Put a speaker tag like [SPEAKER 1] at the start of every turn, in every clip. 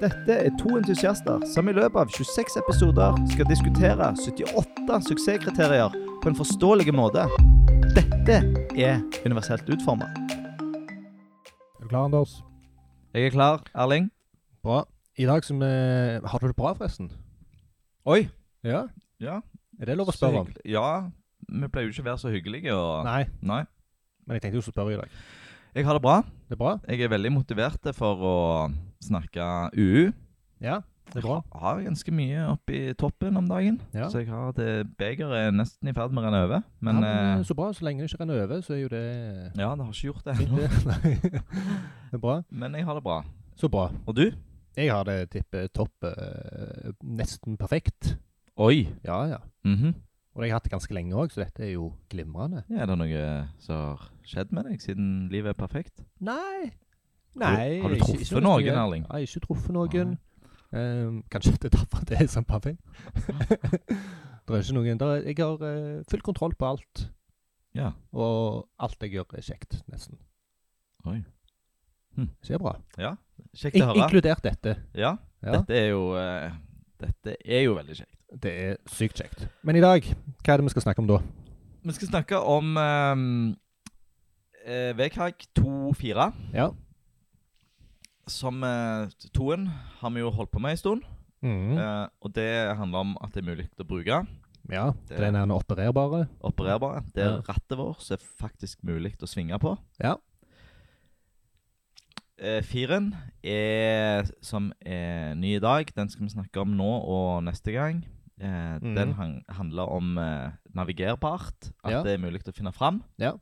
[SPEAKER 1] Dette er to entusiaster som i løpet av 26 episoder skal diskutere 78 suksesskriterier på en forståelig måte. Dette er universelt utforma.
[SPEAKER 2] Er du klar, Anders?
[SPEAKER 1] Jeg er klar, Erling.
[SPEAKER 2] Bra. I dag som eh, Har du det bra, forresten?
[SPEAKER 1] Oi!
[SPEAKER 2] Ja?
[SPEAKER 1] Ja,
[SPEAKER 2] Er det lov å spørre om?
[SPEAKER 1] ja vi pleier jo ikke å være så hyggelige. Og...
[SPEAKER 2] Nei,
[SPEAKER 1] Nei.
[SPEAKER 2] men jeg tenkte jo å spørre i dag.
[SPEAKER 1] Jeg har det bra.
[SPEAKER 2] Det er bra?
[SPEAKER 1] Jeg er veldig motivert for å snakke UU.
[SPEAKER 2] Ja, det er bra.
[SPEAKER 1] Jeg har ganske mye oppi toppen om dagen.
[SPEAKER 2] Ja.
[SPEAKER 1] Så jeg har det begeret er nesten i ferd med å renne over. Men
[SPEAKER 2] ja, men
[SPEAKER 1] eh,
[SPEAKER 2] så bra. Så lenge det ikke renner over, så er jo det
[SPEAKER 1] ja, det har ikke gjort det
[SPEAKER 2] fint,
[SPEAKER 1] ennå.
[SPEAKER 2] det. Nei. det er bra.
[SPEAKER 1] Men jeg har det bra.
[SPEAKER 2] Så bra.
[SPEAKER 1] Og du?
[SPEAKER 2] Jeg har det tippet topp eh, nesten perfekt.
[SPEAKER 1] Oi.
[SPEAKER 2] Ja, ja.
[SPEAKER 1] Mhm.
[SPEAKER 2] Og jeg har hatt det ganske lenge òg, så dette er jo glimrende.
[SPEAKER 1] ja, er det noe som har skjedd med deg siden livet er perfekt?
[SPEAKER 2] Nei.
[SPEAKER 1] Har du-
[SPEAKER 2] Nei.
[SPEAKER 1] har du
[SPEAKER 2] ikke-
[SPEAKER 1] truffet
[SPEAKER 2] ikke
[SPEAKER 1] noen,
[SPEAKER 2] spesielt.
[SPEAKER 1] Erling?
[SPEAKER 2] Nei, ikke truffet noen. Ehm, kanskje det er derfor det er sånn perfekt. det er ikke noen der, Jeg har eh, full kontroll på alt.
[SPEAKER 1] Ja.
[SPEAKER 2] Og alt jeg gjør, er kjekt, nesten.
[SPEAKER 1] Oi.
[SPEAKER 2] Hm.
[SPEAKER 1] Hm.
[SPEAKER 2] Så det er bra.
[SPEAKER 1] ja. Kjekt
[SPEAKER 2] In
[SPEAKER 1] å høre.
[SPEAKER 2] inkludert dette.
[SPEAKER 1] Ja,
[SPEAKER 2] Ja,
[SPEAKER 1] dette er jo eh, Dette er jo veldig kjekt.
[SPEAKER 2] det er sykt kjekt. Men i dag, hva er det vi skal snakke om da?
[SPEAKER 1] Vi skal snakke om eh, eh, VKG 2.4.
[SPEAKER 2] Ja.
[SPEAKER 1] Som eh, toen har vi jo holdt på med en stund.
[SPEAKER 2] Mm.
[SPEAKER 1] Eh, og det handler om at det er mulig å bruke.
[SPEAKER 2] ja.
[SPEAKER 1] det-
[SPEAKER 2] Det er den her opererbare.
[SPEAKER 1] Opererbare. Det er
[SPEAKER 2] Ja.
[SPEAKER 1] rattet vårt som er faktisk mulig å svinge på.
[SPEAKER 2] Ja.
[SPEAKER 1] Eh, Firen er, som er ny i dag, den skal vi snakke om nå og neste gang. Eh,
[SPEAKER 2] Mhm.
[SPEAKER 1] Den han, handler om eh, navigerbart, at
[SPEAKER 2] Ja.
[SPEAKER 1] det er mulig å finne fram.
[SPEAKER 2] Ja.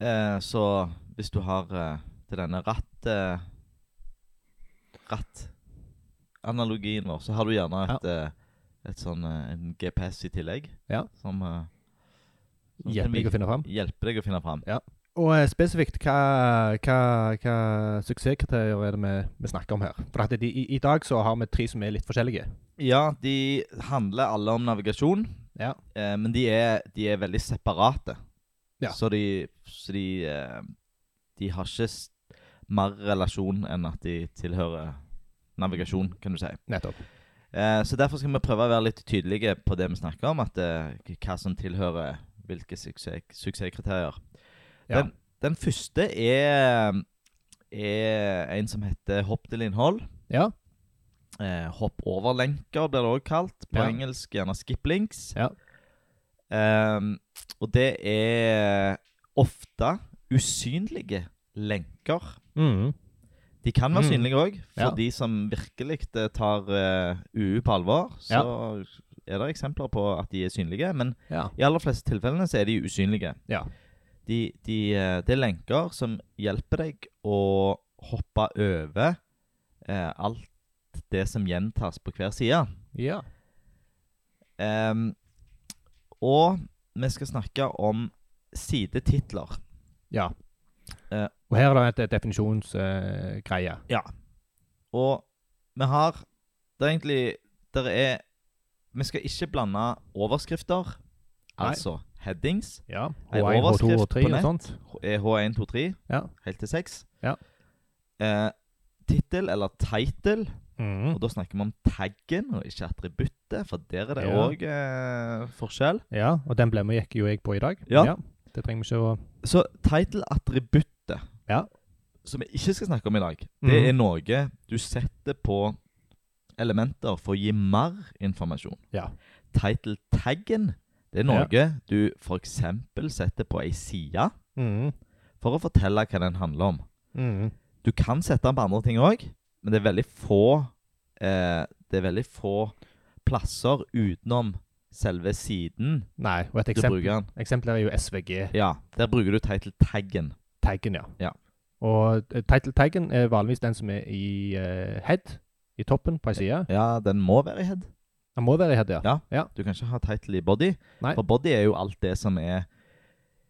[SPEAKER 1] Eh, så hvis du har eh, til denne ratt... Eh, Ratt-analogien vår, så har du gjerne et, eh, et sånn, eh, en GPS i tillegg.
[SPEAKER 2] Ja.
[SPEAKER 1] Som eh, som kan
[SPEAKER 2] Hjelper
[SPEAKER 1] vi-
[SPEAKER 2] deg å finne fram.
[SPEAKER 1] hjelper deg å finne fram.
[SPEAKER 2] Sånn Og eh, spesifikt, hva, hva, hva suksesskriterier er det vi, vi snakker om her? For at de, i, i dag så har vi tre som er litt forskjellige.
[SPEAKER 1] Ja, de handler alle om navigasjon,
[SPEAKER 2] Ja.
[SPEAKER 1] eh, men de er, de er veldig separate.
[SPEAKER 2] Ja.
[SPEAKER 1] Så de, så de, eh, de har ikke s- mer relasjon enn at de tilhører navigasjon, kan du si.
[SPEAKER 2] Nettopp.
[SPEAKER 1] Eh, så derfor skal vi prøve å være litt tydelige på det vi snakker om, at eh, k- hva som tilhører hvilke suksess, suksesskriterier.
[SPEAKER 2] Ja.
[SPEAKER 1] Den, den første er, eh, er en som heter hopp til innhold.
[SPEAKER 2] Ja.
[SPEAKER 1] Eh, hopp over lenker blir det også kalt på
[SPEAKER 2] Ja.
[SPEAKER 1] engelsk, gjerne skip links.
[SPEAKER 2] Ja.
[SPEAKER 1] Ehm, og det er ofte usynlige lenker.
[SPEAKER 2] Mhm.
[SPEAKER 1] De kan være
[SPEAKER 2] Mm.
[SPEAKER 1] synlige òg. For
[SPEAKER 2] Ja.
[SPEAKER 1] de som virkelig eh, tar eh, UU på alvor, så er det eksempler på at de er synlige. Men
[SPEAKER 2] Ja.
[SPEAKER 1] i aller fleste tilfellene så er de usynlige.
[SPEAKER 2] Ja.
[SPEAKER 1] De, de, eh, det er lenker som hjelper deg å hoppe over eh, alt det som gjentas på hver side.
[SPEAKER 2] ja.
[SPEAKER 1] Ehm, og vi skal snakke om sidetitler.
[SPEAKER 2] Ja.
[SPEAKER 1] Eh.
[SPEAKER 2] Og her er det et definisjonsgreie.
[SPEAKER 1] Og vi har Det er egentlig Der er Vi skal ikke blande overskrifter,
[SPEAKER 2] Nei.
[SPEAKER 1] altså headings, eh,
[SPEAKER 2] ja.
[SPEAKER 1] Ei
[SPEAKER 2] H1, H2
[SPEAKER 1] overskrift
[SPEAKER 2] og 3
[SPEAKER 1] på
[SPEAKER 2] og
[SPEAKER 1] nett.
[SPEAKER 2] sånt.
[SPEAKER 1] er H1, 2, 3,
[SPEAKER 2] Ja.
[SPEAKER 1] helt til 6.
[SPEAKER 2] Ja.
[SPEAKER 1] Eh, tittel eller title,
[SPEAKER 2] Mhm.
[SPEAKER 1] og da snakker vi om taggen og ikke attributtet, for der er det
[SPEAKER 2] Ja.
[SPEAKER 1] òg eh, forskjell.
[SPEAKER 2] Ja, og den ble vi gikk jo jeg på i dag.
[SPEAKER 1] Ja.
[SPEAKER 2] Det trenger vi ikke å
[SPEAKER 1] Så title-attributtet,
[SPEAKER 2] Ja.
[SPEAKER 1] som vi ikke skal snakke om i dag, det
[SPEAKER 2] Mhm.
[SPEAKER 1] er noe du setter på elementer for å gi mer informasjon.
[SPEAKER 2] Ja.
[SPEAKER 1] Title-taggen, det er noe du for eksempel setter på ei side
[SPEAKER 2] Mhm.
[SPEAKER 1] for å fortelle hva den handler om.
[SPEAKER 2] Mhm.
[SPEAKER 1] Du kan sette den på andre ting òg, men det er veldig få eh, Det er veldig få plasser utenom selve siden
[SPEAKER 2] Nei, og et
[SPEAKER 1] du
[SPEAKER 2] eksempel,
[SPEAKER 1] bruker den.
[SPEAKER 2] eksempel er jo SVG-taggen,
[SPEAKER 1] Ja, der bruker du title-taggen.
[SPEAKER 2] ja.
[SPEAKER 1] Ja.
[SPEAKER 2] Og eh, title-taggen er vanligvis den som er i eh, head, i toppen på ei side.
[SPEAKER 1] Ja, den må være i head.
[SPEAKER 2] Den må være i head, ja.
[SPEAKER 1] Ja. Du kan ikke ha title i body.
[SPEAKER 2] Nei.
[SPEAKER 1] For body er jo alt det som er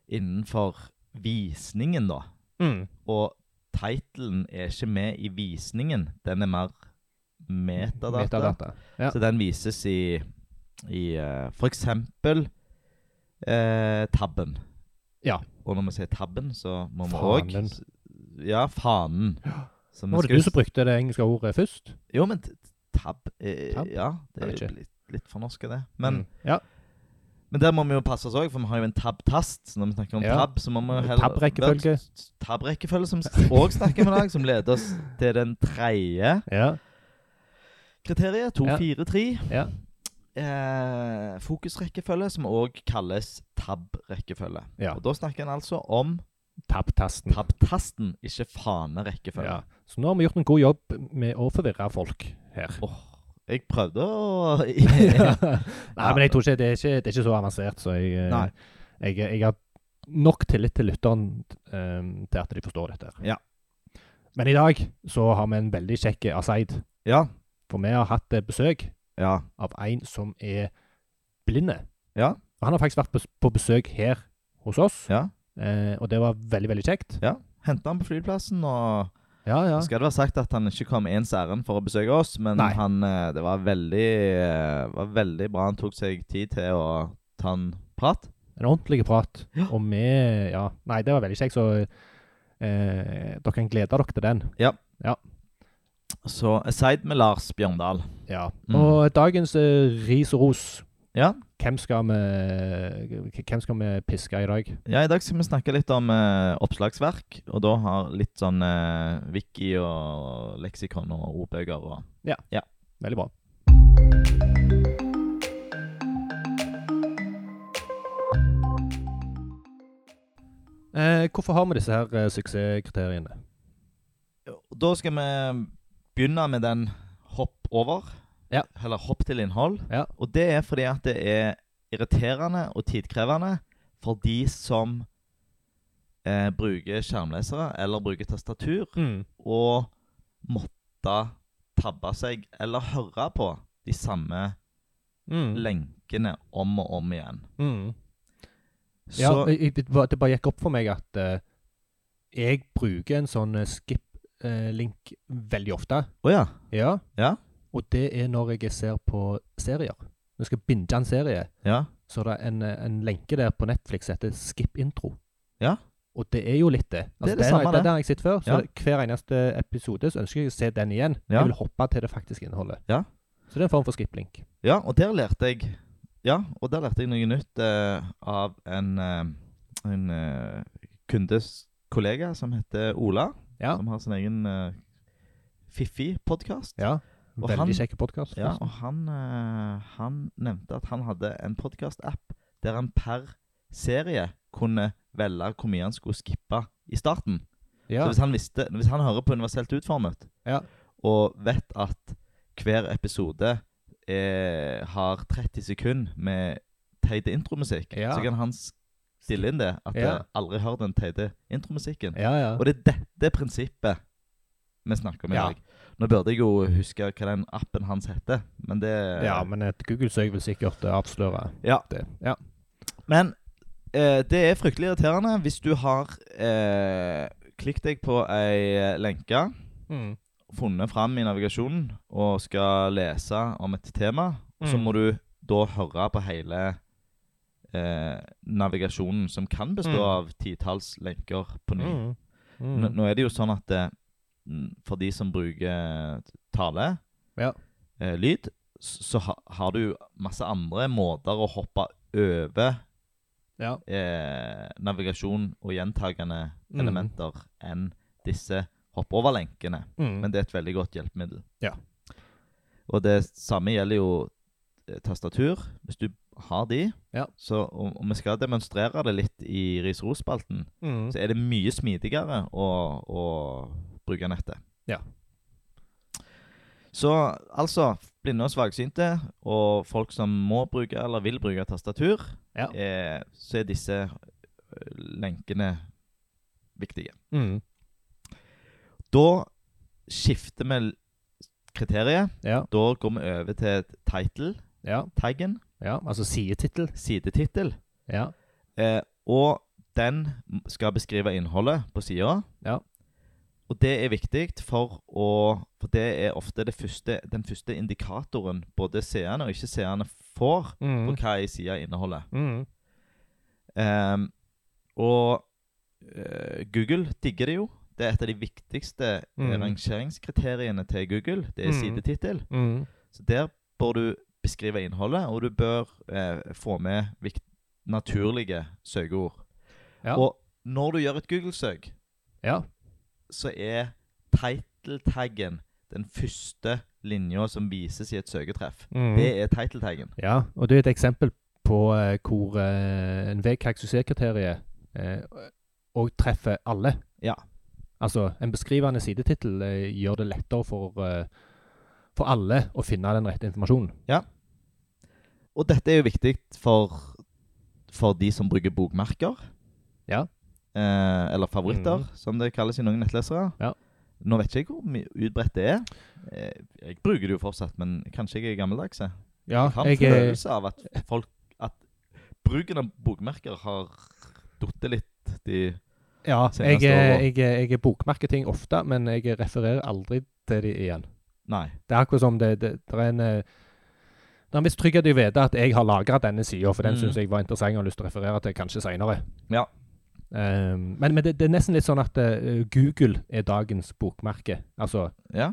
[SPEAKER 1] innenfor visningen, da.
[SPEAKER 2] Mhm.
[SPEAKER 1] Og titlen er ikke med i visningen. Den er mer metadata.
[SPEAKER 2] Metadata. Ja.
[SPEAKER 1] Så den vises i, i eh, for eksempel eh, tabben.
[SPEAKER 2] Ja.
[SPEAKER 1] Og når vi sier tabben, så må vi
[SPEAKER 2] Fanen.
[SPEAKER 1] òg Ja, fanen. Så vi
[SPEAKER 2] Var
[SPEAKER 1] skal
[SPEAKER 2] det
[SPEAKER 1] jo
[SPEAKER 2] du som brukte det engelske ordet først?
[SPEAKER 1] s- Jo, men t- tab, eh, Ja,
[SPEAKER 2] Tab?
[SPEAKER 1] det
[SPEAKER 2] Jeg
[SPEAKER 1] er
[SPEAKER 2] vet
[SPEAKER 1] jo
[SPEAKER 2] ikke.
[SPEAKER 1] litt, litt for norsk, det. Men,
[SPEAKER 2] Mm. Ja.
[SPEAKER 1] men der må vi jo passe oss òg, for vi har jo en tab-tast. Så når vi snakker om
[SPEAKER 2] Ja.
[SPEAKER 1] tab, så må vi heller
[SPEAKER 2] Tab-rekkefølge.
[SPEAKER 1] Tab-rekkefølge som òg snakker med i dag, som leder oss til den tredje
[SPEAKER 2] Ja.
[SPEAKER 1] kriteriet.
[SPEAKER 2] Ja.
[SPEAKER 1] 243.
[SPEAKER 2] Ja.
[SPEAKER 1] Eh, fokusrekkefølge, som òg kalles tab-rekkefølge.
[SPEAKER 2] ja. Mm.
[SPEAKER 1] Og Da snakker en altså om
[SPEAKER 2] Tab-tasten.
[SPEAKER 1] tab-tasten, ikke fanerekkefølge.
[SPEAKER 2] Ja. Så nå har vi gjort en god jobb med å forvirre folk her.
[SPEAKER 1] Jeg prøvde å
[SPEAKER 2] Nei, men jeg tror ikke det er ikke, det er ikke så avansert, så jeg, eh,
[SPEAKER 1] Nei.
[SPEAKER 2] jeg, jeg har nok tillit til lytteren eh, til at de forstår dette. her.
[SPEAKER 1] Ja.
[SPEAKER 2] Men i dag så har vi en veldig kjekk Aseid,
[SPEAKER 1] Ja.
[SPEAKER 2] for vi har hatt eh, besøk
[SPEAKER 1] Ja.
[SPEAKER 2] av en som er blinde.
[SPEAKER 1] Ja.
[SPEAKER 2] Og han har faktisk vært på, på besøk her hos oss,
[SPEAKER 1] ja.
[SPEAKER 2] eh, og det var veldig, veldig kjekt.
[SPEAKER 1] Henta han på flyplassen, og
[SPEAKER 2] Ja, ja.
[SPEAKER 1] skal det være sagt at han ikke kom ens ærend for å besøke oss, men
[SPEAKER 2] Nei.
[SPEAKER 1] han, eh, det var veldig, eh, var veldig bra han tok seg tid til å ta en prat.
[SPEAKER 2] En ordentlig prat.
[SPEAKER 1] Ja.
[SPEAKER 2] Og vi Ja. Nei, det var veldig kjekt, så eh, dere kan glede dere til den.
[SPEAKER 1] Så aside med Lars Bjørndal.
[SPEAKER 2] Ja.
[SPEAKER 1] Mm.
[SPEAKER 2] Og dagens eh, ris og ros.
[SPEAKER 1] Ja.
[SPEAKER 2] Hvem skal vi Hvem skal vi piske i dag?
[SPEAKER 1] Ja, I dag skal vi snakke litt om eh, oppslagsverk, og da har litt sånn eh, wiki og leksikon og ordbøker og
[SPEAKER 2] Veldig bra. Eh, hvorfor har vi disse her eh, suksesskriteriene?
[SPEAKER 1] Og Da skal vi begynne med den hopp over,
[SPEAKER 2] Ja.
[SPEAKER 1] eller hopp til innhold.
[SPEAKER 2] Ja.
[SPEAKER 1] Og det er fordi at det er irriterende og tidkrevende for de som eh, bruker skjermlesere eller bruker tastatur, og måtte tabbe seg eller høre på de samme
[SPEAKER 2] Mm.
[SPEAKER 1] lenkene om og om igjen.
[SPEAKER 2] Mm.
[SPEAKER 1] Så,
[SPEAKER 2] Ja, jeg, jeg- det bare- det bare gikk opp for meg at eh, jeg bruker en sånn skip-link veldig ofte.
[SPEAKER 1] Å ja.
[SPEAKER 2] Ja.
[SPEAKER 1] Ja.
[SPEAKER 2] Og det er når jeg ser på serier. Når jeg skal binge en serie,
[SPEAKER 1] Ja.
[SPEAKER 2] så er det en, eh, en lenke der på Netflix som heter skip intro.
[SPEAKER 1] Ja.
[SPEAKER 2] Og det er jo litt det. Altså,
[SPEAKER 1] Det er det
[SPEAKER 2] har-
[SPEAKER 1] samme,
[SPEAKER 2] det.
[SPEAKER 1] det.
[SPEAKER 2] har jeg sett før. Så
[SPEAKER 1] Ja.
[SPEAKER 2] hver eneste episode så ønsker jeg å se den igjen.
[SPEAKER 1] Ja.
[SPEAKER 2] Jeg vil hoppe til det faktiske innholdet.
[SPEAKER 1] Ja.
[SPEAKER 2] Så det er en form for skip-link.
[SPEAKER 1] Ja, og der lærte jeg Ja, og der lærte jeg noe nytt eh, av en, eh, en eh, kundes kollega som heter Ola,
[SPEAKER 2] Ja.
[SPEAKER 1] som har sin egen eh, fiffig podkast.
[SPEAKER 2] ja.
[SPEAKER 1] Og
[SPEAKER 2] Veldig
[SPEAKER 1] han-
[SPEAKER 2] kjekk podkast.
[SPEAKER 1] Ja, og han, eh, han nevnte at han hadde en podkast-app der han per serie kunne velge hvor mye han skulle skippe i starten. Så
[SPEAKER 2] Ja.
[SPEAKER 1] hvis han, visste, hvis han hører på universelt utformet,
[SPEAKER 2] Ja.
[SPEAKER 1] og vet at hver episode eh, har 30 sekunder med teite intromusikk,
[SPEAKER 2] Ja.
[SPEAKER 1] så kan han stille inn det. At
[SPEAKER 2] Ja.
[SPEAKER 1] jeg aldri har den teite intromusikken.
[SPEAKER 2] ja, ja.
[SPEAKER 1] Og det er dette prinsippet vi snakker om i
[SPEAKER 2] Ja.
[SPEAKER 1] dag. Nå burde jeg jo huske hva den appen hans heter, men det
[SPEAKER 2] Ja, men et Google-søk vil sikkert eh, avsløre
[SPEAKER 1] Eh, Ja.
[SPEAKER 2] det. Ja.
[SPEAKER 1] Men eh, det er fryktelig irriterende hvis du har eh, klikket deg på ei lenke
[SPEAKER 2] Mm.
[SPEAKER 1] funnet fram i navigasjonen og skal lese om et tema, så
[SPEAKER 2] Mm.
[SPEAKER 1] må du da høre på hele eh, navigasjonen, som kan bestå
[SPEAKER 2] Mm.
[SPEAKER 1] av titalls lenker på ny.
[SPEAKER 2] Mm.
[SPEAKER 1] Nå,
[SPEAKER 2] Mm.
[SPEAKER 1] nå er det jo sånn at eh, mm, for de som bruker tale,
[SPEAKER 2] Ja.
[SPEAKER 1] eh, lyd, s- så ha, har du masse andre måter å hoppe over
[SPEAKER 2] Ja.
[SPEAKER 1] eh, navigasjon og gjentagende
[SPEAKER 2] Mm.
[SPEAKER 1] elementer enn disse hopp-over-lenkene
[SPEAKER 2] Mm.
[SPEAKER 1] men det er et veldig godt hjelpemiddel.
[SPEAKER 2] Ja.
[SPEAKER 1] Og det samme gjelder jo eh, tastatur. Hvis du har de,
[SPEAKER 2] Ja.
[SPEAKER 1] så om, om vi skal demonstrere det litt i Ris-Ros-spalten,
[SPEAKER 2] Mm.
[SPEAKER 1] så er det mye smidigere å, å bruke nettet.
[SPEAKER 2] Ja.
[SPEAKER 1] Så altså, blinde og svaksynte, og folk som må bruke eller vil bruke tastatur,
[SPEAKER 2] Ja.
[SPEAKER 1] eh, så er disse eh, lenkene viktige.
[SPEAKER 2] Mm.
[SPEAKER 1] Da skifter vi kriteriet.
[SPEAKER 2] Ja.
[SPEAKER 1] Da går vi over til title,
[SPEAKER 2] Ja.
[SPEAKER 1] taggen,
[SPEAKER 2] ja. Altså sidetittel.
[SPEAKER 1] sidetittel.
[SPEAKER 2] Ja.
[SPEAKER 1] Eh, og den skal beskrive innholdet på sida.
[SPEAKER 2] Ja.
[SPEAKER 1] Og det er viktig, for, å, for det er ofte det første, den første indikatoren både seerne og ikke seerne får på
[SPEAKER 2] Mm.
[SPEAKER 1] hva ei side inneholder.
[SPEAKER 2] Mm.
[SPEAKER 1] Ehm, og eh, Google digger det jo. Det er et av de viktigste eh,
[SPEAKER 2] Mm.
[SPEAKER 1] rangeringskriteriene til Google. Det er
[SPEAKER 2] Mm.
[SPEAKER 1] sidetittel.
[SPEAKER 2] Mm.
[SPEAKER 1] Så der bør du beskrive innholdet, og du bør eh, få med vikt naturlige søkeord.
[SPEAKER 2] Ja.
[SPEAKER 1] Og når du gjør et Google-søk,
[SPEAKER 2] ja.
[SPEAKER 1] så er title-taggen den første linja som vises i et søketreff.
[SPEAKER 2] Mm.
[SPEAKER 1] Det er title-taggen.
[SPEAKER 2] Ja, og det er et eksempel på eh, hvor eh, en VKAK suksesskriterium eh, og treffer alle.
[SPEAKER 1] Ja.
[SPEAKER 2] Altså, en beskrivende sidetittel eh, gjør det lettere for, eh, for alle å finne den rette informasjonen.
[SPEAKER 1] Og dette er jo viktig for, for de som bruker bokmerker.
[SPEAKER 2] Ja.
[SPEAKER 1] Eh, eller favoritter,
[SPEAKER 2] Mhm.
[SPEAKER 1] som det kalles i noen nettlesere.
[SPEAKER 2] Ja.
[SPEAKER 1] Nå vet ikke jeg hvor mye utbredt det er. Eh, jeg bruker det jo fortsatt, men kanskje jeg er gammeldags. Jeg
[SPEAKER 2] Ja,
[SPEAKER 1] har en
[SPEAKER 2] jeg eh, er
[SPEAKER 1] følelse av at, folk, at bruken av bokmerker har datt litt de
[SPEAKER 2] Ja, jeg,
[SPEAKER 1] Seneste
[SPEAKER 2] er-
[SPEAKER 1] året.
[SPEAKER 2] jeg, er- jeg er bokmerker ting ofte, men jeg refererer aldri til de igjen.
[SPEAKER 1] Nei.
[SPEAKER 2] Det er akkurat som det, det, det er en eh, det er en viss trygghet i å vite at jeg har lagra denne sida, for den
[SPEAKER 1] Mm.
[SPEAKER 2] syns jeg var interessant og har lyst til å referere til kanskje seinere.
[SPEAKER 1] Ja.
[SPEAKER 2] men men det, det er nesten litt sånn at eh, Google er dagens bokmerke. Altså,
[SPEAKER 1] Ja,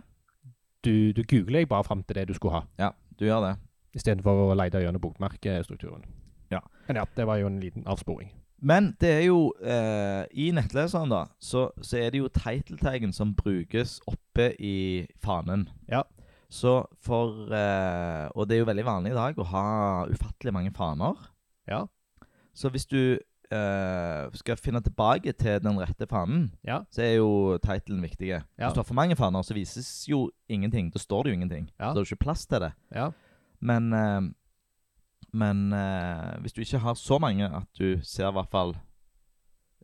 [SPEAKER 2] du, du googler jeg bare fram til det du skulle ha,
[SPEAKER 1] ja du gjør det.
[SPEAKER 2] istedenfor å lete gjennom bokmerkestrukturen.
[SPEAKER 1] Ja.
[SPEAKER 2] Men ja, det var jo en liten avsporing.
[SPEAKER 1] Men det er jo eh, I nettleseren, da, så, så er det jo title-taggen som brukes oppe i fanen.
[SPEAKER 2] Ja.
[SPEAKER 1] Så for eh, Og det er jo veldig vanlig i dag å ha ufattelig mange faner.
[SPEAKER 2] Ja.
[SPEAKER 1] Så hvis du eh, skal finne tilbake til den rette fanen,
[SPEAKER 2] Ja.
[SPEAKER 1] så er jo titlen viktig.
[SPEAKER 2] Ja.
[SPEAKER 1] Hvis du har for mange faner, så vises jo ingenting. Da står det jo ingenting.
[SPEAKER 2] Ja.
[SPEAKER 1] Så det er jo ikke plass til det.
[SPEAKER 2] Ja.
[SPEAKER 1] Men, eh, men eh, hvis du ikke har så mange at du ser i hvert fall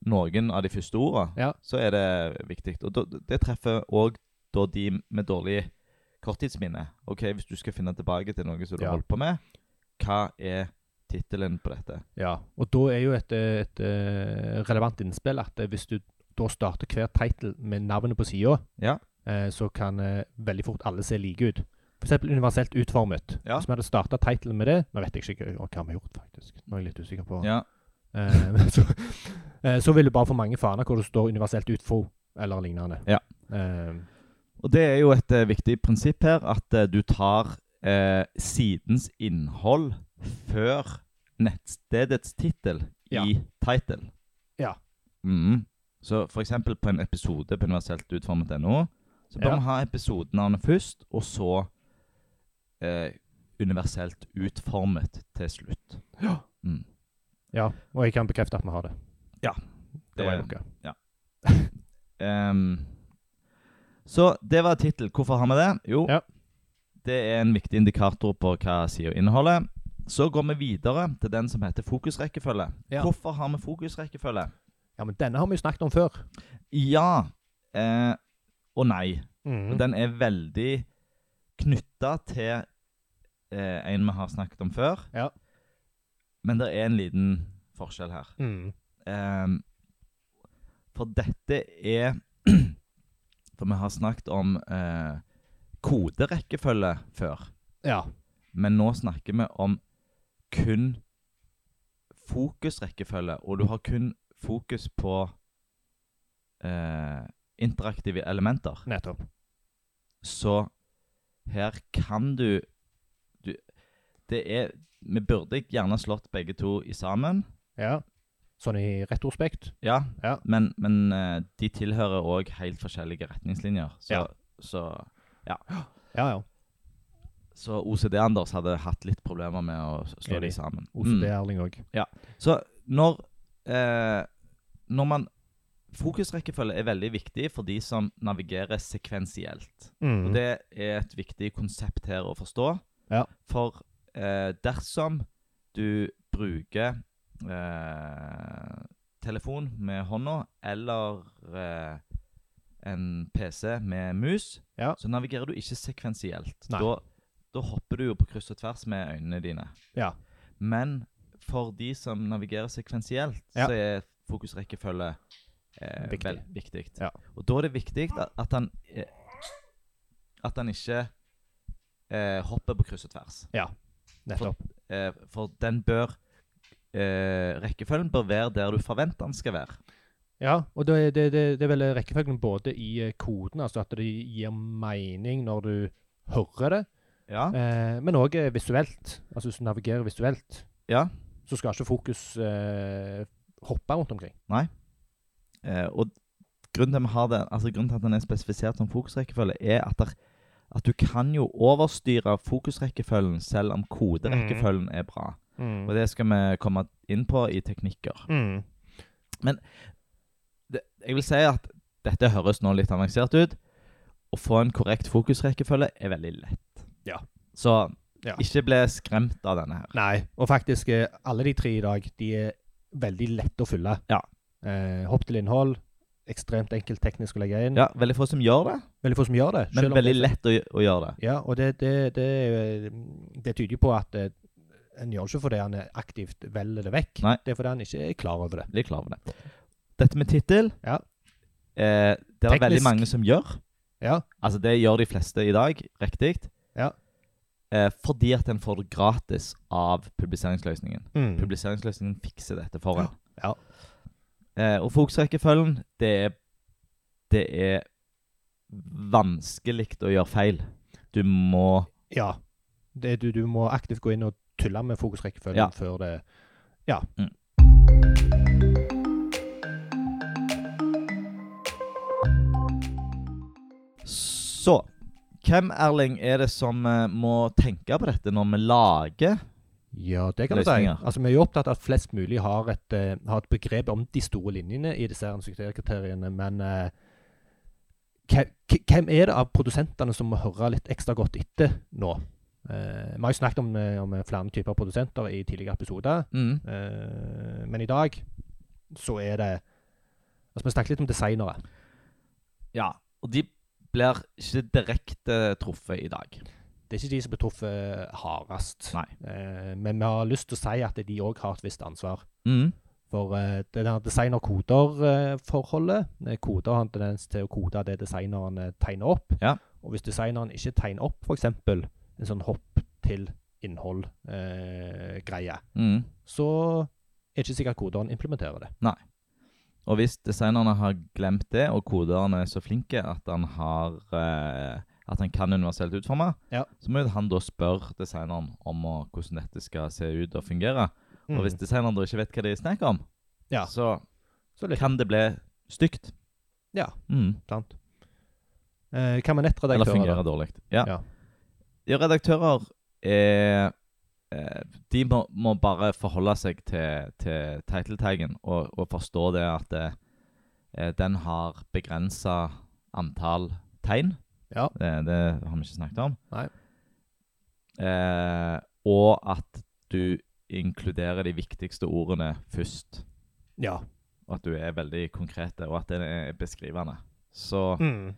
[SPEAKER 1] noen av de første ordene,
[SPEAKER 2] Ja.
[SPEAKER 1] så er det viktig. Og da, det treffer òg da de med dårlig korttidsminne. Ok, Hvis du skal finne tilbake til noe som du
[SPEAKER 2] Ja.
[SPEAKER 1] holdt på med, hva er tittelen på dette?
[SPEAKER 2] Ja, og da er jo et, eh, et eh, relevant innspill at eh, hvis du da starter hver title med navnet på sida,
[SPEAKER 1] Ja.
[SPEAKER 2] eh, så kan eh, veldig fort alle se like ut. F.eks. universelt utformet.
[SPEAKER 1] Ja.
[SPEAKER 2] Hvis vi hadde starta titlen med det Nå vet jeg ikke hva hva vi har gjort, faktisk. Nå er jeg litt usikker på
[SPEAKER 1] Ja.
[SPEAKER 2] Eh, men så, eh, så vil du bare få mange faner hvor det står 'universelt utfo' eller lignende.
[SPEAKER 1] Ja.
[SPEAKER 2] Eh,
[SPEAKER 1] Og det er jo et eh, viktig prinsipp her, at eh, du tar eh, sidens innhold før nettstedets tittel
[SPEAKER 2] Ja.
[SPEAKER 1] i title.
[SPEAKER 2] Ja.
[SPEAKER 1] Mhm. Så for eksempel på en episode på universelt utformet.no, så bør
[SPEAKER 2] Ja.
[SPEAKER 1] vi ha episodenavnet først, og så eh, universelt utformet til slutt.
[SPEAKER 2] Ja.
[SPEAKER 1] Mm.
[SPEAKER 2] ja. Og jeg kan bekrefte at vi har det.
[SPEAKER 1] Ja.
[SPEAKER 2] Det var jeg
[SPEAKER 1] Det-
[SPEAKER 2] lukka.
[SPEAKER 1] Ehm, så det var tittel. Hvorfor har vi det? Jo,
[SPEAKER 2] Ja.
[SPEAKER 1] det er en viktig indikator på hva sida inneholder. Så går vi videre til den som heter fokusrekkefølge.
[SPEAKER 2] Ja.
[SPEAKER 1] Hvorfor har vi fokusrekkefølge?
[SPEAKER 2] Ja, men denne har vi jo snakket om før.
[SPEAKER 1] Ja eh, og nei.
[SPEAKER 2] Mhm.
[SPEAKER 1] Den er veldig knytta til eh, en vi har snakket om før.
[SPEAKER 2] Ja.
[SPEAKER 1] Men det er en liten forskjell her.
[SPEAKER 2] Mhm.
[SPEAKER 1] Ehm, for dette er For vi har snakket om eh, koderekkefølge før.
[SPEAKER 2] Ja.
[SPEAKER 1] Men nå snakker vi om kun fokusrekkefølge, og du har kun fokus på eh, interaktive elementer.
[SPEAKER 2] Nettopp.
[SPEAKER 1] Så her kan du, du Det er Vi burde gjerne slått begge to i sammen.
[SPEAKER 2] Ja. Sånn i retrospekt.
[SPEAKER 1] Ja,
[SPEAKER 2] Ja.
[SPEAKER 1] men, men eh, de tilhører òg helt forskjellige retningslinjer. Så,
[SPEAKER 2] Ja.
[SPEAKER 1] så,
[SPEAKER 2] Ja, ja.
[SPEAKER 1] så OCD-Anders hadde hatt litt problemer med å s- slå
[SPEAKER 2] Enig.
[SPEAKER 1] de sammen. Mm.
[SPEAKER 2] OCD-Erling òg.
[SPEAKER 1] Så når, eh, når man Fokusrekkefølge er veldig viktig for de som navigerer sekvensielt.
[SPEAKER 2] Mm.
[SPEAKER 1] Og det er et viktig konsept her å forstå.
[SPEAKER 2] Ja.
[SPEAKER 1] For eh, dersom du bruker eh, telefon med hånda eller eh, en PC med mus,
[SPEAKER 2] Ja.
[SPEAKER 1] så navigerer du ikke sekvensielt.
[SPEAKER 2] Nei.
[SPEAKER 1] Da, da hopper du jo på kryss og tvers med øynene dine.
[SPEAKER 2] Ja.
[SPEAKER 1] Men for de som navigerer sekvensielt,
[SPEAKER 2] Ja.
[SPEAKER 1] så er fokusrekkefølge eh,
[SPEAKER 2] Viktig.
[SPEAKER 1] vel- viktig.
[SPEAKER 2] Ja.
[SPEAKER 1] Og da er det viktig at, at han eh, At han ikke eh, hopper på kryss og tvers.
[SPEAKER 2] Nettopp.
[SPEAKER 1] Eh, for den bør eh, Rekkefølgen bør være der du forventer den skal være.
[SPEAKER 2] Ja, og det, er- det, det, det er vel rekkefølgen både i eh, koden, altså at det gir mening når du hører det,
[SPEAKER 1] Ja.
[SPEAKER 2] eh, men òg visuelt. Altså hvis du navigerer visuelt,
[SPEAKER 1] Ja.
[SPEAKER 2] så skal ikke fokus eh, hoppe rundt omkring.
[SPEAKER 1] Eh, og grunnen til, at vi har den, altså grunnen til at den er spesifisert som fokusrekkefølge, er at, der, at du kan jo overstyre fokusrekkefølgen selv om koderekkefølgen
[SPEAKER 2] Mm.
[SPEAKER 1] er bra. Og det skal vi komme inn på i teknikker.
[SPEAKER 2] Mm.
[SPEAKER 1] Det, jeg vil si at dette høres nå litt avansert ut. Å få en korrekt fokusrekkefølge er veldig lett.
[SPEAKER 2] Ja.
[SPEAKER 1] Så
[SPEAKER 2] Ja.
[SPEAKER 1] ikke bli skremt av denne her.
[SPEAKER 2] Nei, og faktisk eh, alle de tre i dag, de er veldig lette å fylle.
[SPEAKER 1] Ja.
[SPEAKER 2] Eh, hopp til innhold, ekstremt enkelt teknisk å legge inn.
[SPEAKER 1] Ja, Veldig få som gjør det,
[SPEAKER 2] Veldig få som gjør det. Mm. selv
[SPEAKER 1] men
[SPEAKER 2] om
[SPEAKER 1] veldig
[SPEAKER 2] det-
[SPEAKER 1] lett å, gj- å gjøre det.
[SPEAKER 2] Ja, og det, det, det, er jo- det tyder jo på at eh, en gjør ikke fordi han er aktivt velger det vekk.
[SPEAKER 1] Nei.
[SPEAKER 2] Det er fordi han ikke er klar over det.
[SPEAKER 1] Bli klar over det. Dette med tittel
[SPEAKER 2] Ja.
[SPEAKER 1] eh, Det er det veldig
[SPEAKER 2] Teknisk.
[SPEAKER 1] mange som gjør.
[SPEAKER 2] Ja,
[SPEAKER 1] Altså, det gjør de fleste i dag, riktig.
[SPEAKER 2] Ja.
[SPEAKER 1] Eh, fordi at en får det gratis av publiseringsløsningen. Publiseringsløsningen fikser dette for en.
[SPEAKER 2] Mm. Ja.
[SPEAKER 1] Eh, og fokusrekkefølgen, det er Det er vanskelig å gjøre feil. Du må
[SPEAKER 2] ja. Det, du, du må aktivt gå inn og tulle med fokusrekkefølgen
[SPEAKER 1] Ja.
[SPEAKER 2] før det
[SPEAKER 1] Så hvem, Erling, er det som eh, må tenke på dette når vi lager
[SPEAKER 2] Ja, det kan du si.
[SPEAKER 1] Løsninger.
[SPEAKER 2] Altså, vi er jo opptatt av at flest mulig har et, eh, har et begrep om de store linjene i disse her suksesskriteriene, men eh, hve- hve- hvem er det av produsentene som må høre litt ekstra godt etter nå? Eh, vi har jo snakket om, eh, om flere typer produsenter i tidligere episoder,
[SPEAKER 1] mm,
[SPEAKER 2] eh, men i dag så er det Altså, vi snakket litt om designere.
[SPEAKER 1] Ja. Og de blir ikke direkte truffet i dag.
[SPEAKER 2] Det er ikke de som blir truffet hardest.
[SPEAKER 1] Nei.
[SPEAKER 2] Eh, men vi har lyst til å si at de òg har et visst ansvar.
[SPEAKER 1] Mm.
[SPEAKER 2] For eh, det der designer-koder-forholdet eh, Koder har en tendens til å kode det designeren eh, tegner opp.
[SPEAKER 1] Ja.
[SPEAKER 2] Og hvis designeren ikke tegner opp f.eks. en sånn hopp til innhold-greie,
[SPEAKER 1] Mm.
[SPEAKER 2] så er det ikke sikkert koderen implementerer det.
[SPEAKER 1] Og hvis designerne har glemt det, og koderen er så flinke at han har eh, At han kan universelt utforme,
[SPEAKER 2] Ja.
[SPEAKER 1] så må jo han da spørre designeren om å, hvordan dette skal se ut og fungere. Og hvis
[SPEAKER 2] det,
[SPEAKER 1] designeren da ikke vet hva de snakker om,
[SPEAKER 2] Mm. Ja.
[SPEAKER 1] så
[SPEAKER 2] så litt,
[SPEAKER 1] kan det bli stygt.
[SPEAKER 2] Ja.
[SPEAKER 1] Mm.
[SPEAKER 2] sant. Eh, hva med
[SPEAKER 1] Eller
[SPEAKER 2] nettredaktører?
[SPEAKER 1] fungere
[SPEAKER 2] da?
[SPEAKER 1] dårlig. Ja.
[SPEAKER 2] Ja.
[SPEAKER 1] ja. Redaktører er eh, De må, må bare forholde seg til, til title-taggen og, og forstå det at eh, den har begrensa antall tegn.
[SPEAKER 2] Ja.
[SPEAKER 1] Det, det har vi ikke snakket om.
[SPEAKER 2] Nei.
[SPEAKER 1] Eh, og at du inkluderer de viktigste ordene først.
[SPEAKER 2] Ja.
[SPEAKER 1] Og at du er veldig konkrete, og at den er beskrivende. Så
[SPEAKER 2] Mm.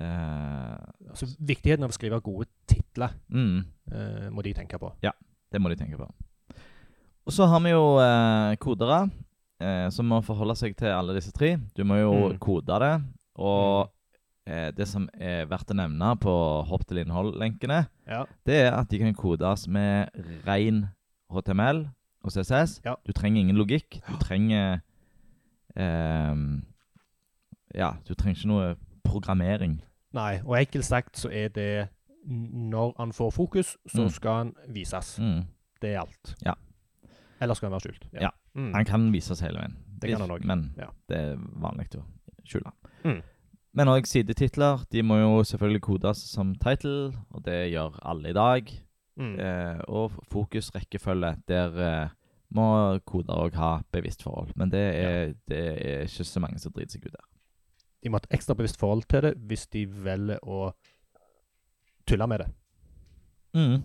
[SPEAKER 1] eh,
[SPEAKER 2] Altså, viktigheten av å skrive gode titler
[SPEAKER 1] mm.
[SPEAKER 2] eh, må de tenke på.
[SPEAKER 1] Det må de tenke på. Og så har vi jo eh, kodere, eh, som må forholde seg til alle disse tre. Du må jo
[SPEAKER 2] Mm.
[SPEAKER 1] kode det. Og eh, det som er verdt å nevne på hopp til innhold-lenkene,
[SPEAKER 2] Ja.
[SPEAKER 1] det er at de kan kodes med ren HTML og CSS.
[SPEAKER 2] Ja.
[SPEAKER 1] Du trenger ingen logikk. Du trenger eh, Ja, du trenger ikke noe programmering.
[SPEAKER 2] Nei, og enkelt sagt så er det n- når han får fokus, så
[SPEAKER 1] Mm.
[SPEAKER 2] skal han vises.
[SPEAKER 1] Mm.
[SPEAKER 2] Det er alt.
[SPEAKER 1] Ja.
[SPEAKER 2] Eller skal han være skjult.
[SPEAKER 1] Ja.
[SPEAKER 2] Mm.
[SPEAKER 1] Han kan vises hele veien.
[SPEAKER 2] Det kan han også.
[SPEAKER 1] Men
[SPEAKER 2] Ja.
[SPEAKER 1] det er vanlig å skjule.
[SPEAKER 2] Mm.
[SPEAKER 1] Men òg sidetitler. De må jo selvfølgelig kodes som title, og det gjør alle i dag.
[SPEAKER 2] Mm.
[SPEAKER 1] Eh, og fokusrekkefølge. Der eh, må koder òg ha bevisst forhold. Men det er, det er ikke så mange som driter seg ut der.
[SPEAKER 2] De må ha et ekstra bevisst forhold til det hvis de velger å tulle med det.
[SPEAKER 1] Mm.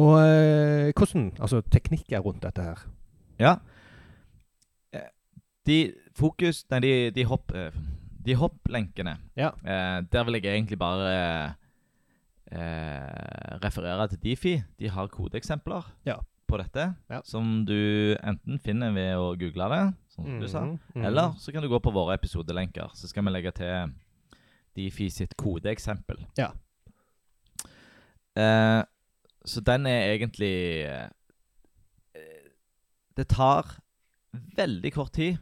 [SPEAKER 2] Og eh, hvordan Altså teknikker rundt dette her.
[SPEAKER 1] Ja. Eh, De fokus Nei, de, de hopp... eh, De hopplenkene.
[SPEAKER 2] Ja.
[SPEAKER 1] Eh, der vil jeg egentlig bare eh, eh, referere til Difi. De har kodeeksempler
[SPEAKER 2] Ja.
[SPEAKER 1] på dette.
[SPEAKER 2] Ja.
[SPEAKER 1] Som du enten finner ved å google det, sånn som du sa.
[SPEAKER 2] Mhm, mhm.
[SPEAKER 1] Eller så kan du gå på våre episodelenker, så skal vi legge til Difi sitt kodeeksempel.
[SPEAKER 2] Ja.
[SPEAKER 1] Eh, Så den er egentlig eh, Det tar veldig kort tid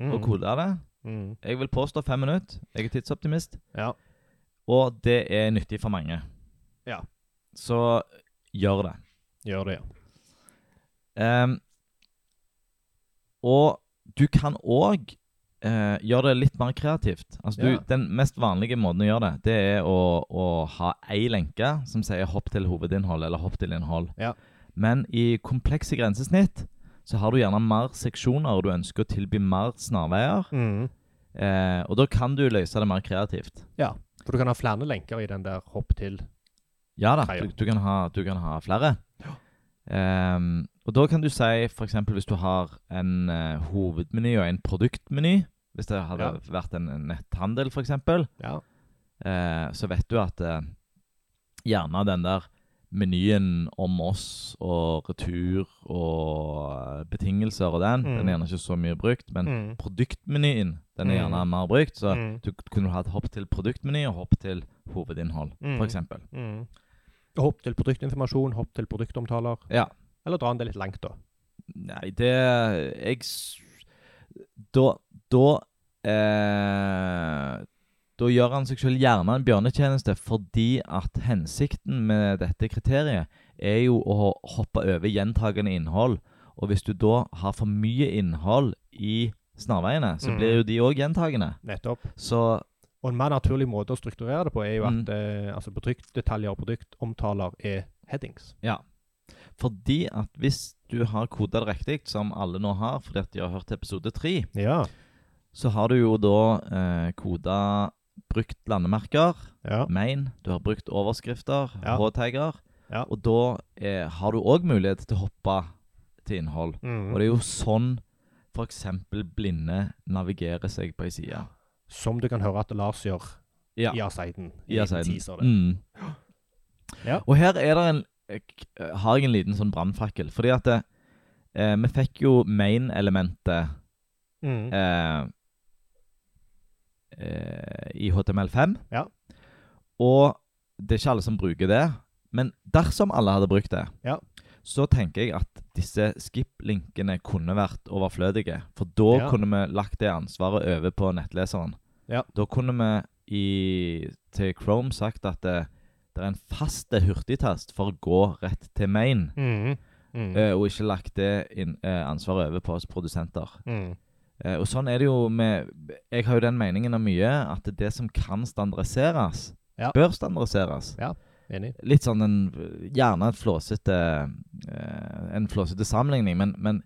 [SPEAKER 1] å kode det.
[SPEAKER 2] Mm.
[SPEAKER 1] Jeg vil påstå fem minutter. Jeg er tidsoptimist.
[SPEAKER 2] Ja.
[SPEAKER 1] Og det er nyttig for mange.
[SPEAKER 2] Ja.
[SPEAKER 1] Så gjør det.
[SPEAKER 2] Gjør det, ja.
[SPEAKER 1] Ehm, og du kan òg gjøre det litt mer kreativt. Altså, du,
[SPEAKER 2] Ja.
[SPEAKER 1] Den mest vanlige måten å gjøre det, det er å, å ha ei lenke som sier 'hopp til hovedinnhold' eller 'hopp til innhold'.
[SPEAKER 2] Ja.
[SPEAKER 1] Men i komplekse grensesnitt så har du gjerne mer seksjoner, og du ønsker å tilby mer snarveier.
[SPEAKER 2] Mm.
[SPEAKER 1] Eh, og da kan du løse det mer kreativt.
[SPEAKER 2] For du kan ha flere lenker i den der hopp til.
[SPEAKER 1] Ja da,
[SPEAKER 2] Ja, ja.
[SPEAKER 1] du, du, kan, ha, du kan ha flere. Ehm, og da kan du si f.eks. hvis du har en eh, hovedmeny og en produktmeny. Hvis det hadde
[SPEAKER 2] Ja.
[SPEAKER 1] vært en en netthandel, f.eks., uh,
[SPEAKER 2] Ja.
[SPEAKER 1] så vet du at eh, gjerne den der menyen om oss og retur og eh, betingelser og den,
[SPEAKER 2] Mm.
[SPEAKER 1] den er gjerne ikke så mye brukt. Men produktmenyen den er gjerne
[SPEAKER 2] Mm.
[SPEAKER 1] mer brukt. Så
[SPEAKER 2] Mm.
[SPEAKER 1] du kunne hatt hopp til produktmeny og hopp til hovedinnhold,
[SPEAKER 2] Mm.
[SPEAKER 1] for f.eks.
[SPEAKER 2] Mm. Hopp til produktinformasjon, hopp til produktomtaler.
[SPEAKER 1] Ja.
[SPEAKER 2] Eller dra en det litt langt, da.
[SPEAKER 1] Nei, det Jeg s- Da Da eh, Da gjør han seg selv gjerne en bjørnetjeneste, fordi at hensikten med dette kriteriet er jo å hoppe over gjentagende innhold. Og hvis du da har for mye innhold i snarveiene, så
[SPEAKER 2] Mm.
[SPEAKER 1] blir jo de òg gjentagende.
[SPEAKER 2] Nettopp.
[SPEAKER 1] Så
[SPEAKER 2] Og en mer naturlig måte å strukturere det på er jo at
[SPEAKER 1] Mm.
[SPEAKER 2] eh, altså produktdetaljer og produktomtaler er headings.
[SPEAKER 1] fordi at hvis du har koda det riktig, som alle nå har fordi at de har hørt episode tre,
[SPEAKER 2] Ja.
[SPEAKER 1] Så har du jo da eh, koda brukt landemerker,
[SPEAKER 2] Ja.
[SPEAKER 1] main, du har brukt overskrifter,
[SPEAKER 2] Ja.
[SPEAKER 1] h-tagger,
[SPEAKER 2] Ja.
[SPEAKER 1] og da eh, har du òg mulighet til å hoppe til innhold.
[SPEAKER 2] Mm.
[SPEAKER 1] Og det er jo sånn f.eks. blinde navigerer seg på ei side.
[SPEAKER 2] Som du kan høre at Lars gjør
[SPEAKER 1] Ja.
[SPEAKER 2] i A-siden.
[SPEAKER 1] I A-siden.
[SPEAKER 2] Teaser det.
[SPEAKER 1] Mm.
[SPEAKER 2] Ja.
[SPEAKER 1] Og her er det en, eh, har jeg en liten sånn brannfakkel. Fordi at eh, vi fikk jo main-elementet
[SPEAKER 2] Mm.
[SPEAKER 1] eh, eh, i HTML5.
[SPEAKER 2] Ja.
[SPEAKER 1] Og det er ikke alle som bruker det. Men dersom alle hadde brukt det,
[SPEAKER 2] Ja.
[SPEAKER 1] så tenker jeg at disse skip-linkene kunne vært overflødige. For da
[SPEAKER 2] Ja.
[SPEAKER 1] kunne vi lagt det ansvaret over på nettleseren.
[SPEAKER 2] Ja.
[SPEAKER 1] Da kunne vi i, til Chrome sagt at det, det er en faste hurtigtast for å gå rett til main.
[SPEAKER 2] Mm. Mm.
[SPEAKER 1] eh, Og ikke lagt det inn, eh, ansvaret over på oss produsenter.
[SPEAKER 2] Mm.
[SPEAKER 1] Eh, og sånn er det jo med Jeg har jo den meningen av mye at det som kan standardiseres,
[SPEAKER 2] Ja.
[SPEAKER 1] bør standardiseres.
[SPEAKER 2] Enig.
[SPEAKER 1] Litt sånn en Gjerne et flåsete eh, En flåsete sammenligning, men, men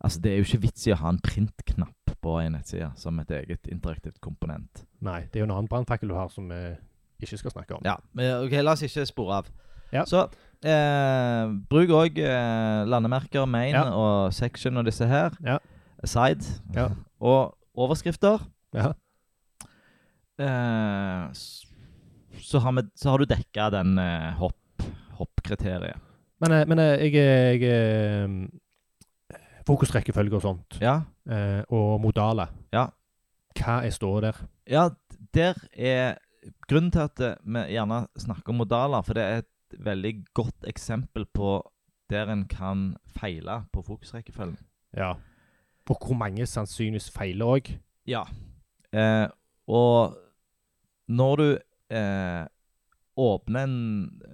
[SPEAKER 1] altså, det er jo ikke vits i å ha en printknapp på en nettside som et eget interaktivt komponent.
[SPEAKER 2] Nei, det er jo en annen brannfakkel du har som vi ikke skal snakke om.
[SPEAKER 1] Ja, men ok, la oss ikke spore av.
[SPEAKER 2] Ja.
[SPEAKER 1] Så eh, bruk òg eh, landemerker, main
[SPEAKER 2] Ja.
[SPEAKER 1] og section og disse her.
[SPEAKER 2] Ja.
[SPEAKER 1] Side.
[SPEAKER 2] Ja.
[SPEAKER 1] Og overskrifter.
[SPEAKER 2] Ja.
[SPEAKER 1] Eh, s- så har, vi, så har du dekka den eh, hopp, hoppkriteriet.
[SPEAKER 2] Men, eh, men eh, jeg, jeg eh, Fokusrekkefølge og sånt,
[SPEAKER 1] Ja.
[SPEAKER 2] eh, og modale.
[SPEAKER 1] Ja.
[SPEAKER 2] Hva er ståa der?
[SPEAKER 1] ja, d- der er grunnen til at eh, vi gjerne snakker om modaler, for det er et veldig godt eksempel på der en kan feile på fokusrekkefølgen.
[SPEAKER 2] Ja. Og hvor mange sannsynligvis feiler òg.
[SPEAKER 1] Ja. Eh, og når du eh, åpner en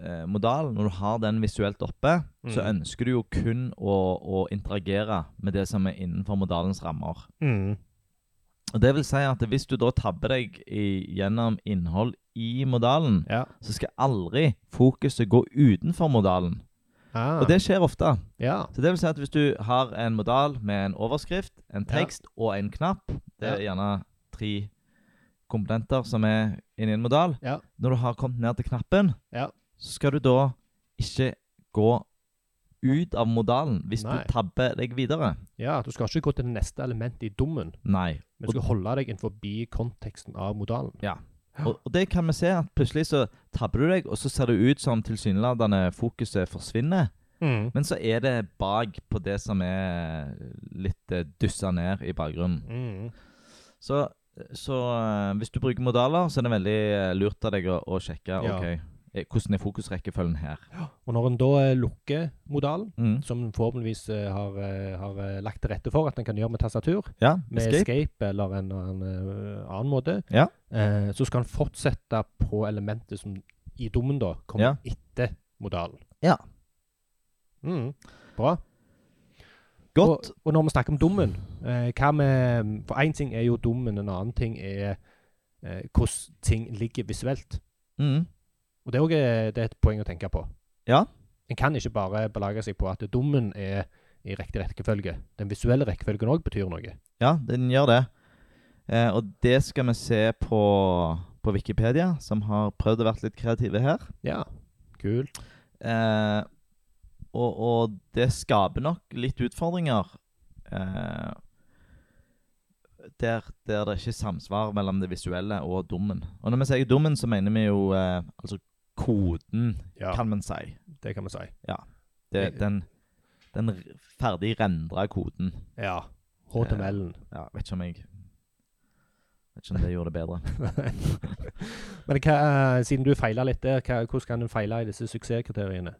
[SPEAKER 1] eh, modal, når du har den visuelt oppe, så
[SPEAKER 2] Mm.
[SPEAKER 1] ønsker du jo kun å, å interagere med det som er innenfor modalens rammer. Mm. Og Det vil si at hvis du da tabber deg i, gjennom innhold i modalen,
[SPEAKER 2] Ja.
[SPEAKER 1] så skal aldri fokuset gå utenfor modalen.
[SPEAKER 2] Ah,
[SPEAKER 1] Og det skjer ofte.
[SPEAKER 2] ja.
[SPEAKER 1] Så det vil si at hvis du har en modal med en overskrift, en
[SPEAKER 2] Ja.
[SPEAKER 1] tekst og en knapp Det er gjerne tre komponenter som er inni en modal.
[SPEAKER 2] Ja.
[SPEAKER 1] Når du har kommet ned til knappen,
[SPEAKER 2] Ja.
[SPEAKER 1] så skal du da ikke gå ut av modalen hvis
[SPEAKER 2] Nei.
[SPEAKER 1] du tabber deg videre.
[SPEAKER 2] ja. Du skal ikke gå til neste element i dummen,
[SPEAKER 1] Nei.
[SPEAKER 2] men du skal holde deg innenfor konteksten av modalen.
[SPEAKER 1] Og, og det kan vi se at plutselig så tabber du deg, og så ser det ut som tilsynelatende fokuset forsvinner. Men så er det bak på det som er litt eh, dyssa ned i bakgrunnen.
[SPEAKER 2] Mm.
[SPEAKER 1] Så, så eh, hvis du bruker modaler, så er det veldig eh, lurt av deg å, å sjekke.
[SPEAKER 2] Ja.
[SPEAKER 1] ok, eh, hvordan er fokusrekkefølgen her.
[SPEAKER 2] Og når en da eh, lukker modalen,
[SPEAKER 1] Mm.
[SPEAKER 2] som en forhåpentligvis eh, har, eh, har eh, lagt til rette for at en kan gjøre med tastatur,
[SPEAKER 1] Ja,
[SPEAKER 2] med
[SPEAKER 1] escape.
[SPEAKER 2] escape, eller en, en eh, annen måte,
[SPEAKER 1] Ja.
[SPEAKER 2] eh, så skal en fortsette på elementet som i dommen da kommer
[SPEAKER 1] Ja.
[SPEAKER 2] etter modalen.
[SPEAKER 1] Ja.
[SPEAKER 2] Mm. Bra.
[SPEAKER 1] Godt.
[SPEAKER 2] Og, og når vi snakker om dommen eh, hva med, For én ting er jo dommen, en annen ting er eh, hvordan ting ligger visuelt.
[SPEAKER 1] Mm.
[SPEAKER 2] Og det er, også, eh, det er et poeng å tenke på.
[SPEAKER 1] Ja.
[SPEAKER 2] En kan ikke bare belage seg på at dommen er i riktig rekkefølge. Den visuelle rekkefølgen òg betyr noe.
[SPEAKER 1] Ja, den gjør det. Eh, og det skal vi se på, på Wikipedia, som har prøvd å være litt kreative her.
[SPEAKER 2] Ja, kult.
[SPEAKER 1] Eh, og, og det skaper nok litt utfordringer eh, der, der det ikke er samsvar mellom det visuelle og dommen. Og når vi sier dommen, så mener vi jo eh, altså koden,
[SPEAKER 2] Ja,
[SPEAKER 1] kan man si.
[SPEAKER 2] det kan vi si.
[SPEAKER 1] Det, den, den r- ferdig rendra koden.
[SPEAKER 2] Ja. HTML-en.
[SPEAKER 1] Ja, vet ikke om jeg Vet ikke om det gjorde det bedre.
[SPEAKER 2] Men hva, eh, siden du feila litt der, hva, hvordan kan en feile i disse suksesskriteriene?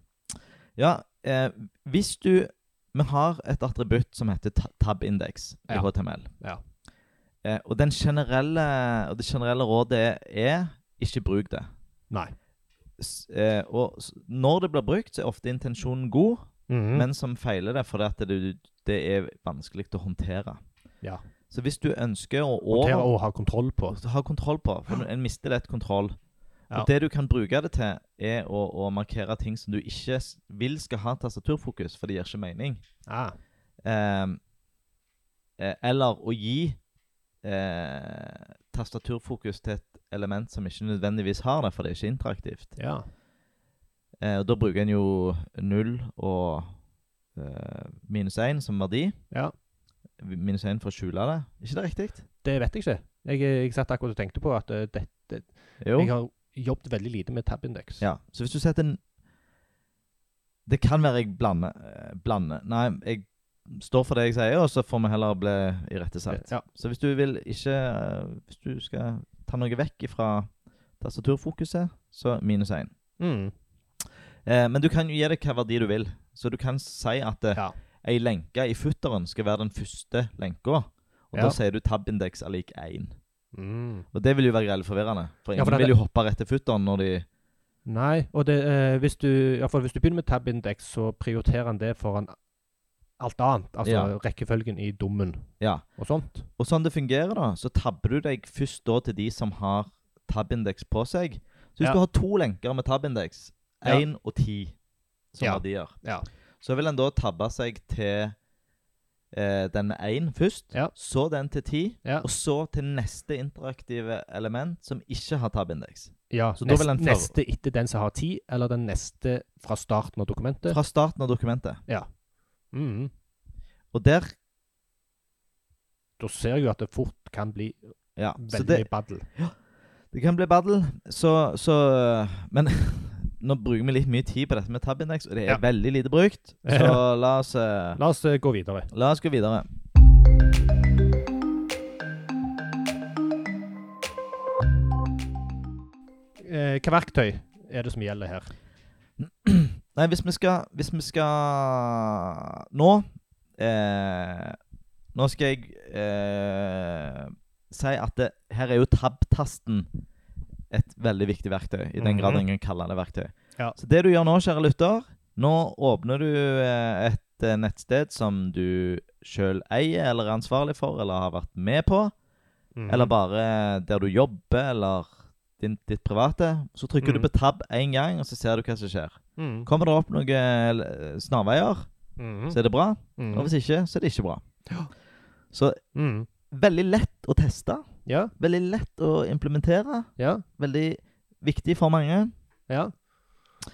[SPEAKER 1] Ja, eh, hvis du Vi har et attributt som heter ta- tab-indeks i
[SPEAKER 2] Ja.
[SPEAKER 1] HTML.
[SPEAKER 2] Ja.
[SPEAKER 1] Eh, og, den generelle, og det generelle rådet er ikke bruk det.
[SPEAKER 2] Nei.
[SPEAKER 1] S eh, og s når det blir brukt, så er ofte intensjonen god,
[SPEAKER 2] Mhm. Mm.
[SPEAKER 1] men som feiler det fordi at det, det er vanskelig å håndtere.
[SPEAKER 2] Ja.
[SPEAKER 1] Så hvis du ønsker å
[SPEAKER 2] Håndtere
[SPEAKER 1] over,
[SPEAKER 2] og ha kontroll på.
[SPEAKER 1] ha kontroll på For en mister lett kontroll.
[SPEAKER 2] Ja.
[SPEAKER 1] Og Det du kan bruke det til, er å, å markere ting som du ikke s- vil skal ha tastaturfokus, for det gir ikke mening.
[SPEAKER 2] Ah,
[SPEAKER 1] Eh, eh, eller å gi eh, tastaturfokus til et element som ikke nødvendigvis har det, for det er ikke interaktivt.
[SPEAKER 2] ja.
[SPEAKER 1] Eh, og Da bruker en jo null og eh, minus én som verdi.
[SPEAKER 2] Ja.
[SPEAKER 1] Minus én for å skjule det. ikke det riktig?
[SPEAKER 2] Det vet jeg ikke. Jeg, eh, jeg satt akkurat og tenkte på at eh, det,
[SPEAKER 1] Jo.
[SPEAKER 2] jeg har jobbet veldig lite med tabindex.
[SPEAKER 1] Ja, Så hvis du setter en Det kan være jeg blander, eh, blander. Nei, jeg står for det jeg sier, og så får vi heller bli irettesatt.
[SPEAKER 2] Ja.
[SPEAKER 1] Så hvis du vil ikke eh, Hvis du skal ta noe vekk fra tastaturfokuset, så minus én.
[SPEAKER 2] Mm.
[SPEAKER 1] Eh, men du kan jo gi det hva verdi du vil. Så du kan si at eh,
[SPEAKER 2] Ja.
[SPEAKER 1] ei lenke i footeren skal være den første lenka. Og
[SPEAKER 2] Ja.
[SPEAKER 1] da sier du tabindeks er lik én.
[SPEAKER 2] Mm.
[SPEAKER 1] Og det vil jo være reelt forvirrende. For
[SPEAKER 2] Ja,
[SPEAKER 1] ingen
[SPEAKER 2] for det-
[SPEAKER 1] vil jo hoppe rett til footeren når de
[SPEAKER 2] Nei, og det, eh, hvis, du, ja, for hvis du begynner med tabindex, så prioriterer han det foran alt annet. Altså
[SPEAKER 1] Ja.
[SPEAKER 2] rekkefølgen i dommen
[SPEAKER 1] Ja.
[SPEAKER 2] og sånt.
[SPEAKER 1] Og sånn det fungerer, da, så tabber du deg først da til de som har tabindeks på seg. Så hvis
[SPEAKER 2] Ja.
[SPEAKER 1] du har to lenker med tabindeks,
[SPEAKER 2] Ja.
[SPEAKER 1] 1 og 10 som
[SPEAKER 2] Ja.
[SPEAKER 1] verdier,
[SPEAKER 2] Ja.
[SPEAKER 1] så vil en da tabbe seg til eh, den med 1 først,
[SPEAKER 2] Ja.
[SPEAKER 1] så den til 10,
[SPEAKER 2] Ja.
[SPEAKER 1] og så til neste interaktive element som ikke har tabindeks.
[SPEAKER 2] ja.
[SPEAKER 1] Så da
[SPEAKER 2] Nest,
[SPEAKER 1] vil han for-
[SPEAKER 2] neste etter den som har ti, eller den neste fra starten av dokumentet.
[SPEAKER 1] Fra starten av dokumentet.
[SPEAKER 2] Mm.
[SPEAKER 1] Og der
[SPEAKER 2] Da ser jeg jo at det fort kan bli
[SPEAKER 1] Ja. Så
[SPEAKER 2] veldig
[SPEAKER 1] det,
[SPEAKER 2] baddel.
[SPEAKER 1] Det kan bli battle, så, så Men nå bruker vi litt mye tid på dette med tabindex, og det er
[SPEAKER 2] Ja.
[SPEAKER 1] veldig lite brukt. Så
[SPEAKER 2] Ja.
[SPEAKER 1] la oss eh,
[SPEAKER 2] La oss eh, gå videre.
[SPEAKER 1] La oss gå videre.
[SPEAKER 2] Eh, hva verktøy er det som gjelder her?
[SPEAKER 1] Nei, hvis vi skal Hvis vi skal Nå eh, Nå skal jeg eh, si at det, her er jo tab-tasten et veldig viktig verktøy, i den grad
[SPEAKER 2] Mhm.
[SPEAKER 1] en kan kalle det verktøy.
[SPEAKER 2] Ja.
[SPEAKER 1] Så det du gjør nå, kjære lytter Nå åpner du eh, et eh, nettsted som du sjøl eier eller er ansvarlig for eller har vært med på,
[SPEAKER 2] Mhm.
[SPEAKER 1] eller bare der du jobber eller din, ditt private. Så trykker
[SPEAKER 2] Mhm.
[SPEAKER 1] du på tab én gang, og så ser du hva som skjer.
[SPEAKER 2] Mhm.
[SPEAKER 1] Kommer det opp noen eh, snarveier,
[SPEAKER 2] Mhm.
[SPEAKER 1] så er det bra.
[SPEAKER 2] Mhm.
[SPEAKER 1] Og hvis ikke, så er det ikke bra. Så
[SPEAKER 2] Mhm.
[SPEAKER 1] veldig lett å teste.
[SPEAKER 2] Ja,
[SPEAKER 1] Veldig lett å implementere.
[SPEAKER 2] ja,
[SPEAKER 1] Veldig viktig for mange.
[SPEAKER 2] ja.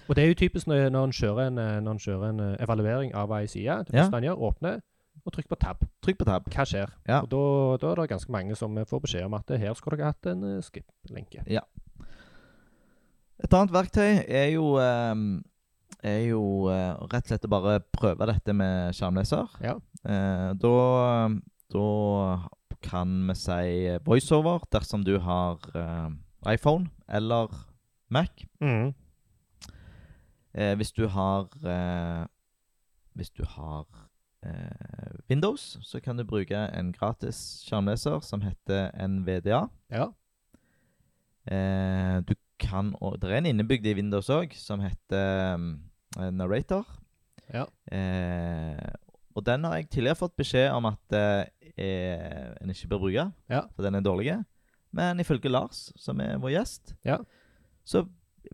[SPEAKER 2] Og det er jo typisk når, når en kjører en, eh, når en, kjører en eh, evaluering av ei side. Det
[SPEAKER 1] Ja.
[SPEAKER 2] første en gjør, åpner og trykker på tab.
[SPEAKER 1] Trykk på tab.
[SPEAKER 2] Hva skjer?
[SPEAKER 1] Ja.
[SPEAKER 2] Og da, da er det ganske mange som eh, får beskjed om at eh, her skulle dere hatt en eh, skip-lenke.
[SPEAKER 1] Et annet verktøy er jo eh, er jo eh, rett og slett å bare prøve dette med skjermleser.
[SPEAKER 2] Ja.
[SPEAKER 1] Eh, da, da kan vi si voiceover dersom du har eh, iPhone eller Mac. Eh, hvis du har eh, Hvis du har eh, Windows, så kan du bruke en gratis skjermleser som heter NVDA.
[SPEAKER 2] Ja.
[SPEAKER 1] Eh, du kan og, Det er en innebygd i Windows òg som heter eh, Narrator.
[SPEAKER 2] Ja.
[SPEAKER 1] Eh, og den har jeg tidligere fått beskjed om at eh, en ikke bør bruke,
[SPEAKER 2] Ja.
[SPEAKER 1] for den er dårlig. Men ifølge Lars, som er vår gjest,
[SPEAKER 2] Ja.
[SPEAKER 1] så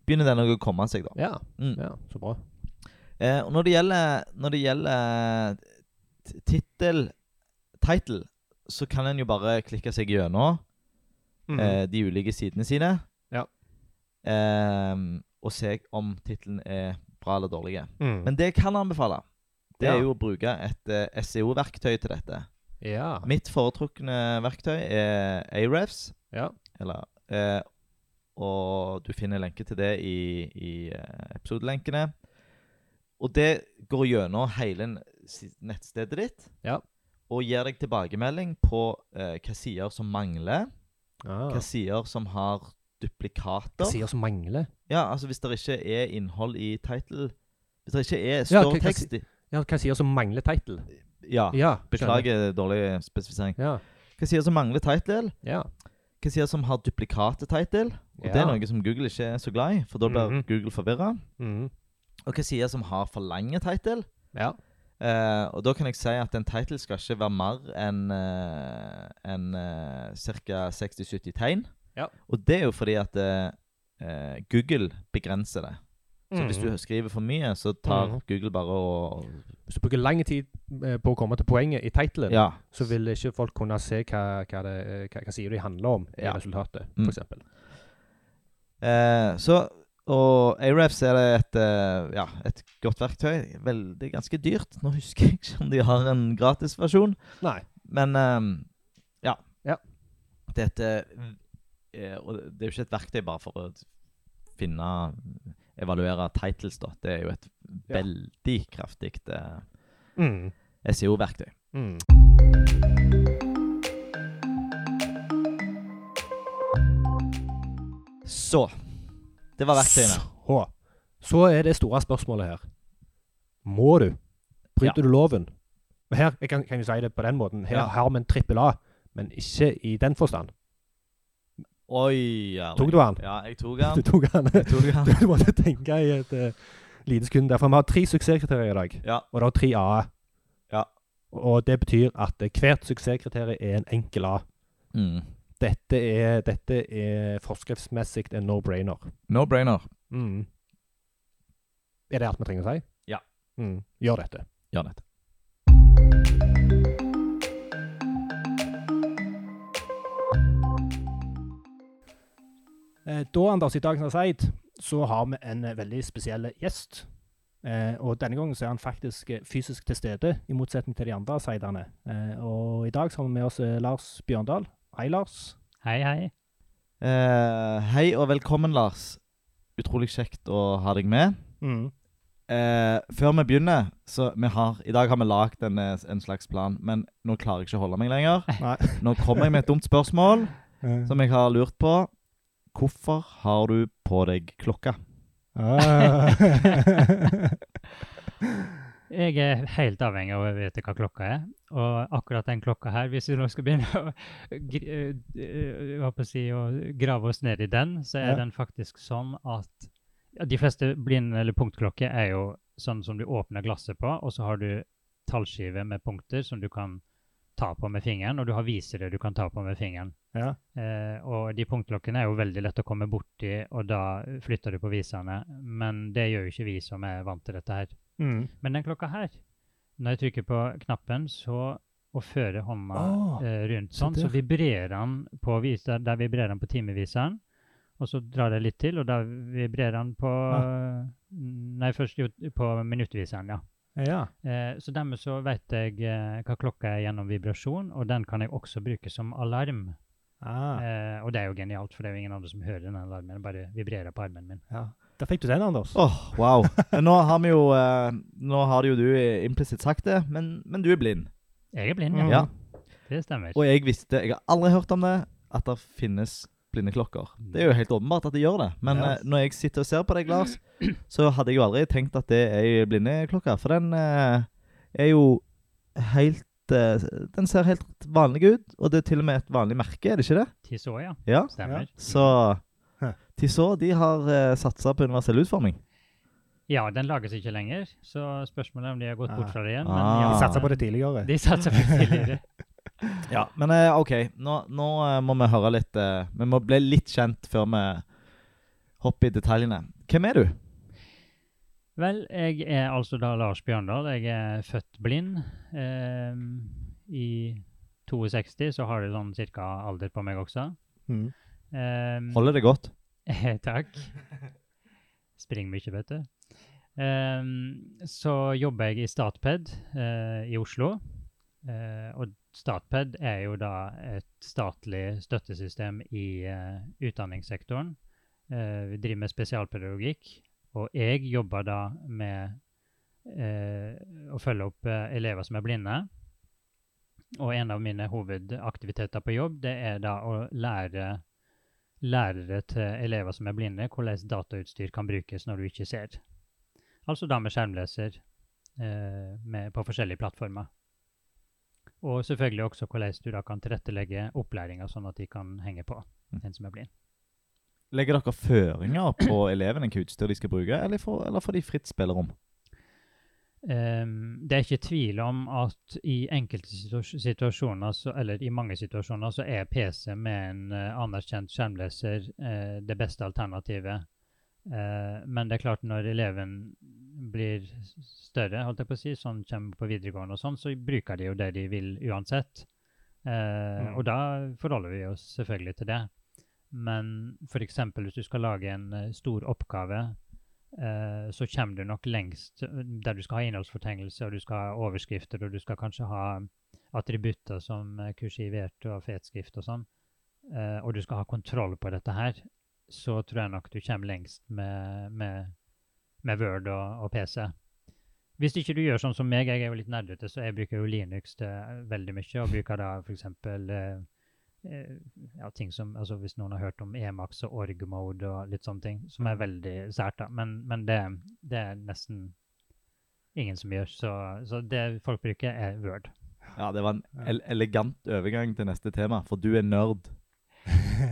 [SPEAKER 1] begynner den å komme seg, da.
[SPEAKER 2] Ja.
[SPEAKER 1] Mm.
[SPEAKER 2] ja. Så bra.
[SPEAKER 1] Eh, og når det gjelder, når det gjelder t- tittel Title, så kan en jo bare klikke seg gjennom
[SPEAKER 2] Mm.
[SPEAKER 1] eh, de ulike sidene sine.
[SPEAKER 2] Mhm. Ja.
[SPEAKER 1] Eh, og se om tittelen er bra eller dårlig.
[SPEAKER 2] Mm.
[SPEAKER 1] Men det jeg kan anbefale, det
[SPEAKER 2] Ja.
[SPEAKER 1] er jo å bruke et eh, SEO-verktøy til dette.
[SPEAKER 2] ja.
[SPEAKER 1] Mitt foretrukne verktøy er Arefs.
[SPEAKER 2] Ja.
[SPEAKER 1] Eller, eh, og du finner lenke til det i, i eh, episodelenkene. Og det går gjennom hele n- si- nettstedet ditt.
[SPEAKER 2] Ja.
[SPEAKER 1] Og gir deg tilbakemelding på eh, hva sider som mangler,
[SPEAKER 2] Ah.
[SPEAKER 1] hva sider som har duplikater.
[SPEAKER 2] Hva sier som mangler?
[SPEAKER 1] Ja, altså Hvis det ikke er innhold i title Hvis det ikke er,
[SPEAKER 2] Ja,
[SPEAKER 1] står
[SPEAKER 2] hva- hva
[SPEAKER 1] tekst i
[SPEAKER 2] Ja, hva sier som mangler title?
[SPEAKER 1] Ja,
[SPEAKER 2] Ja. skjønner.
[SPEAKER 1] beklager dårlig spesifisering.
[SPEAKER 2] Ja.
[SPEAKER 1] Hva sider som mangler title?
[SPEAKER 2] Ja.
[SPEAKER 1] Hva sider som har duplikate title? Og Det
[SPEAKER 2] Ja.
[SPEAKER 1] er noe som Google ikke er så glad i, for da blir
[SPEAKER 2] Mhm.
[SPEAKER 1] Google forvirra.
[SPEAKER 2] Mm.
[SPEAKER 1] Og hva sider som har for lange title?
[SPEAKER 2] Ja.
[SPEAKER 1] Eh, og da kan jeg si at en title skal ikke være mer enn eh, enn, eh, ca. 60-70 tegn.
[SPEAKER 2] Ja.
[SPEAKER 1] Og det er jo fordi at eh, eh, Google begrenser det. Så hvis
[SPEAKER 2] Mm.
[SPEAKER 1] du skriver for mye, så tar
[SPEAKER 2] Mhm.
[SPEAKER 1] Google bare og
[SPEAKER 2] Hvis du bruker lang tid eh, på å komme til poenget i titlen,
[SPEAKER 1] Ja.
[SPEAKER 2] så vil ikke folk kunne se hva, hva, det, eh, hva, hva sier de handler om i
[SPEAKER 1] Ja.
[SPEAKER 2] resultatet,
[SPEAKER 1] Mm.
[SPEAKER 2] for eksempel.
[SPEAKER 1] Eh, så Og Arefs er det et, eh, ja, et godt verktøy. Veldig ganske dyrt. Nå husker jeg ikke om de har en gratisversjon,
[SPEAKER 2] Nei.
[SPEAKER 1] men eh, ja.
[SPEAKER 2] Ja.
[SPEAKER 1] Det er et eh, Og det er jo ikke et verktøy bare for å finne Evaluere titles, da. Det er jo et
[SPEAKER 2] Ja.
[SPEAKER 1] veldig kraftig eh, E
[SPEAKER 2] Mm.
[SPEAKER 1] SEO-verktøy.
[SPEAKER 2] Mm.
[SPEAKER 1] Så Det var verktøyene.
[SPEAKER 2] Så, så er det store spørsmålet her. Må du? Bryter du loven? Og Her jeg kan, kan jeg si det på den måten. Her
[SPEAKER 1] Ja.
[SPEAKER 2] har vi en trippel A, men ikke i den forstand.
[SPEAKER 1] Oi, ja.
[SPEAKER 2] Tok du han?
[SPEAKER 1] Ja, jeg tok den.
[SPEAKER 2] Du tok han.
[SPEAKER 1] Jeg tok den.
[SPEAKER 2] Du måtte tenke i et eh, lite sekund der. For vi har tre suksesskriterier i dag,
[SPEAKER 1] Ja.
[SPEAKER 2] og det er tre A-er.
[SPEAKER 1] Ja.
[SPEAKER 2] Og det betyr at eh, hvert suksesskriterium er en enkel A.
[SPEAKER 1] Mm.
[SPEAKER 2] Dette er, dette er forskriftsmessig en no-brainer.
[SPEAKER 1] No brainer.
[SPEAKER 2] Mm. Er det alt vi trenger å si?
[SPEAKER 1] Ja.
[SPEAKER 2] Mm. Gjør dette.
[SPEAKER 1] Gjør dette.
[SPEAKER 2] Eh, Da, Anders, i Dagens Aseid, så har vi en eh, veldig spesiell gjest. Eh, og denne gangen så er han faktisk eh, fysisk til stede, i motsetning til de andre aseidene. Eh, og i dag så har vi med oss eh, Lars Bjørndal. Hei, Lars.
[SPEAKER 3] Hei, hei.
[SPEAKER 1] Eh, hei og velkommen, Lars. Utrolig kjekt å ha deg med.
[SPEAKER 2] Mm.
[SPEAKER 1] Eh, før vi begynner, så vi har, I dag har vi lagd en, eh, en slags plan, men nå klarer jeg ikke å holde meg lenger.
[SPEAKER 2] Nei.
[SPEAKER 1] Nå kommer jeg med et dumt spørsmål
[SPEAKER 2] Eh,
[SPEAKER 1] som jeg har lurt på. Hvorfor har du på deg klokka?
[SPEAKER 2] ah.
[SPEAKER 3] Jeg er helt avhengig av å vite hva klokka er. Og akkurat den klokka her, hvis vi nå skal begynne å, gr- eh, eh, hva på å, si, å grave oss ned i den, så er
[SPEAKER 2] Ja.
[SPEAKER 3] den faktisk sånn at ja, De fleste blind- eller punktklokker er jo sånn som du åpner glasset på, og så har du tallskive med punkter som du kan ta på med fingeren, og du har visere du kan ta på med fingeren.
[SPEAKER 2] ja.
[SPEAKER 3] Eh, og de punktklokkene er jo veldig lett å komme borti, og da flytter du på viserne. Men det gjør jo ikke vi som er vant til dette her.
[SPEAKER 2] Mm.
[SPEAKER 3] Men den klokka her, når jeg trykker på knappen, så og fører hånda
[SPEAKER 2] Åh,
[SPEAKER 3] eh, rundt
[SPEAKER 2] Ah, se
[SPEAKER 3] sånn, så
[SPEAKER 2] der.
[SPEAKER 3] vibrerer den på viser, der vibrerer den på timeviseren. Og så drar jeg litt til, og da vibrerer den på
[SPEAKER 2] Ah.
[SPEAKER 3] Nei, først jo på minuttviseren, ja.
[SPEAKER 2] ja.
[SPEAKER 3] Eh, så dermed så vet jeg eh, hva klokka er gjennom vibrasjon, og den kan jeg også bruke som alarm.
[SPEAKER 2] Ah.
[SPEAKER 3] Eh, og det er jo genialt, for det er jo ingen andre som hører den alarmen. Den bare vibrerer på armen min.
[SPEAKER 2] ja. Da fikk du den, Anders.
[SPEAKER 1] Åh, wow. Nå har vi jo eh, Nå har jo du implisitt sagt det, men, men du er blind.
[SPEAKER 3] Jeg er blind,
[SPEAKER 2] Mm.
[SPEAKER 3] ja.
[SPEAKER 1] Ja.
[SPEAKER 3] Det stemmer.
[SPEAKER 1] Og jeg visste Jeg har aldri hørt om det, at det finnes blindeklokker. Det er jo helt åpenbart at de gjør det. Men
[SPEAKER 2] Ja.
[SPEAKER 1] eh, når jeg sitter og ser på deg, Lars, så hadde jeg jo aldri tenkt at det er ei blindeklokke. For den eh, er jo helt eh, Den ser helt vanlig ut, og det er til og med et vanlig merke, er det ikke det?
[SPEAKER 3] Tissot, ja.
[SPEAKER 1] Ja.
[SPEAKER 3] Stemmer.
[SPEAKER 1] Så
[SPEAKER 2] Hæ.
[SPEAKER 1] Tissot de har eh, satsa på universell utforming.
[SPEAKER 3] Ja, den lages ikke lenger, så spørsmålet er om de har gått bort fra det igjen. Men
[SPEAKER 1] Ah.
[SPEAKER 3] ja,
[SPEAKER 2] Vi
[SPEAKER 1] De
[SPEAKER 2] satsa på det tidligere.
[SPEAKER 3] De satser på det tidligere.
[SPEAKER 1] Ja, men eh, OK. Nå, nå eh, må vi høre litt eh, Vi må bli litt kjent før vi hopper i detaljene. Hvem er du?
[SPEAKER 3] Vel, jeg er altså da Lars Bjørndal. Jeg er født blind. Ehm, I 62 så har du sånn cirka alder på meg også.
[SPEAKER 2] Mm.
[SPEAKER 3] Ehm,
[SPEAKER 1] Holder det godt?
[SPEAKER 3] Eh, Takk. Springer mye, vet du. Ehm, så jobber jeg i Statped eh, i Oslo. Eh, og Statped er jo da et statlig støttesystem i eh, utdanningssektoren. Eh, vi driver med spesialpedagogikk, og jeg jobber da med eh, å følge opp eh, elever som er blinde. Og en av mine hovedaktiviteter på jobb, det er da å lære lærere til elever som er blinde, hvordan datautstyr kan brukes når du ikke ser. Altså da med skjermleser eh, med, på forskjellige plattformer. Og selvfølgelig også hvordan du da kan tilrettelegge opplæringa sånn at de kan henge på,
[SPEAKER 1] Mm.
[SPEAKER 3] en som er blind.
[SPEAKER 1] Legger dere føringer på elevene hvilket utstyr de skal bruke, eller får, eller får de fritt spillerom?
[SPEAKER 3] Ehm, det er ikke tvil om at i enkelte situa- situasjoner, så, eller i mange situasjoner, så er PC med en eh, anerkjent skjermleser eh, det beste alternativet. Eh, men det er klart, når eleven blir s- større, holdt jeg på å si, sånn kommer på videregående og sånn, så bruker de jo det de vil uansett. Eh,
[SPEAKER 2] Mm.
[SPEAKER 3] Og da forholder vi oss selvfølgelig til det. Men f.eks. hvis du skal lage en eh, stor oppgave, eh, så kommer du nok lengst eh, der du skal ha innholdsfortegnelse, og du skal ha overskrifter, og du skal kanskje ha attributter som eh, kursivert og fetskrift og sånn, eh, og du skal ha kontroll på dette her, så tror jeg nok du kommer lengst med, med, med Word og, og PC. Hvis ikke du gjør sånn som meg, jeg er jo litt nerdete, så jeg bruker jo Linux til eh, veldig mye, og bruker da for eksempel eh, eh, ja, ting som, altså hvis noen har hørt om Emacs og org-mode og litt sånne ting, som er veldig sært da, men, men det, det er nesten ingen som gjør, så, så det folk bruker er Word.
[SPEAKER 1] Ja, Det var en el elegant overgang til neste tema, for du er nerd.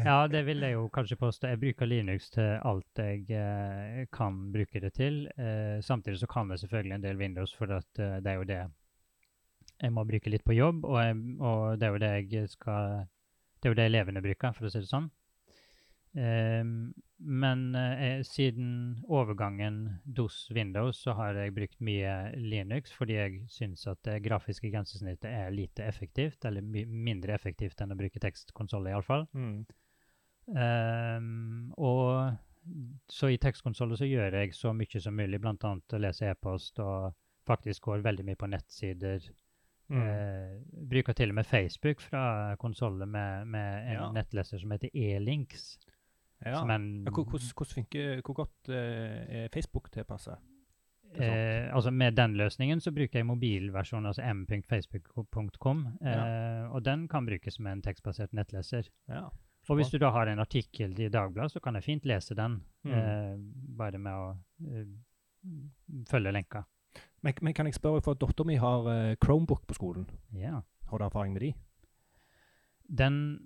[SPEAKER 3] Ja, det vil jeg jo kanskje påstå. Jeg bruker Linux til alt jeg eh, kan bruke det til. Eh, samtidig så kan jeg selvfølgelig en del Windows, for at eh, det er jo det jeg må bruke litt på jobb, og, jeg, og det er jo det jeg skal Det er jo det elevene bruker, for å si det sånn. Ehm, men eh, jeg- siden overgangen DOS Windows, så har jeg brukt mye Linux, fordi jeg syns at det grafiske grensesnittet er lite effektivt, eller my mindre effektivt enn å bruke tekstkonsoller, iallfall.
[SPEAKER 2] Mm.
[SPEAKER 3] Ehm, og så i tekstkonsollen så gjør jeg så mye som mulig, blant annet å lese e-post og faktisk går veldig mye på nettsider.
[SPEAKER 2] Mm.
[SPEAKER 3] Eh, bruker til og med Facebook fra konsollen med, med en
[SPEAKER 2] Ja.
[SPEAKER 3] nettleser som heter E-links.
[SPEAKER 2] Ja.
[SPEAKER 3] Som er en,
[SPEAKER 2] Ja, hvor- hvordan- hvordan funker, hvor godt eh, er Facebook tilpassa?
[SPEAKER 3] eh, altså med den løsningen så bruker jeg mobilversjonen, altså m.facebook.com, eh, og den kan brukes med en tekstbasert nettleser.
[SPEAKER 2] Ja.
[SPEAKER 3] Og hvis du da har en artikkel i Dagbladet, så kan jeg fint lese den,
[SPEAKER 2] Mm.
[SPEAKER 3] eh, bare med å eh, følge lenka.
[SPEAKER 2] Men, men kan jeg spørre, for dattera mi har eh, Chromebook på skolen.
[SPEAKER 3] Ja.
[SPEAKER 2] Har du erfaring med de?
[SPEAKER 3] Den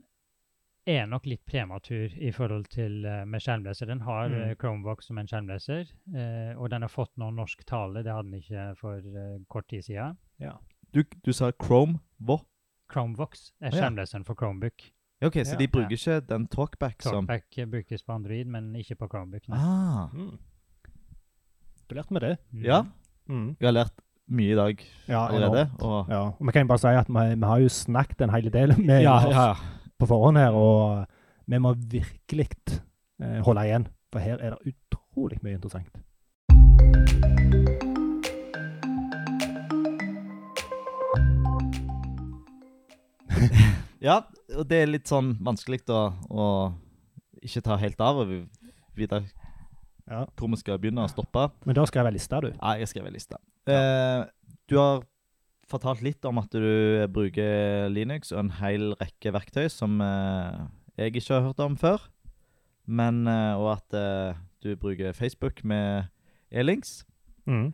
[SPEAKER 3] er nok litt prematur i forhold til eh, med skjermleser. Den har
[SPEAKER 2] Mm.
[SPEAKER 3] eh, Chromebox som en skjermleser, eh, og den har fått noe norsk tale, det hadde den ikke for eh, kort tid siden.
[SPEAKER 2] Ja.
[SPEAKER 1] Du, du sa Chrome Vå.
[SPEAKER 3] Chromevox er
[SPEAKER 1] Å ja.
[SPEAKER 3] skjermleseren for Chromebook.
[SPEAKER 1] Ja, OK, så
[SPEAKER 2] Ja.
[SPEAKER 1] de bruker ikke den talkback som
[SPEAKER 3] Talkback eh, brukes på Android, men ikke på Chromebook. nei.
[SPEAKER 1] Ah,
[SPEAKER 2] Mm. Du lærte med det.
[SPEAKER 3] Mm.
[SPEAKER 1] Ja, jeg har lært mye i dag
[SPEAKER 2] Ja,
[SPEAKER 1] Hmm. allerede. Og,
[SPEAKER 2] Ja, og Vi kan jo bare si at vi, vi har jo snakket en hel del med Lars på forhånd her, og eh, vi må virkelig eh, holde igjen. For her er det utrolig mye interessant.
[SPEAKER 1] ja, og det er litt sånn vanskelig å, å ikke ta helt av og vi- vite
[SPEAKER 2] Ja.
[SPEAKER 1] hvor vi skal begynne å stoppe.
[SPEAKER 2] Men da skal jeg vel liste, du.
[SPEAKER 1] Ja, jeg skrev en liste. Eh, du har fortalt litt om at du bruker Linux og en hel rekke verktøy som eh, jeg ikke har hørt om før. Men, eh, og at eh, du bruker Facebook med e-links. Hmm.
[SPEAKER 2] Mm.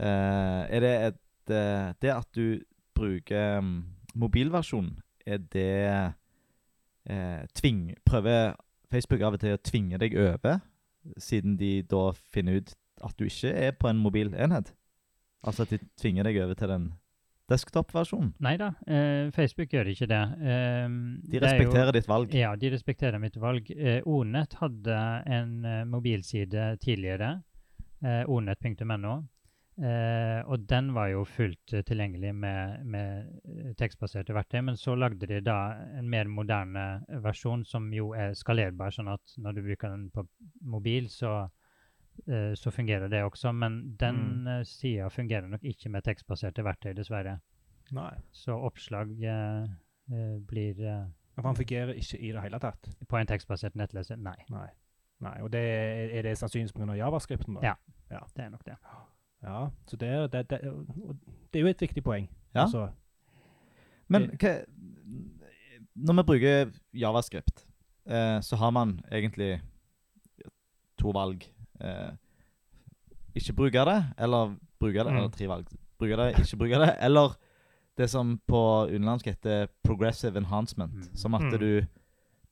[SPEAKER 1] Eh, er det et eh, Det at du bruker mm, mobilversjonen, er det eh, tving, Prøver Facebook av og til å tvinge deg over, siden de da finner ut at du ikke er på en mobil enhet? Altså at de tvinger deg over til den desktop-versjonen?
[SPEAKER 3] Nei da, eh, Facebook gjør ikke det. Ehm,
[SPEAKER 1] De
[SPEAKER 3] det er jo-
[SPEAKER 1] respekterer ditt valg.
[SPEAKER 3] Ja, de respekterer mitt valg. Eh, Onet hadde en eh, mobilside tidligere, eh, onet.no, eh, og den var jo fullt eh, tilgjengelig med, med eh, tekstbaserte verktøy, men så lagde de da en mer moderne versjon som jo er skalerbar, sånn at når du bruker den på mobil, så eh, så fungerer det også, men den mm. sida fungerer nok ikke med tekstbaserte verktøy, dessverre.
[SPEAKER 2] Nei.
[SPEAKER 3] Så oppslag eh, eh, blir eh,
[SPEAKER 2] For han fungerer ikke i det hele tatt.
[SPEAKER 3] på en tekstbasert nettleser? Nei,
[SPEAKER 2] Nei. Nei, og det er er det sannsynligvis pga. javascripten? da?
[SPEAKER 3] Ja. det er nok det.
[SPEAKER 2] ja. Så det er, det, det, og det er jo et viktig poeng.
[SPEAKER 1] Ja.
[SPEAKER 2] Altså,
[SPEAKER 1] Men hva, når vi bruker javascript, eh, så har man egentlig to valg. Eh, ikke bruke det, eller bruke det,
[SPEAKER 2] Mm.
[SPEAKER 1] eller tre valg. Bruke det, ikke bruke det, eller det som på utenlandsk heter progressive enhancement,
[SPEAKER 3] Mm.
[SPEAKER 1] som at
[SPEAKER 2] Mm.
[SPEAKER 1] du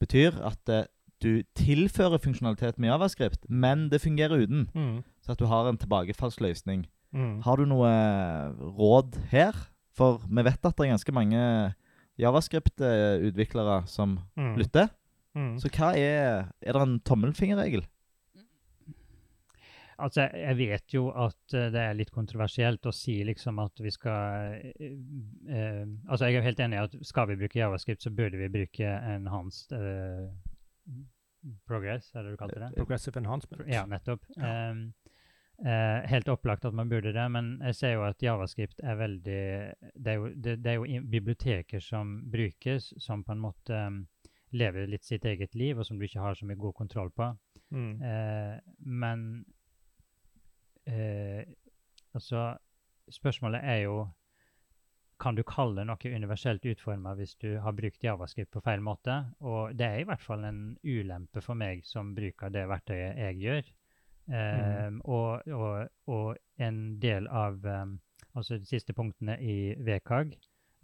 [SPEAKER 1] betyr at eh, du tilfører funksjonalitet med javascript, men det fungerer uten,
[SPEAKER 2] mm,
[SPEAKER 1] så at du har en tilbakefallsløsning.
[SPEAKER 2] mm.
[SPEAKER 1] Har du noe eh, råd her? For vi vet at det er ganske mange javascript-utviklere som
[SPEAKER 2] Mm.
[SPEAKER 1] lytter.
[SPEAKER 2] Mm.
[SPEAKER 1] Så hva er Er det en tommelfingerregel?
[SPEAKER 3] Altså, jeg- jeg vet jo at eh, det er litt kontroversielt å si liksom at vi skal eh, eh, Altså, jeg er helt enig i at skal vi bruke javascript, så burde vi bruke enhanced eh, progress, er det du kalte det?
[SPEAKER 2] Progressive enhancement.
[SPEAKER 3] Ja, nettopp. Ehm, eh, helt opplagt at man burde det, men jeg ser jo at javascript er veldig Det er jo, det, det er jo i- biblioteker som brukes, som på en måte ehm, lever litt sitt eget liv, og som du ikke har så mye god kontroll på.
[SPEAKER 2] Mm.
[SPEAKER 3] Eh, men eh, altså Spørsmålet er jo kan du kalle noe universelt utforma hvis du har brukt javascript på feil måte? Og det er i hvert fall en ulempe for meg som bruker det verktøyet jeg gjør. Eh, og, og, og en del av eh, altså de siste punktene i VKG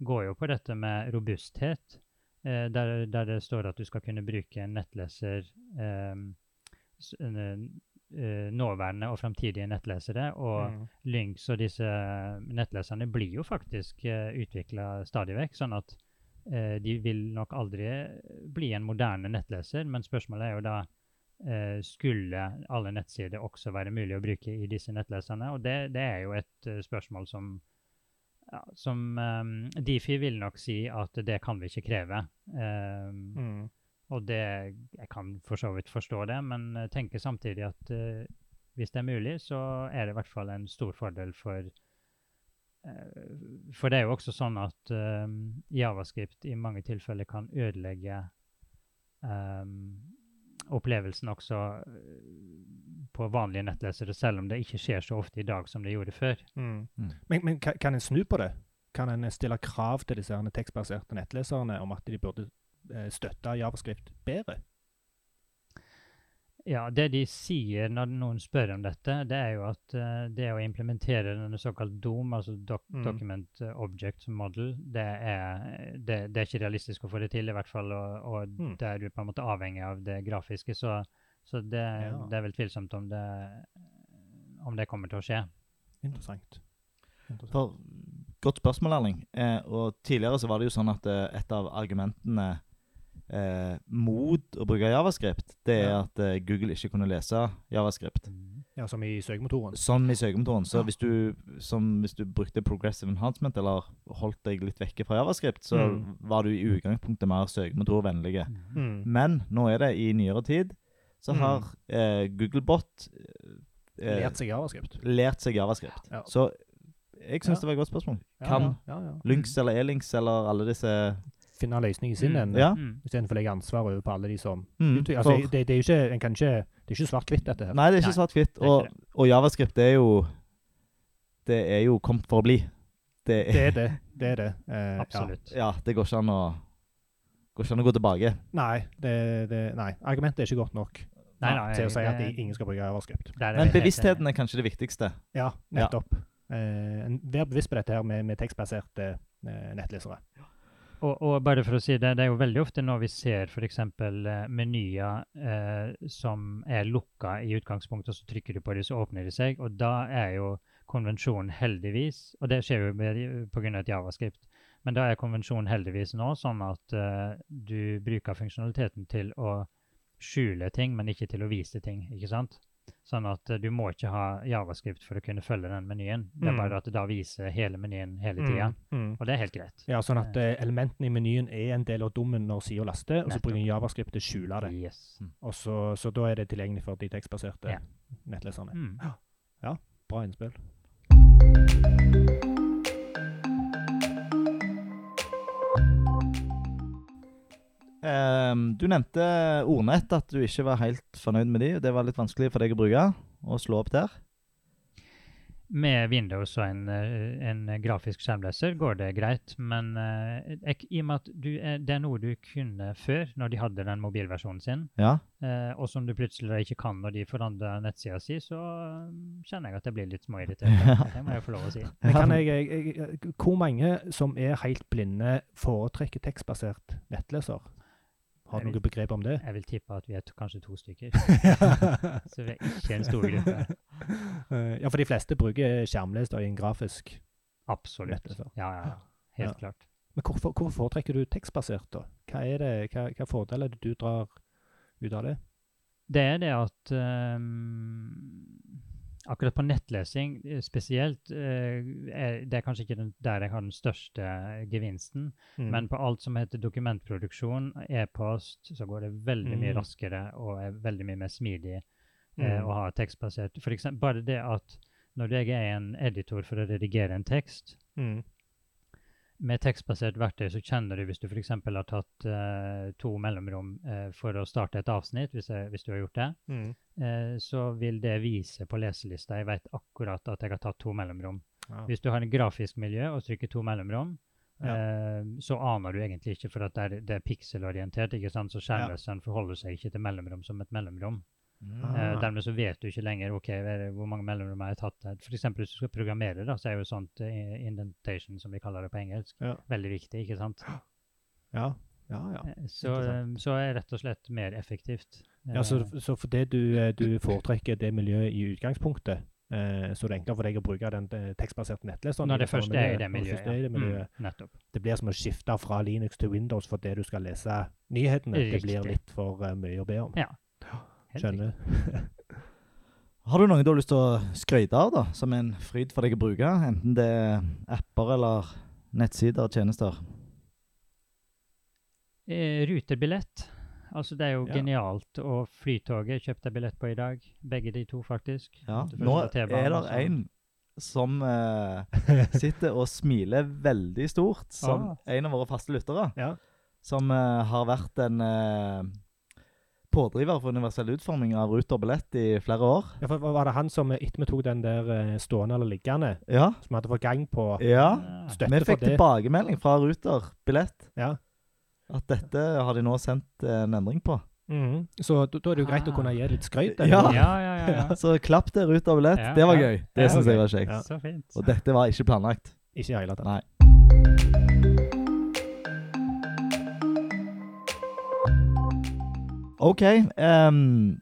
[SPEAKER 3] går jo på dette med robusthet, eh, der, der det står at du skal kunne bruke en nettleser eh, s- en, eh, nåværende og framtidige nettlesere. og
[SPEAKER 2] Mm.
[SPEAKER 3] Lynx og disse nettleserne blir jo faktisk uh, utvikla stadig vekk, sånn at eh, de vil nok aldri bli en moderne nettleser, men spørsmålet er jo da eh, skulle alle nettsider også være mulig å bruke i disse nettleserne? Og det, det er jo et eh, spørsmål som ja, som eh, Difi vil nok si at det kan vi ikke kreve. Eh,
[SPEAKER 2] Mm.
[SPEAKER 3] og det, jeg kan for så vidt forstå det, men eh, tenker samtidig at eh, hvis det er mulig, så er det i hvert fall en stor fordel for eh, For det er jo også sånn at eh, javascript i mange tilfeller kan ødelegge eh, opplevelsen også eh, på vanlige nettlesere, selv om det ikke skjer så ofte i dag som det gjorde før.
[SPEAKER 2] Mm.
[SPEAKER 1] Mm.
[SPEAKER 2] Men, men kan, kan en snu på det? Kan en eh, stille krav til disse herne tekstbaserte nettleserne om at de burde eh, støtte javascript bedre?
[SPEAKER 3] Ja, det de sier når noen spør om dette, det er jo at eh, det å implementere denne såkalt DOM, altså doc
[SPEAKER 2] Mm.
[SPEAKER 3] Document eh, Object Model, det er, det, det er ikke realistisk å få det til, i hvert fall, og, og
[SPEAKER 2] Mm.
[SPEAKER 3] der du på en måte avhengig av det grafiske, så, så det,
[SPEAKER 2] Ja.
[SPEAKER 3] det er vel tvilsomt om det, om det kommer til å skje.
[SPEAKER 2] Interessant. Interessant.
[SPEAKER 1] For Godt spørsmål, Erling. Eh, og tidligere så var det jo sånn at eh, et av argumentene eh, mot å bruke javascript, det er
[SPEAKER 2] Ja.
[SPEAKER 1] at eh, Google ikke kunne lese javascript.
[SPEAKER 2] Ja, som i søkemotoren.
[SPEAKER 1] Som i søkemotoren. Så
[SPEAKER 2] Ja.
[SPEAKER 1] hvis du, som hvis du brukte progressive enhancement, eller holdt deg litt vekke fra javascript, så
[SPEAKER 2] Mm.
[SPEAKER 1] var du i utgangspunktet mer søkemotorvennlige.
[SPEAKER 3] Mm.
[SPEAKER 2] Mm.
[SPEAKER 1] Men nå er det i nyere tid, så
[SPEAKER 2] Mm.
[SPEAKER 1] har eh, Googlebot eh,
[SPEAKER 2] Lært seg javascript.
[SPEAKER 1] lært seg javascript.
[SPEAKER 2] Ja.
[SPEAKER 1] Så jeg syns
[SPEAKER 2] Ja.
[SPEAKER 1] det var et godt spørsmål.
[SPEAKER 2] Ja,
[SPEAKER 1] Kan
[SPEAKER 2] ja, ja, ja.
[SPEAKER 1] Lynx eller Elinx eller alle disse
[SPEAKER 2] Finne en løsning i sin
[SPEAKER 3] Mm.
[SPEAKER 2] ende,
[SPEAKER 1] Ja.
[SPEAKER 3] Mm.
[SPEAKER 2] istedenfor å legge ansvaret over på alle de som
[SPEAKER 1] mm,
[SPEAKER 2] utvikler.
[SPEAKER 1] for,
[SPEAKER 2] altså, det, det er jo ikke, en kan ikke, det er ikke svart-hvitt, dette her.
[SPEAKER 1] Nei, det er
[SPEAKER 3] Nei,
[SPEAKER 1] ikke svart-hvitt.
[SPEAKER 3] det er
[SPEAKER 1] Og,
[SPEAKER 3] ikke
[SPEAKER 1] og javascript det er jo Det er jo kommet for å bli. Det er,
[SPEAKER 2] Det er det. det, er det. Eh,
[SPEAKER 3] Absolutt.
[SPEAKER 1] Ja, det går ikke an å Går ikke an å gå tilbake.
[SPEAKER 2] Nei, det, det, nei, argumentet er ikke godt nok
[SPEAKER 3] Nei, nei,
[SPEAKER 2] til å si at
[SPEAKER 3] det-
[SPEAKER 2] ingen skal bruke JavaScript.
[SPEAKER 3] der er jeg
[SPEAKER 1] Men
[SPEAKER 3] helt enig.
[SPEAKER 1] bevisstheten er kanskje det viktigste.
[SPEAKER 2] Ja, nettopp. Eh, en- vær bevisst på dette her med, med tekstbaserte eh, nettlesere.
[SPEAKER 3] Og, og bare for å si det, det er jo veldig ofte når vi ser f.eks. menyer eh, som er lukka i utgangspunktet, og så trykker du på dem, så åpner de seg. Og da er jo konvensjonen heldigvis Og det skjer jo med- på grunn av et javascript. Men da er konvensjonen heldigvis nå sånn at eh, du bruker funksjonaliteten til å skjule ting, men ikke til å vise ting. ikke sant? Sånn at eh, du må ikke ha javascript for å kunne følge den menyen. Det
[SPEAKER 2] Mm.
[SPEAKER 3] er bare at det da viser hele menyen hele tida.
[SPEAKER 2] Mm.
[SPEAKER 3] Og det er helt greit.
[SPEAKER 2] Ja, sånn at eh, elementene i menyen er en del av dommen når sida laster, og så
[SPEAKER 3] Nettopp.
[SPEAKER 2] bruker en javascript til å skjule det.
[SPEAKER 3] Yes.
[SPEAKER 2] Og så, så da er det tilgjengelig for de tekstbaserte
[SPEAKER 3] Ja.
[SPEAKER 2] nettleserne.
[SPEAKER 3] Mm.
[SPEAKER 2] Bra innspill.
[SPEAKER 1] Ehm, du nevnte ordnett, at du ikke var helt fornøyd med de, og det var litt vanskelig for deg å bruke og slå opp der.
[SPEAKER 3] Med Windows og en, eh, en grafisk skjermleser går det greit, men eh, ek, i og med at du, er- det er noe du kunne før, når de hadde den mobilversjonen sin,
[SPEAKER 1] Ja.
[SPEAKER 3] eh, og som du plutselig ikke kan når de forandrer nettsida si, så eh, kjenner jeg at jeg blir litt småirritert. Det må jeg få lov å si.
[SPEAKER 2] Men kan jeg, jeg, jeg, hvor mange som er helt blinde, foretrekker tekstbasert nettleser? Har du
[SPEAKER 3] Jeg
[SPEAKER 2] noe begrep om det?
[SPEAKER 3] Jeg vil tippe at vi er t kanskje to stykker, så vi er ikke en stor gruppe.
[SPEAKER 2] Eh, ja, for de fleste bruker skjermleser i en grafisk
[SPEAKER 3] Absolutt.
[SPEAKER 2] nettleser.
[SPEAKER 3] Ja, ja, ja. Helt klart.
[SPEAKER 2] Men hvorfor, hvorfor foretrekker du tekstbasert, da? Hva, er det, hva, hva fordeler er det du drar ut av det?
[SPEAKER 3] Det er det at ehm, akkurat på nettlesing eh, spesielt eh, er, Det er kanskje ikke den, der jeg har den største gevinsten,
[SPEAKER 2] Mm.
[SPEAKER 3] men på alt som heter dokumentproduksjon, e-post, så går det veldig mye
[SPEAKER 2] Mm.
[SPEAKER 3] raskere og er veldig mye mer smidig eh,
[SPEAKER 2] Mm.
[SPEAKER 3] å ha tekstbasert. For eksempel, bare det at når jeg er en editor for å redigere en tekst,
[SPEAKER 2] Mm.
[SPEAKER 3] med tekstbasert verktøy så kjenner du hvis du f.eks. har tatt eh, to mellomrom eh, for å starte et avsnitt, hvis, jeg, hvis du har gjort det,
[SPEAKER 2] Mm.
[SPEAKER 3] eh, så vil det vise på leselista. Jeg vet akkurat at jeg har tatt to mellomrom.
[SPEAKER 2] Ja.
[SPEAKER 3] Hvis du har en grafisk miljø og trykker to mellomrom,
[SPEAKER 2] Ja.
[SPEAKER 3] eh, så aner du egentlig ikke, for at det er, det er pikselorientert, ikke sant? så skjermløseren forholder seg ikke til mellomrom som et mellomrom. Eh,
[SPEAKER 2] Ah.
[SPEAKER 3] dermed så vet du ikke lenger ok, hva er det- hvor mange mellomrom jeg har tatt. her. For eksempel hvis du skal programmere, da, så er jo sånt eh, indentation, som vi kaller det på engelsk,
[SPEAKER 2] Ja.
[SPEAKER 3] veldig viktig. ikke sant?
[SPEAKER 2] Ja, ja. ja.
[SPEAKER 3] Eh, Så, eh, så er det rett og slett mer effektivt.
[SPEAKER 2] ja så, sånn
[SPEAKER 3] Eh,
[SPEAKER 2] så fordi du, eh, du foretrekker det miljøet i utgangspunktet, eh, så det er enklere for deg å bruke den eh, tekstbaserte nettleseren.
[SPEAKER 3] når det
[SPEAKER 2] samme
[SPEAKER 3] først er i det
[SPEAKER 2] Når
[SPEAKER 3] miljøet.
[SPEAKER 2] først er i det, miljøet.
[SPEAKER 3] Mm, nettopp.
[SPEAKER 2] det blir som å skifte fra Linux til Windows fordi du skal lese nyhetene. Det blir
[SPEAKER 3] Riktig.
[SPEAKER 2] litt for eh, mye å be om.
[SPEAKER 3] Ja, Helt
[SPEAKER 2] Skjønner.
[SPEAKER 1] Har du noen du har lyst til å skryte av, da, som er en fryd for deg å bruke? Enten det er apper eller nettsider og tjenester.
[SPEAKER 3] riktig. Eh, ruterbillett. Altså, det er jo
[SPEAKER 2] Ja.
[SPEAKER 3] genialt. Og Flytoget kjøpte jeg billett på i dag. Begge de to, faktisk.
[SPEAKER 1] Ja.
[SPEAKER 3] Det første altså.
[SPEAKER 1] Nå
[SPEAKER 3] var
[SPEAKER 1] er
[SPEAKER 3] T-banen,
[SPEAKER 1] det
[SPEAKER 3] og så-
[SPEAKER 1] en som eh, sitter og smiler veldig stort, som
[SPEAKER 3] Ah.
[SPEAKER 1] en av våre faste lyttere,
[SPEAKER 2] Ja.
[SPEAKER 1] som eh, har vært en eh, pådriver for universell utforming av ruter og billett i flere år.
[SPEAKER 2] Ja, for var det han som eh, etter vi tok den der eh, stående eller liggende,
[SPEAKER 1] Ja.
[SPEAKER 2] som hadde fått gang på
[SPEAKER 1] ja.
[SPEAKER 3] Ah,
[SPEAKER 1] Vi
[SPEAKER 2] støtte
[SPEAKER 1] fikk
[SPEAKER 2] for det?
[SPEAKER 1] tilbakemelding fra Ruter billett
[SPEAKER 2] Ja.
[SPEAKER 1] at dette har de nå sendt eh, en endring på.
[SPEAKER 2] Mhm. Så da da er det jo greit å
[SPEAKER 3] Ah.
[SPEAKER 2] kunne gi litt skryt.
[SPEAKER 1] Ja.
[SPEAKER 3] Ja, ja, ja. ja.
[SPEAKER 1] Så klapp til Ruter billett.
[SPEAKER 3] Ja,
[SPEAKER 1] det var
[SPEAKER 3] ja.
[SPEAKER 1] gøy. Det
[SPEAKER 3] Ja,
[SPEAKER 1] syns
[SPEAKER 3] ok.
[SPEAKER 1] jeg var kjekt.
[SPEAKER 2] Ja.
[SPEAKER 3] Så fint.
[SPEAKER 1] Og dette var ikke planlagt.
[SPEAKER 2] Ikke i det hele tatt.
[SPEAKER 1] Nei. OK. ehm,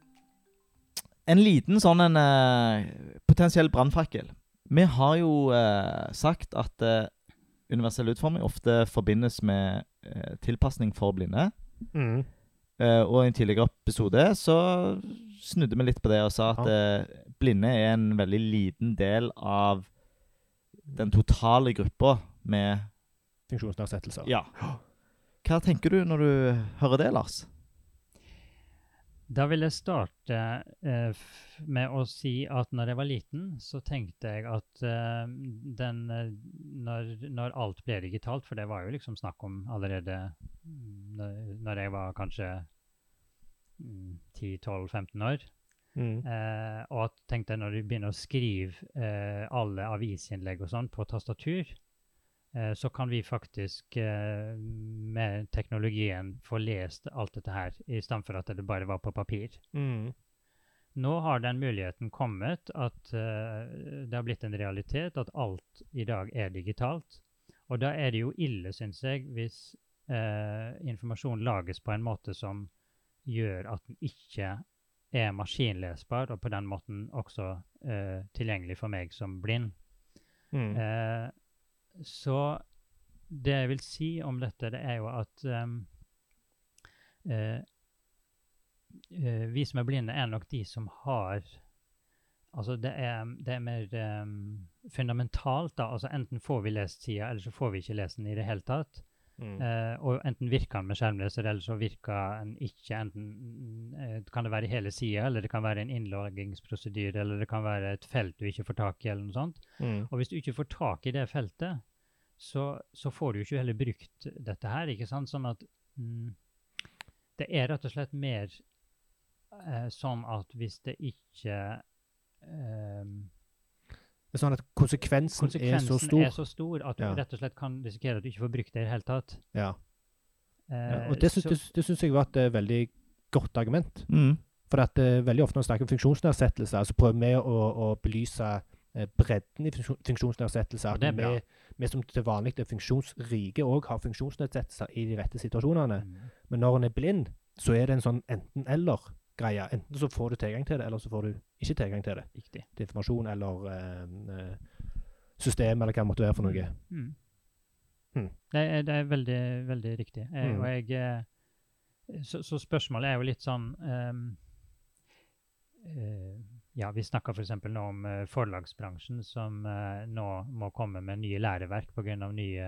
[SPEAKER 1] en liten sånn en eh, potensiell brannfakkel. Vi har jo eh, sagt at eh, universell utforming ofte forbindes med uh, tilpasning for blinde.
[SPEAKER 2] Mhm.
[SPEAKER 1] Eh, og i en tidligere episode så snudde vi litt på det og sa at
[SPEAKER 2] Ja.
[SPEAKER 1] eh, blinde er en veldig liten del av den totale gruppa med
[SPEAKER 2] Funksjonsnedsettelser.
[SPEAKER 1] Ja. Hva tenker du når du hører det, Lars?
[SPEAKER 3] Da vil jeg starte eh, f- med å si at når jeg var liten, så tenkte jeg at eh, den eh, når, når alt ble digitalt, for det var jo liksom snakk om allerede mm, når, når jeg var kanskje mm, 10-12-15 år,
[SPEAKER 2] Mhm.
[SPEAKER 3] eh, og at tenkte jeg når du begynner å skrive eh, alle avisinnlegg og sånn på tastatur, eh, så kan vi faktisk eh, med teknologien får lest alt dette her, istedenfor at det bare var på papir.
[SPEAKER 2] Mm.
[SPEAKER 3] Nå har den muligheten kommet at eh, det har blitt en realitet at alt i dag er digitalt. Og da er det jo ille, syns jeg, hvis eh, informasjon lages på en måte som gjør at den ikke er maskinlesbar, og på den måten også eh, tilgjengelig for meg som blind.
[SPEAKER 2] Mm.
[SPEAKER 3] Eh, så det jeg vil si om dette, det er jo at ehm, eh, eh, vi som er blinde, er nok de som har Altså, det er, det er mer ehm, fundamentalt, da. Altså, enten får vi lest sida, eller så får vi ikke lest den i det hele tatt.
[SPEAKER 2] Mm.
[SPEAKER 3] Eh, og enten virker den med skjermleser, eller så virker den ikke. Enten eh, kan det være hele sida, eller det kan være en innloggingsprosedyre, eller det kan være et felt du ikke får tak i, eller noe sånt.
[SPEAKER 2] Mm.
[SPEAKER 3] Og hvis du ikke får tak i det feltet, så, så får du jo ikke heller brukt dette her, ikke sant? Sånn at mm, det er rett og slett mer eh, sånn at hvis det ikke eh,
[SPEAKER 2] Det er sånn at konsekvensen,
[SPEAKER 3] Konsekvensen
[SPEAKER 2] er så stor.
[SPEAKER 3] at du
[SPEAKER 2] Ja.
[SPEAKER 3] rett og slett kan risikere at du ikke får brukt det i det hele tatt.
[SPEAKER 2] Ja. Ja,
[SPEAKER 3] Eh,
[SPEAKER 2] og det, sy
[SPEAKER 3] så-
[SPEAKER 2] det, det syns jeg var et eh, veldig godt argument.
[SPEAKER 1] Mm.
[SPEAKER 2] For at, eh, veldig ofte når vi snakker om funksjonsnedsettelse, så prøver vi å, å belyse eh, bredden i funksjon- funksjonsnedsettelser.
[SPEAKER 3] Og det er
[SPEAKER 2] At
[SPEAKER 3] bra.
[SPEAKER 2] vi, vi som til vanlig er funksjonsrike, òg har funksjonsnedsettelser i de rette situasjonene.
[SPEAKER 3] Mm.
[SPEAKER 2] Men når en er blind, så er det en sånn enten-eller-greie. Enten så får du tilgang til det, eller så får du ikke tilgang til det.
[SPEAKER 3] Riktig.
[SPEAKER 2] Til informasjon eller eh, eh, system, eller hva det måtte være for noe.
[SPEAKER 3] Mm.
[SPEAKER 2] Hmm.
[SPEAKER 3] Det, er, det er veldig, veldig riktig. Eh,
[SPEAKER 2] Mm.
[SPEAKER 3] Og jeg, eh, så, så spørsmålet er jo litt sånn ehm, eh, Ja, vi snakker f.eks. nå om eh, forlagsbransjen, som eh, nå må komme med nye læreverk pga. nye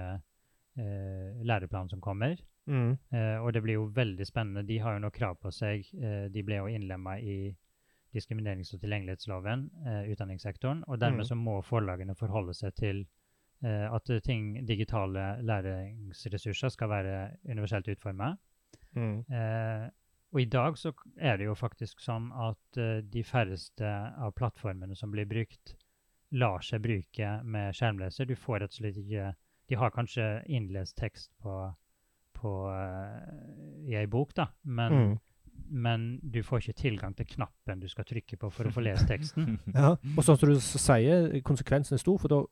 [SPEAKER 3] eh, læreplan som kommer.
[SPEAKER 2] Mm.
[SPEAKER 3] Eh, og det blir jo veldig spennende. De har jo nå krav på seg. Eh, de ble jo innlemma i diskriminerings- og tilgjengelighetsloven, eh, utdanningssektoren. Og dermed
[SPEAKER 2] Mm.
[SPEAKER 3] så må forlagene forholde seg til eh, at ting, digitale læringsressurser skal være universelt utforma.
[SPEAKER 2] Mm.
[SPEAKER 3] Eh, og i dag så k- er det jo faktisk sånn at eh, de færreste av plattformene som blir brukt, lar seg bruke med skjermleser. Du får rett og slett ikke De har kanskje innlest tekst på, på eh, i ei bok, da, men,
[SPEAKER 2] Mm.
[SPEAKER 3] men du får ikke tilgang til knappen du skal trykke på for å få lest teksten.
[SPEAKER 2] Ja, og sånn som du s- sier, konsekvensen er stor, for da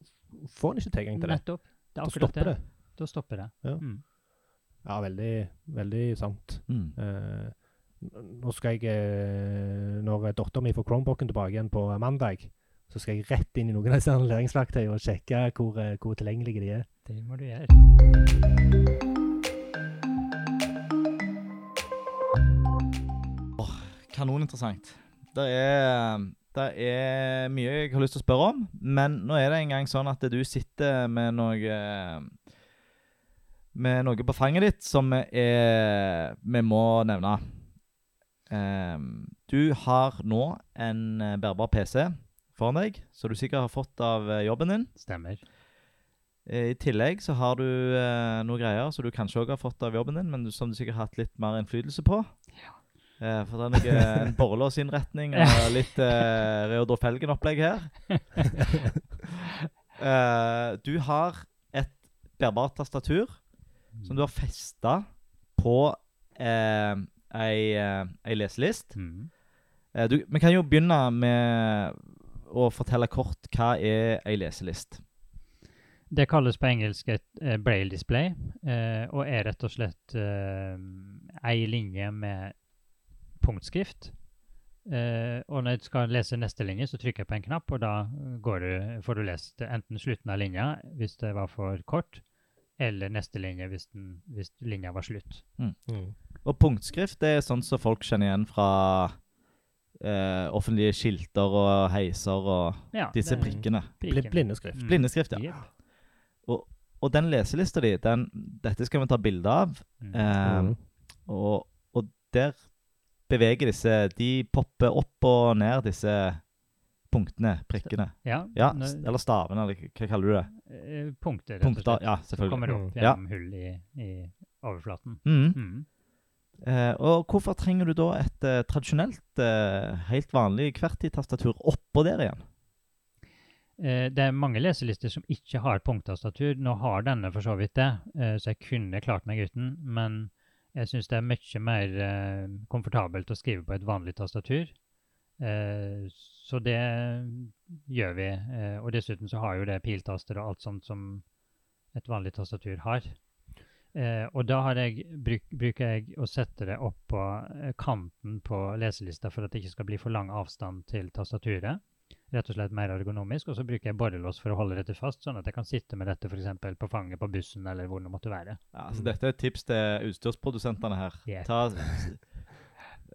[SPEAKER 2] får en ikke tilgang til det.
[SPEAKER 3] Nettopp. Det er
[SPEAKER 2] Da
[SPEAKER 3] akkurat
[SPEAKER 2] stopper det.
[SPEAKER 3] Da stopper det.
[SPEAKER 2] Ja.
[SPEAKER 3] Mm.
[SPEAKER 2] Ja, veldig, veldig sant.
[SPEAKER 1] Mm.
[SPEAKER 2] Eh, n- nå skal jeg, eh, når datteren min får Chromebooken tilbake igjen på mandag, så skal jeg rett inn i noen av disse her læringsverktøyene og sjekke hvor, eh, hvor tilgjengelige de er.
[SPEAKER 3] Det må du gjøre.
[SPEAKER 1] Kanoninteressant. Det er, det er mye jeg har lyst til å spørre om, men nå er det engang sånn at du sitter med noe Med noe på fanget ditt som er, vi må nevne. Ehm, du har nå en eh, bærbar PC foran deg, som du sikkert har fått av eh, jobben din.
[SPEAKER 3] Stemmer.
[SPEAKER 1] Eh, I tillegg så har du eh, noen greier som du kanskje òg har fått av jobben din, men du- som du sikkert har hatt litt mer innflytelse på. Eh, for det er noe, en borrelåsinnretning og litt eh, Reodor Felgen-opplegg her. Eh, du har et bærbart tastatur som du har festa på eh, ei, eh, ei leselist.
[SPEAKER 3] Mm.
[SPEAKER 1] Eh, du, vi kan jo begynne med å fortelle kort hva er ei leselist.
[SPEAKER 3] Det kalles på engelsk et eh, braille display, eh, og er rett og slett eh, ei linje med punktskrift. Eh, og når jeg skal lese neste linje, så trykker jeg på en knapp, og da går du, får du lest enten slutten av linja, hvis det var for kort, eller neste linje hvis, den, hvis linja var slutt.
[SPEAKER 2] Mm.
[SPEAKER 1] Og punktskrift det er sånn som folk kjenner igjen fra eh, offentlige skilter og heiser og
[SPEAKER 3] Ja,
[SPEAKER 1] disse
[SPEAKER 3] det-
[SPEAKER 1] prikkene.
[SPEAKER 2] Bl blindeskrift.
[SPEAKER 3] Mm.
[SPEAKER 1] Blindeskrift, ja.
[SPEAKER 3] Jep.
[SPEAKER 1] Og den leselista di, den, dette skal vi ta bilde av.
[SPEAKER 3] Mm.
[SPEAKER 1] eh, og, og der beveger disse De popper opp og ned, disse punktene, prikkene.
[SPEAKER 3] ja,
[SPEAKER 1] Ja,
[SPEAKER 3] nå-
[SPEAKER 1] s- eller stavene, eller k- hva kaller du det?
[SPEAKER 3] eh, punkter, rett og
[SPEAKER 1] Punkter.
[SPEAKER 3] slett.
[SPEAKER 1] Ja,
[SPEAKER 3] som
[SPEAKER 1] selvfølgelig.
[SPEAKER 3] kommer opp
[SPEAKER 2] Mm.
[SPEAKER 1] Ja.
[SPEAKER 3] gjennom hull i, i overflaten.
[SPEAKER 1] Mm.
[SPEAKER 3] Mm.
[SPEAKER 1] Eh, og hvorfor trenger du da et eh, tradisjonelt, eh, helt vanlig QWERTY-tastatur oppå der igjen?
[SPEAKER 3] Eh, det er mange leselister som ikke har punkttastatur. Nå har denne for så vidt det, eh, så jeg kunne klart meg uten. Men jeg syns det er mye mer eh, komfortabelt å skrive på et vanlig tastatur. Eh, så det gjør vi. Eh, og dessuten så har jo det piltaster og alt sånt som et vanlig tastatur har. Eh, og da har jeg, bruk, bruker jeg å sette det opp på eh, kanten på leselista for at det ikke skal bli for lang avstand til tastaturet. Rett og slett mer ergonomisk. Og så bruker jeg borrelås for å holde dette fast, sånn at jeg kan sitte med dette for eksempel på fanget på bussen eller hvor det måtte være.
[SPEAKER 1] Ja, altså Dette er et tips til utstyrsprodusentene her.
[SPEAKER 3] Yeah.
[SPEAKER 1] Ta,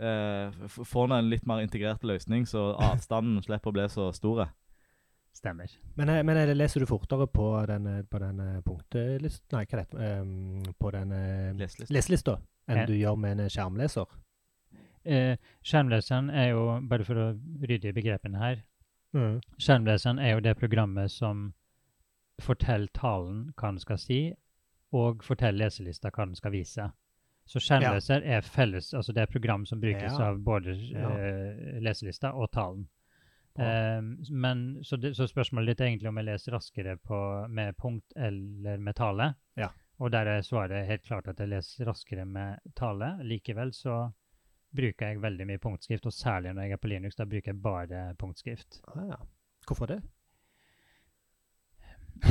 [SPEAKER 1] eh, f- få nå en litt mer integrert løsning, så avstanden slipper å bli så stor.
[SPEAKER 3] Stemmer.
[SPEAKER 2] Men, eh, men eh, leser du fortere på den, eh, på den eh, punktlist... Nei, hva heter det? Um, på den eh,
[SPEAKER 1] Leseliste.
[SPEAKER 2] leselista enn
[SPEAKER 3] Ja.
[SPEAKER 2] du gjør med en eh, skjermleser?
[SPEAKER 3] Eh, skjermleseren er jo, bare for å rydde i begrepene her,
[SPEAKER 2] Mm.
[SPEAKER 3] Skjermleseren er jo det programmet som forteller talen hva den skal si, og forteller leselista hva den skal vise. Så skjermleser er felles, altså det er program som brukes
[SPEAKER 2] Ja.
[SPEAKER 3] av både
[SPEAKER 2] Ja.
[SPEAKER 3] eh, leselista og talen.
[SPEAKER 2] Bra.
[SPEAKER 3] Eh, men, så, det, så spørsmålet ditt er egentlig om jeg leser raskere på, med punkt eller med tale.
[SPEAKER 2] Ja.
[SPEAKER 3] Og der er svaret helt klart at jeg leser raskere med tale. Likevel så bruker jeg veldig mye punktskrift, og særlig når jeg er på Linux, da bruker jeg bare punktskrift.
[SPEAKER 2] Ah, ja. Hvorfor det?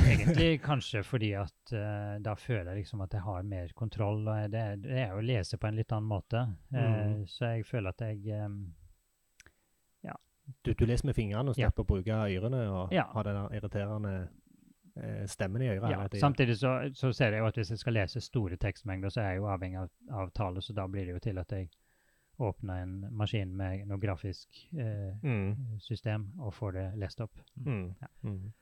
[SPEAKER 3] Egentlig kanskje fordi at eh, da føler jeg liksom at jeg har mer kontroll. og jeg- Det, er- det er jo å lese på en litt annen måte. Eh,
[SPEAKER 2] Mhm.
[SPEAKER 3] Så jeg føler at jeg eh, em,
[SPEAKER 2] Du, du leser med fingrene og
[SPEAKER 3] Ja.
[SPEAKER 2] slipper å bruke ørene og
[SPEAKER 3] Ja.
[SPEAKER 2] ha den der irriterende eh, stemmen i øret.
[SPEAKER 3] ja,
[SPEAKER 2] hele tiden.
[SPEAKER 3] Samtidig så, så ser jeg jo at hvis jeg skal lese store tekstmengder, så er jeg jo avhengig av, av tale, så da blir det jo til at jeg åpner en maskin med noe grafisk eh,
[SPEAKER 2] Mm.
[SPEAKER 3] system og får det lest opp.
[SPEAKER 2] Mm.
[SPEAKER 3] Ja.
[SPEAKER 2] Mm.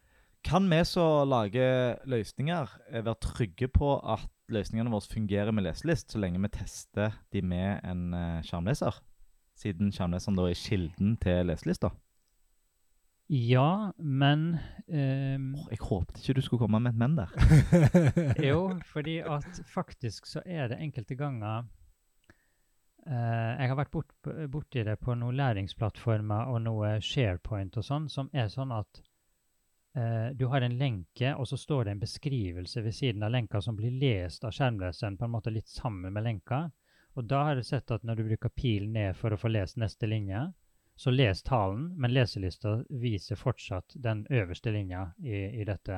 [SPEAKER 1] Kan vi som lager løsninger, eh, være trygge på at løsningene våre fungerer med leselist, så lenge vi tester de med en eh, skjermleser? Siden skjermleseren da er kilden til leselista.
[SPEAKER 3] Ja, men eh, em,
[SPEAKER 1] Åh, jeg håpet ikke du skulle komme med et men der.
[SPEAKER 3] Jo, fordi at faktisk så er det enkelte ganger eh, Jeg har vært bort, borti det på noen læringsplattformer og noe SharePoint og sånn, som er sånn at eh, du har en lenke, og så står det en beskrivelse ved siden av lenka som blir lest av skjermleseren på en måte litt sammen med lenka. Og da har jeg sett at når du bruker pil ned for å få lest neste linje, så les talen, men leselista viser fortsatt den øverste linja i, i dette.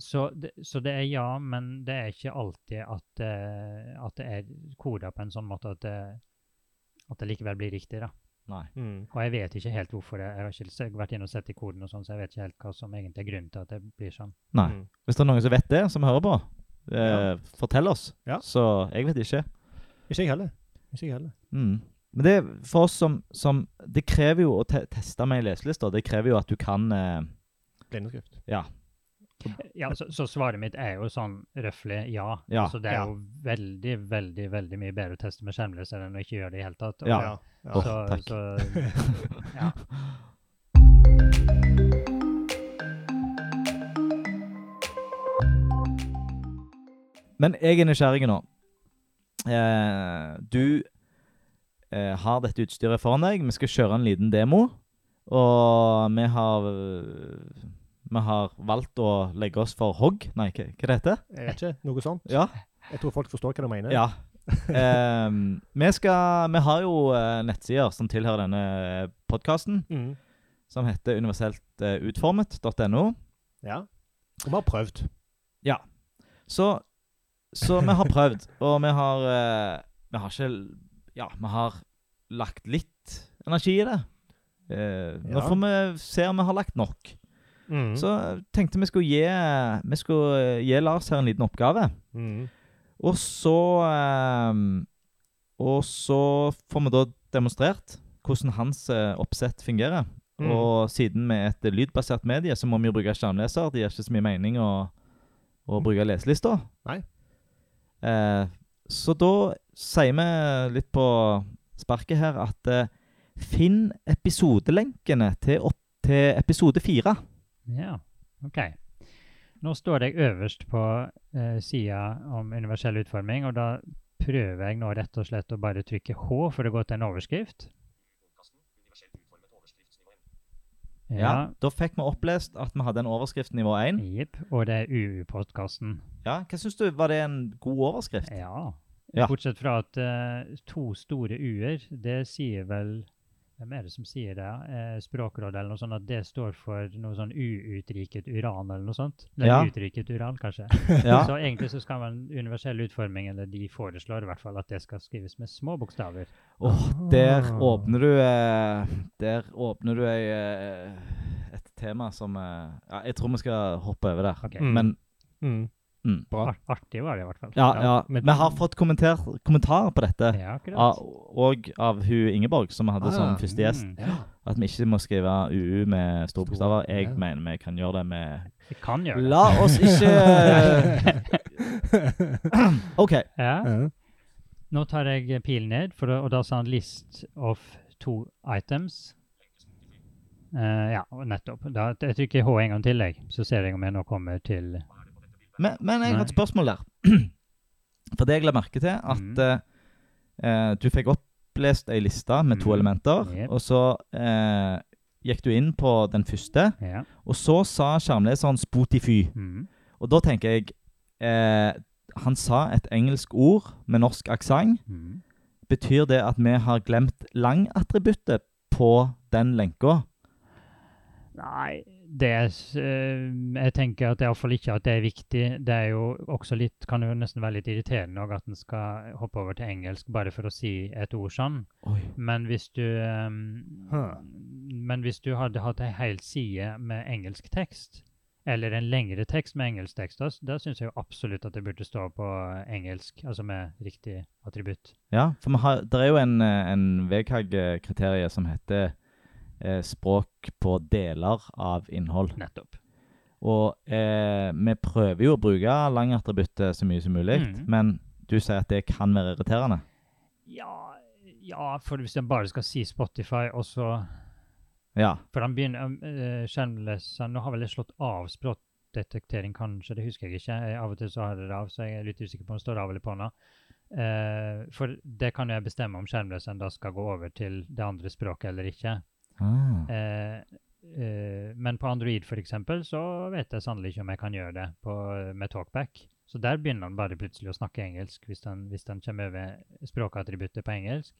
[SPEAKER 3] Så det, så det er ja, men det er ikke alltid at, det- at det er koda på en sånn måte at det, at det likevel blir riktig. da.
[SPEAKER 1] Nei.
[SPEAKER 2] Mm.
[SPEAKER 3] Og jeg vet ikke helt hvorfor. det. Jeg har ikke se- vært inne og sett i koden, og sånn, så jeg vet ikke helt hva som egentlig er grunnen til at det blir sånn.
[SPEAKER 1] Nei.
[SPEAKER 2] Mm.
[SPEAKER 1] Hvis det er noen som vet det, som hører på, eh,
[SPEAKER 2] Ja.
[SPEAKER 1] fortell oss.
[SPEAKER 2] Ja.
[SPEAKER 1] Så jeg vet ikke.
[SPEAKER 2] Ikke jeg heller. Ikke jeg heller.
[SPEAKER 1] Mm. Men det for oss som, som Det krever jo å te teste med ei leseliste. Det krever jo at du kan eh,
[SPEAKER 2] Blindeskrift.
[SPEAKER 3] Ja, så, så svaret mitt er jo sånn røffelig ja.
[SPEAKER 1] Ja,
[SPEAKER 3] så det er
[SPEAKER 2] ja.
[SPEAKER 3] jo veldig, veldig veldig mye bedre å teste med skjermleser enn å ikke gjøre det i hele tatt. Og-
[SPEAKER 1] Ja.
[SPEAKER 2] ja.
[SPEAKER 1] Åh,
[SPEAKER 3] Så,
[SPEAKER 1] takk.
[SPEAKER 3] så ja.
[SPEAKER 1] Men jeg er nysgjerrig nå. Eh, du eh, har dette utstyret foran deg. Vi skal kjøre en liten demo. Og vi har eh, Vi har valgt å legge oss for hogg. Nei, hva, hva det heter
[SPEAKER 2] Jeg vet ikke. Noe sånt.
[SPEAKER 1] Ja.
[SPEAKER 2] Jeg tror folk forstår hva du mener.
[SPEAKER 1] ja. Eh, vi, skal, vi har jo eh, nettsider som tilhører denne podkasten,
[SPEAKER 2] Mm.
[SPEAKER 1] som heter eh, universeltutformet.no.
[SPEAKER 2] ja. Og vi har prøvd.
[SPEAKER 1] Så, så vi har prøvd, og vi har eh, Vi har ikke Ja, vi har lagt litt energi i det. Eh, Nå
[SPEAKER 2] Ja.
[SPEAKER 1] får vi se om vi har lagt nok.
[SPEAKER 2] Mm.
[SPEAKER 1] Så tenkte vi skulle gi Vi skulle eh, gi Lars her en liten oppgave.
[SPEAKER 2] Mm.
[SPEAKER 1] Og så eh, Og så får vi da demonstrert hvordan hans eh, oppsett fungerer.
[SPEAKER 2] Mm.
[SPEAKER 1] Og siden vi er et lydbasert medie, så må vi jo bruke skjermleser. Det gir ikke så mye mening å, å bruke leselista.
[SPEAKER 2] Mm. Nei.
[SPEAKER 1] Eh, så da sier vi litt på sparket her at eh, finn episodelenkene til, opp, til episode fire.
[SPEAKER 3] Ja, ok. Nå står jeg øverst på eh, sida om universell utforming, og da prøver jeg nå rett og slett å bare trykke H for å gå til en overskrift.
[SPEAKER 1] Ja, Da fikk vi opplest at vi hadde en overskrift nivå 1.
[SPEAKER 3] Jepp. Og det er UU-podkasten.
[SPEAKER 1] Ja, hva synes du? Var det en god overskrift?
[SPEAKER 3] Ja.
[SPEAKER 1] Ja.
[SPEAKER 3] Bortsett fra at eh, to store u-er, det sier vel Hvem er det som sier det? Eh, Språkrådet eller noe sånt? At det står for noe sånn uutriket uran eller noe sånt? Eller
[SPEAKER 1] Ja.
[SPEAKER 3] utriket uran, kanskje.
[SPEAKER 1] Ja.
[SPEAKER 3] Så egentlig så skal man universell utforming, eller de foreslår i hvert fall at det skal skrives med små bokstaver.
[SPEAKER 1] Åh, der
[SPEAKER 2] Ah.
[SPEAKER 1] åpner du eh, Der åpner du ei, eh, et tema som eh, Ja, jeg tror vi skal hoppe over der.
[SPEAKER 3] Ok.
[SPEAKER 2] Mm.
[SPEAKER 1] Men
[SPEAKER 2] Mm.
[SPEAKER 1] Mm.
[SPEAKER 2] Bra.
[SPEAKER 3] Art- Artig var det i hvert fall.
[SPEAKER 1] ja,
[SPEAKER 2] Ja,
[SPEAKER 1] ja. Ah,
[SPEAKER 2] men-
[SPEAKER 1] Vi har fått kommenter- kommentarer på dette.
[SPEAKER 3] Ja,
[SPEAKER 1] Av,
[SPEAKER 3] akkurat.
[SPEAKER 1] og av hun Ingeborg, som vi hadde
[SPEAKER 2] Ah,
[SPEAKER 1] som første gjest.
[SPEAKER 3] Mm.
[SPEAKER 2] Ja.
[SPEAKER 1] At vi ikke må skrive UU med store
[SPEAKER 2] Store,
[SPEAKER 1] bokstaver. Jeg
[SPEAKER 2] ja.
[SPEAKER 1] mener vi kan gjøre det med
[SPEAKER 3] Vi kan gjøre det.
[SPEAKER 1] La oss ikke OK.
[SPEAKER 3] Ja.
[SPEAKER 2] Ja.
[SPEAKER 3] Nå tar jeg pilen ned, for, å- og da sa han 'list of two items'. Eh, ja, og nettopp. Da, jeg trykker H en gang til, jeg, så ser jeg om jeg nå kommer til
[SPEAKER 1] Men, men jeg har
[SPEAKER 3] Nei.
[SPEAKER 1] et spørsmål der. For det jeg la merke til, at
[SPEAKER 3] Mhm.
[SPEAKER 1] eh, eh, du fikk opplest ei liste med to
[SPEAKER 3] Mhm.
[SPEAKER 1] elementer,
[SPEAKER 3] Jep.
[SPEAKER 1] og så eh, gikk du inn på den første,
[SPEAKER 3] Ja.
[SPEAKER 1] og så sa skjermleseren Spotify.
[SPEAKER 3] Mm.
[SPEAKER 1] Og da tenker jeg eh, Han sa et engelsk ord med norsk aksent.
[SPEAKER 3] Mm.
[SPEAKER 1] Betyr det at vi har glemt langattributtet på den lenka?
[SPEAKER 3] Nei, det er, s- eh, Jeg tenker at det iallfall ikke at det er viktig. Det er jo også litt, kan jo nesten være litt irriterende også at en skal hoppe over til engelsk bare for å si et ord sånn.
[SPEAKER 1] Oi.
[SPEAKER 3] Men hvis du ehm,
[SPEAKER 2] Huh.
[SPEAKER 3] Men hvis du hadde hatt ei hel side med engelsk tekst, eller en lengre tekst med engelsk tekst, da, s- da syns jeg jo absolutt at det burde stå på engelsk, altså med riktig attributt.
[SPEAKER 1] Ja, for vi har, det er jo en, eh, en VKG-kriterie som heter eh, språk på deler av innhold.
[SPEAKER 3] Nettopp.
[SPEAKER 1] Og eh, vi prøver jo å bruke langattributtet så mye som mulig,
[SPEAKER 3] Mhm.
[SPEAKER 1] men du sier at det kan være irriterende.
[SPEAKER 3] Ja, ja, for hvis en bare skal si Spotify, og så
[SPEAKER 1] Ja.
[SPEAKER 3] For han begynner uh, Skjermleseren Nå har vel jeg slått av språkdetektering, kanskje. Det husker jeg ikke. Jeg, av og til så har jeg det av, så jeg er litt usikker på om det står av eller på nå. Eh, for det kan jo jeg bestemme om skjermleseren da skal gå over til det andre språket eller ikke.
[SPEAKER 1] Ah.
[SPEAKER 3] Eh, eh, men på Android for eksempel, så vet jeg sannelig ikke om jeg kan gjøre det på, med talkback. Så der begynner han bare plutselig å snakke engelsk hvis han, hvis han kommer over språkattributtet på engelsk.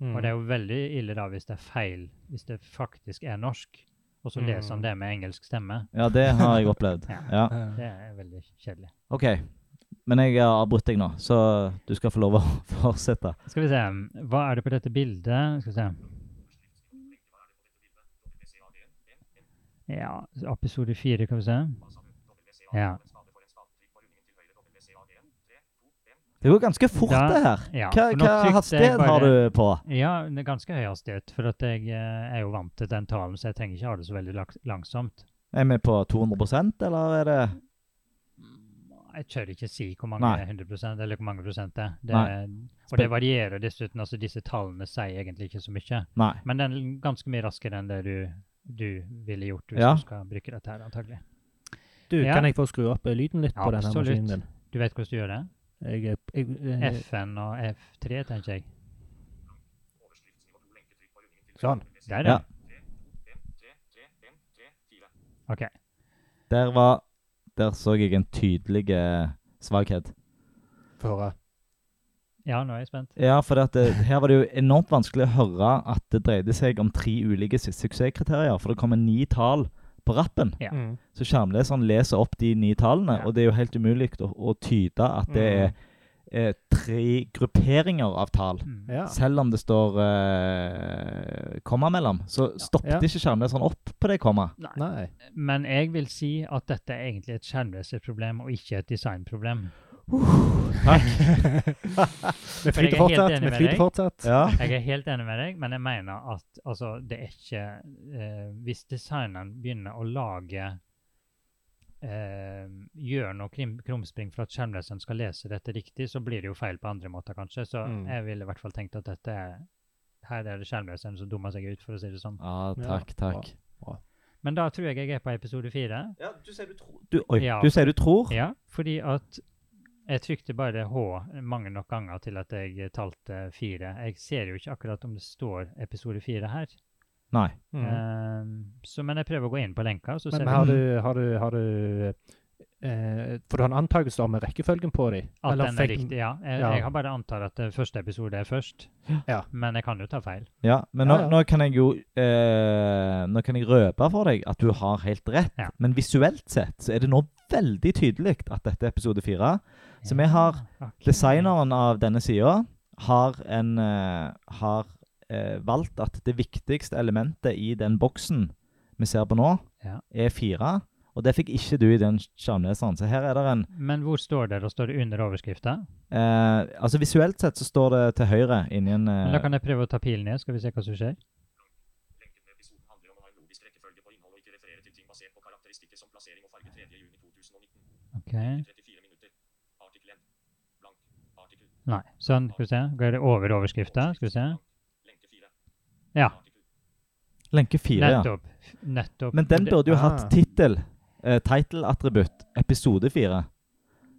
[SPEAKER 1] Mm.
[SPEAKER 3] Og det er jo veldig ille da hvis det er feil, hvis det faktisk er norsk, og så leser han
[SPEAKER 2] Mm.
[SPEAKER 3] det med engelsk stemme.
[SPEAKER 1] Ja, det har jeg opplevd.
[SPEAKER 3] Ja.
[SPEAKER 1] ja.
[SPEAKER 2] Ja.
[SPEAKER 3] Det er veldig kjedelig.
[SPEAKER 1] OK. Men jeg har avbrutt deg nå, så du skal få lov å fortsette.
[SPEAKER 3] Skal vi se, hva er det på dette bildet? Skal vi se. Ja, episode 4 kan vi se. Ja.
[SPEAKER 1] Det går ganske fort,
[SPEAKER 3] Da-
[SPEAKER 1] det her.
[SPEAKER 3] ja,
[SPEAKER 1] Hva,
[SPEAKER 3] for nå
[SPEAKER 1] hva
[SPEAKER 3] trykte jeg
[SPEAKER 1] hastighet har
[SPEAKER 3] bare-
[SPEAKER 1] du på?
[SPEAKER 3] Ja, det er ganske høy hastighet, for at jeg eh, er jo vant til den talen, så jeg trenger ikke ha det så veldig laks- langsomt.
[SPEAKER 1] Er vi på 200 eller er det
[SPEAKER 3] Jeg tør ikke si hvor mange
[SPEAKER 1] Nei.
[SPEAKER 3] 100 eller hvor mange prosent det er. Det
[SPEAKER 1] Nei.
[SPEAKER 3] er. Og det varierer dessuten. altså Disse tallene sier egentlig ikke så mye.
[SPEAKER 1] Nei.
[SPEAKER 3] Men den er ganske mye raskere enn det du, du ville gjort hvis
[SPEAKER 1] Ja.
[SPEAKER 3] du skal bruke dette her, antagelig.
[SPEAKER 2] Du,
[SPEAKER 3] Ja.
[SPEAKER 2] kan jeg få skru opp eh, lyden litt på denne
[SPEAKER 3] Absolutt.
[SPEAKER 2] maskinen din?
[SPEAKER 3] Du vet hvordan du gjør det?
[SPEAKER 2] Jeg, eh, er- jeg,
[SPEAKER 1] Eh.
[SPEAKER 2] jeg,
[SPEAKER 3] FN og F3, tenker jeg.
[SPEAKER 2] sånn.
[SPEAKER 3] Der,
[SPEAKER 1] Ja.
[SPEAKER 3] ja. OK.
[SPEAKER 1] Der var Der så jeg en tydelig eh, svakhet.
[SPEAKER 2] Få høre.
[SPEAKER 3] Ja, nå er jeg spent.
[SPEAKER 1] Ja, for at, eh, her var det jo enormt vanskelig å høre at det dreide seg om tre ulike su- suksesskriterier, for det kommer ni tall på rappen.
[SPEAKER 3] Ja.
[SPEAKER 2] Mm.
[SPEAKER 1] Så skjermleseren leser opp de ni tallene,
[SPEAKER 3] Ja.
[SPEAKER 1] og det er jo helt umulig å, å tyde at det er eh, tre grupperinger av tall.
[SPEAKER 3] Mm.
[SPEAKER 2] Ja.
[SPEAKER 1] Selv om det står eh, komma mellom, så stoppet
[SPEAKER 2] Ja.
[SPEAKER 1] ikke skjermleseren opp på det komma.
[SPEAKER 2] Nei.
[SPEAKER 3] Men jeg vil si at dette er egentlig et skjermleserproblem og ikke et designproblem.
[SPEAKER 2] Vi
[SPEAKER 3] For jeg er
[SPEAKER 2] flyter
[SPEAKER 3] helt
[SPEAKER 2] fortsatt.
[SPEAKER 3] enig
[SPEAKER 2] Vi
[SPEAKER 3] med deg.
[SPEAKER 2] flyter fortsatt.
[SPEAKER 1] Ja.
[SPEAKER 3] Jeg er helt enig med deg, men jeg mener at altså, det er ikke eh, Hvis designeren begynner å lage eh, Gjør noe krim- krumspring for at skjermleseren skal lese dette riktig, så blir det jo feil på andre måter, kanskje. Så
[SPEAKER 2] Mm.
[SPEAKER 3] jeg ville i hvert fall tenkt at dette er her er det skjermleseren som dummer seg ut, for å si det sånn.
[SPEAKER 1] Ja, takk,
[SPEAKER 2] Ja.
[SPEAKER 1] takk.
[SPEAKER 3] Men da tror jeg jeg er på episode fire.
[SPEAKER 1] Ja, du sier du tror du, Oi,
[SPEAKER 3] Ja.
[SPEAKER 1] du sier du tror?
[SPEAKER 3] Ja, fordi at jeg trykte bare H mange nok ganger til at jeg talte fire. Jeg ser jo ikke akkurat om det står episode fire her.
[SPEAKER 1] Nei.
[SPEAKER 2] Mm.
[SPEAKER 3] Eh, så, men jeg prøver å gå inn på lenka, så ser
[SPEAKER 2] Men
[SPEAKER 3] vi.
[SPEAKER 2] har du, har du, har du eh, For du har en antakelse om rikkefølgen på dem?
[SPEAKER 3] At den er riktig, ja. Jeg,
[SPEAKER 2] Ja.
[SPEAKER 3] jeg har bare antar at eh, første episode er først.
[SPEAKER 2] Ja.
[SPEAKER 3] Men jeg kan jo ta feil.
[SPEAKER 1] Ja, men nå,
[SPEAKER 2] Ja, ja.
[SPEAKER 1] nå kan jeg jo eh, Nå kan jeg røpe for deg at du har helt rett.
[SPEAKER 3] Ja.
[SPEAKER 1] Men visuelt sett så er det nå veldig tydelig at dette er episode fire. Så vi har
[SPEAKER 3] Ja, ok.
[SPEAKER 1] Designeren av denne sida har en eh, Har eh, valgt at det viktigste elementet i den boksen vi ser på nå,
[SPEAKER 3] Ja.
[SPEAKER 1] er fire. Og det fikk ikke du i den skjermleseren. Så her er det en
[SPEAKER 3] Men hvor står det? Da står det under overskrifta.
[SPEAKER 1] eh, Altså visuelt sett så står det til høyre inni en
[SPEAKER 3] Men da
[SPEAKER 1] eh,
[SPEAKER 3] kan jeg prøve å ta pilen ned, skal vi se hva som skjer.
[SPEAKER 4] Lenken med episoden handler om å ha en logisk rekkefølge på innhold og ikke referere til ting basert på karakteristikker som plassering og farge 3. juni 2019.
[SPEAKER 3] Ok.
[SPEAKER 4] 34 minutter. Artikkel 1. Blank. Artikkel.
[SPEAKER 3] Nei. Sånn, skal vi se. Går det over overskrifta? Skal vi se.
[SPEAKER 4] Lenke 4.
[SPEAKER 3] Ja.
[SPEAKER 4] Artikkel.
[SPEAKER 1] lenke fire. ja.
[SPEAKER 3] Nettopp. Nettopp.
[SPEAKER 1] Men den
[SPEAKER 3] Det-
[SPEAKER 1] burde jo
[SPEAKER 2] Ah.
[SPEAKER 1] hatt tittel, eh, title-attributt, episode fire.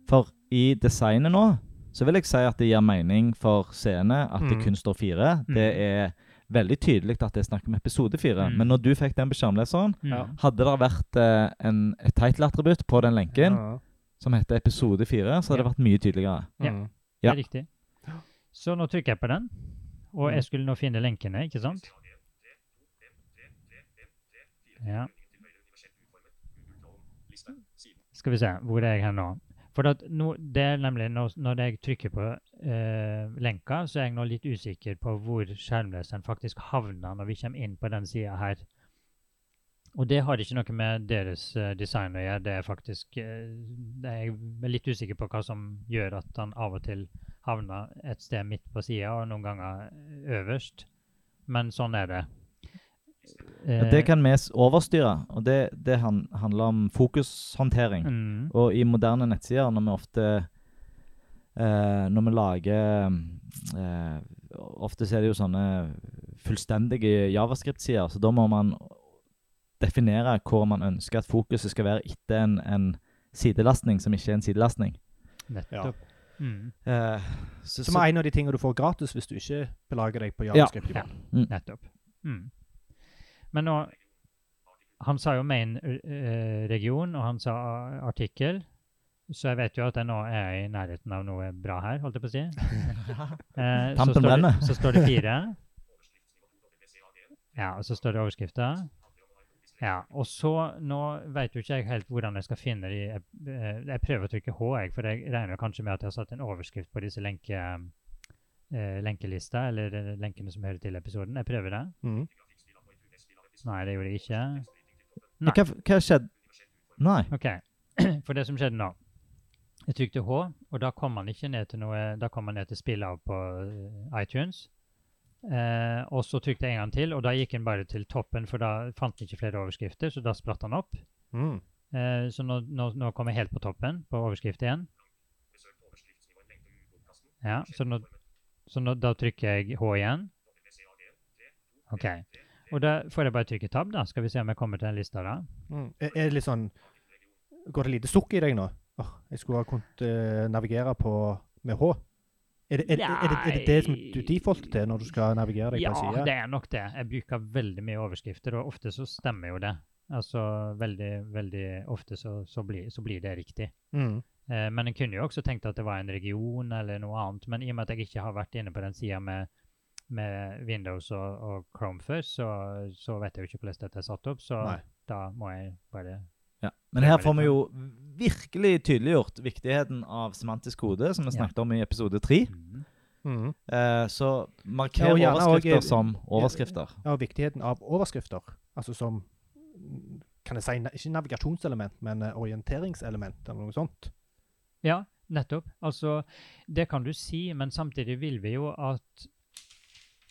[SPEAKER 1] For i designet nå så vil jeg si at det gir mening for seerne at det
[SPEAKER 2] Mm.
[SPEAKER 1] kun står fire.
[SPEAKER 3] Mm.
[SPEAKER 1] Det er veldig tydelig at det er snakk om episode fire.
[SPEAKER 3] Mm.
[SPEAKER 1] Men når du fikk den på skjermleseren,
[SPEAKER 3] Mm.
[SPEAKER 2] Ja.
[SPEAKER 1] hadde det vært eh, en, et title-attributt på den lenken
[SPEAKER 2] Ja.
[SPEAKER 1] som heter episode fire, så hadde det vært mye tydeligere.
[SPEAKER 3] Ja.
[SPEAKER 2] Mm.
[SPEAKER 3] Det
[SPEAKER 1] Ja.
[SPEAKER 3] er riktig. Så nå trykker jeg på den.
[SPEAKER 1] Mm.
[SPEAKER 3] Og jeg skulle nå finne lenkene, ikke sant? Ja.
[SPEAKER 4] Liste. Siden.
[SPEAKER 3] Skal vi se, hvor er jeg her nå? For at nå, det er nemlig når, når jeg trykker på eh, lenka, så er jeg nå litt usikker på hvor skjermleseren faktisk havner når vi kommer inn på den sida her. Og det har ikke noe med deres eh, design å gjøre. Det er faktisk eh, det er Jeg er litt usikker på hva som gjør at han av og til havner et sted midt på sida, og noen ganger øverst. Men sånn er det.
[SPEAKER 1] Men
[SPEAKER 3] Eh.
[SPEAKER 1] Det kan vi s- overstyre, og det, det han, handler om fokushåndtering.
[SPEAKER 3] mm.
[SPEAKER 1] Og i moderne nettsider, når vi ofte eh, Når vi lager eh, Ofte så er det jo sånne fullstendige javascript-sider, så da må man definere hvor man ønsker at fokuset skal være etter en, en sidelastning som ikke er en sidelastning.
[SPEAKER 3] Nettopp. Mm,
[SPEAKER 1] Eh, så,
[SPEAKER 2] Som
[SPEAKER 1] så-
[SPEAKER 2] er en av de tingene du får gratis hvis du ikke belager deg på
[SPEAKER 1] Ja.
[SPEAKER 2] JavaScript.
[SPEAKER 3] Ja. nettopp. Mm. Men nå Han sa jo main eh, region, og han sa eh, artikkel. Så jeg vet jo at jeg nå er i nærheten av noe bra her, holdt jeg på å si. Eh, så
[SPEAKER 1] Tampen
[SPEAKER 3] står det-
[SPEAKER 1] brenner.
[SPEAKER 3] Så står det fire. Ja, og så står det overskrifta. Ja, og så Nå vet jo ikke jeg helt hvordan jeg skal finne de Jeg, eh, jeg prøver å trykke H, jeg, for jeg regner kanskje med at jeg har satt en overskrift på disse lenke, eh, lenkelista, eller eh, lenkene som hører til episoden. Jeg prøver det.
[SPEAKER 2] Mm.
[SPEAKER 3] Nei, det gjorde jeg ikke.
[SPEAKER 1] Men Hva, hva skjedde Nei.
[SPEAKER 3] OK. For det som skjedde nå Jeg trykte H, og da kom man ikke ned til noe Da kom man ned til spill av på eh, iTunes. Eh, og så trykte jeg en gang til, og da gikk den bare til toppen, for da fant den ikke flere overskrifter, så da spratt den opp.
[SPEAKER 2] Mm.
[SPEAKER 3] Eh, så nå, nå, nå kom jeg helt på toppen på overskrift igjen.
[SPEAKER 4] Besøk overskriftsnivå en lenke i podkasten.
[SPEAKER 3] Ja, så nå, så nå da trykker jeg H igjen. OK. Og da får jeg bare trykke tab, da. Skal vi se om jeg kommer til den lista da.
[SPEAKER 2] Mm. Er, er det litt sånn Går det lite sukk i deg nå? Åh, jeg skulle ha kunnet eh, navigere på med H. Er det er, det- er, det, er det det som du defaulter til når du skal navigere deg
[SPEAKER 3] Ja,
[SPEAKER 2] på en side?
[SPEAKER 3] det er nok det. Jeg bruker veldig mye overskrifter, og ofte så stemmer jo det. Altså veldig, veldig ofte så, så, blir, så blir det riktig.
[SPEAKER 2] Mm.
[SPEAKER 3] Eh, men en kunne jo også tenkt at det var en region eller noe annet. Men i og med at jeg ikke har vært inne på den sida med, med Windows og, og Chrome før, så, så vet jeg jo ikke hvordan dette er satt opp. Så
[SPEAKER 2] Nei.
[SPEAKER 3] da må jeg bare
[SPEAKER 1] Ja. Men her får vi jo virkelig tydeliggjort viktigheten av semantisk kode, som vi
[SPEAKER 3] Ja.
[SPEAKER 1] snakket om i episode tre.
[SPEAKER 3] mm.
[SPEAKER 2] Mm.
[SPEAKER 1] Eh, så
[SPEAKER 2] Ja,
[SPEAKER 1] marker
[SPEAKER 2] og gjerne
[SPEAKER 1] overskrifter
[SPEAKER 2] også-
[SPEAKER 1] som overskrifter.
[SPEAKER 2] Ja, og viktigheten av overskrifter, altså som mm, kan jeg si, na- ikke navigasjonselement, men eh, orienteringselement eller noe sånt.
[SPEAKER 3] Ja, nettopp. Altså, det kan du si, men samtidig vil vi jo at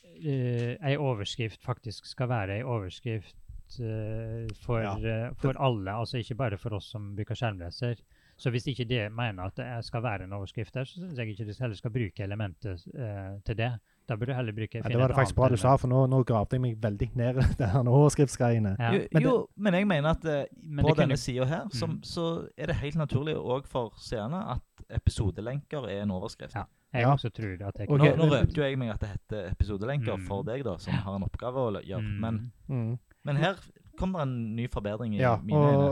[SPEAKER 3] eh, ei overskrift faktisk skal være ei overskrift eh, for,
[SPEAKER 2] Ja.
[SPEAKER 3] eh, for alle, altså ikke bare for oss som bruker skjermleser. Så hvis ikke det mener at det er- skal være en overskrift der, så syns jeg ikke du heller skal bruke elementet eh, til det. Da burde du heller bruke
[SPEAKER 2] Ja, det var det faktisk bra du sa, for nå, nå gravde jeg meg veldig ned i det her overskriftsgreiene.
[SPEAKER 3] Ja.
[SPEAKER 1] Jo,
[SPEAKER 2] men
[SPEAKER 1] men, jo, men jeg mener at eh,
[SPEAKER 3] Men
[SPEAKER 1] på
[SPEAKER 3] det kunne-
[SPEAKER 1] denne sida her, som, så er det helt naturlig òg for seerne at episodelenker er en overskrift.
[SPEAKER 3] Ja. Jeg
[SPEAKER 2] Ja.
[SPEAKER 3] også tror at jeg
[SPEAKER 2] Og-
[SPEAKER 1] Nå,
[SPEAKER 2] Ok,
[SPEAKER 1] nå
[SPEAKER 2] men-
[SPEAKER 1] røpte jo jeg meg at det heter episodelenker
[SPEAKER 3] Mm.
[SPEAKER 1] for deg, da, som har en oppgave å lø- gjøre.
[SPEAKER 3] Mm.
[SPEAKER 1] Men,
[SPEAKER 2] Mm.
[SPEAKER 1] men her kom det en ny forbedring i
[SPEAKER 2] Ja,
[SPEAKER 1] mine
[SPEAKER 2] og,
[SPEAKER 1] øyne.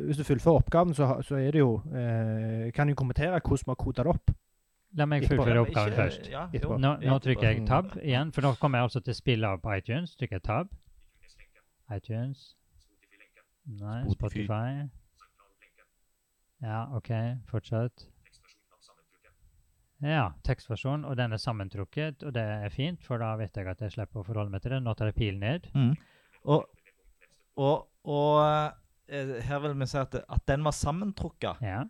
[SPEAKER 2] og hvis du fullfører oppgaven, så, har- så er det jo eh, Kan jo kommentere hvordan vi har kodet det opp.
[SPEAKER 3] La meg
[SPEAKER 2] Ikke bare-
[SPEAKER 3] fullføre
[SPEAKER 1] Ja,
[SPEAKER 3] oppgaven
[SPEAKER 1] ikke-
[SPEAKER 3] først.
[SPEAKER 1] Ja,
[SPEAKER 2] Ikke
[SPEAKER 1] jo,
[SPEAKER 2] bare-
[SPEAKER 3] Nå, nå
[SPEAKER 1] ikke
[SPEAKER 3] trykker
[SPEAKER 1] bare-
[SPEAKER 3] jeg tab igjen, for nå kommer jeg altså til spillet av på iTunes. Trykker jeg tab. iTunes. Nei,
[SPEAKER 1] Spotify.
[SPEAKER 3] Spotify. Ja, OK. Fortsett. Ja, tekstversjon, og den er sammentrukket, og det er fint, for da vet jeg at jeg slipper å forholde meg til det. Nå tar jeg pil ned.
[SPEAKER 1] Mm. Og, og, og eh, her vil vi si at, at den var sammentrukket.
[SPEAKER 3] Ja.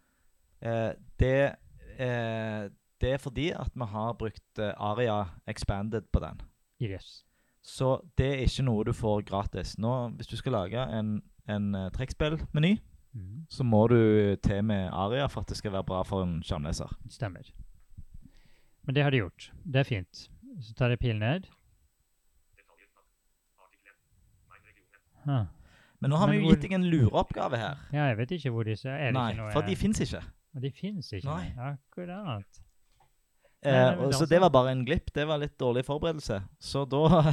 [SPEAKER 1] Eh, det, eh, det er fordi at vi har brukt eh, Aria Expanded på den.
[SPEAKER 3] Yes.
[SPEAKER 1] Så det er ikke noe du får gratis. Nå, Hvis du skal lage en, en eh, trekkspillmeny,
[SPEAKER 3] Mm.
[SPEAKER 1] så må du til med Aria for at det skal være bra for en skjermleser.
[SPEAKER 3] Stemmer. Men det har de gjort. Det er fint. Så tar jeg pil ned. Huh.
[SPEAKER 1] Men nå har
[SPEAKER 3] Men
[SPEAKER 1] vi jo
[SPEAKER 3] hvor-
[SPEAKER 1] gitt deg en lureoppgave her.
[SPEAKER 3] Ja, jeg vet ikke hvor disse er. det
[SPEAKER 1] Nei,
[SPEAKER 3] ikke noe eh,
[SPEAKER 1] for de fins ikke.
[SPEAKER 3] Og de finnes ikke.
[SPEAKER 1] Nei.
[SPEAKER 3] nei. Akkurat. Nei, nei,
[SPEAKER 1] Eh,
[SPEAKER 3] men
[SPEAKER 1] og,
[SPEAKER 3] det
[SPEAKER 1] så
[SPEAKER 3] altså-
[SPEAKER 1] det var bare en glipp. Det var litt dårlig forberedelse. Så da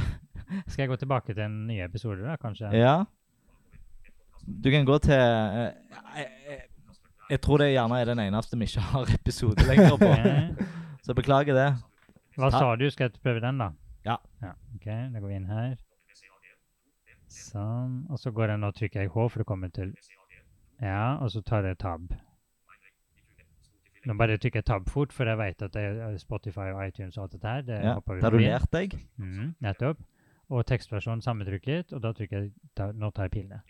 [SPEAKER 3] Skal jeg gå tilbake til en ny episode, da, kanskje?
[SPEAKER 1] Ja. Du kan gå til eh, jeg, jeg, jeg tror det gjerne er den eneste vi ikke har episode lenger på.
[SPEAKER 3] Ok.
[SPEAKER 1] Så beklager det.
[SPEAKER 3] Eh, Hva
[SPEAKER 1] Ta-
[SPEAKER 3] sa du? Skal jeg prøve den, da?
[SPEAKER 1] Ja.
[SPEAKER 3] Ok, da går vi inn her. Sånn. Og så går jeg nå trykker jeg H for å komme til Ja, og så tar jeg tab. Nå bare trykker jeg tab fort, for jeg vet at det er eh, Spotify og iTunes og alt dette her. Det
[SPEAKER 1] Ja.
[SPEAKER 3] hopper vi
[SPEAKER 1] Det har du
[SPEAKER 3] forbi.
[SPEAKER 1] lært deg.
[SPEAKER 3] Mhm, nettopp. Og tekstversjonen sammentrykket, og da trykker jeg ta, Nå tar jeg pilene.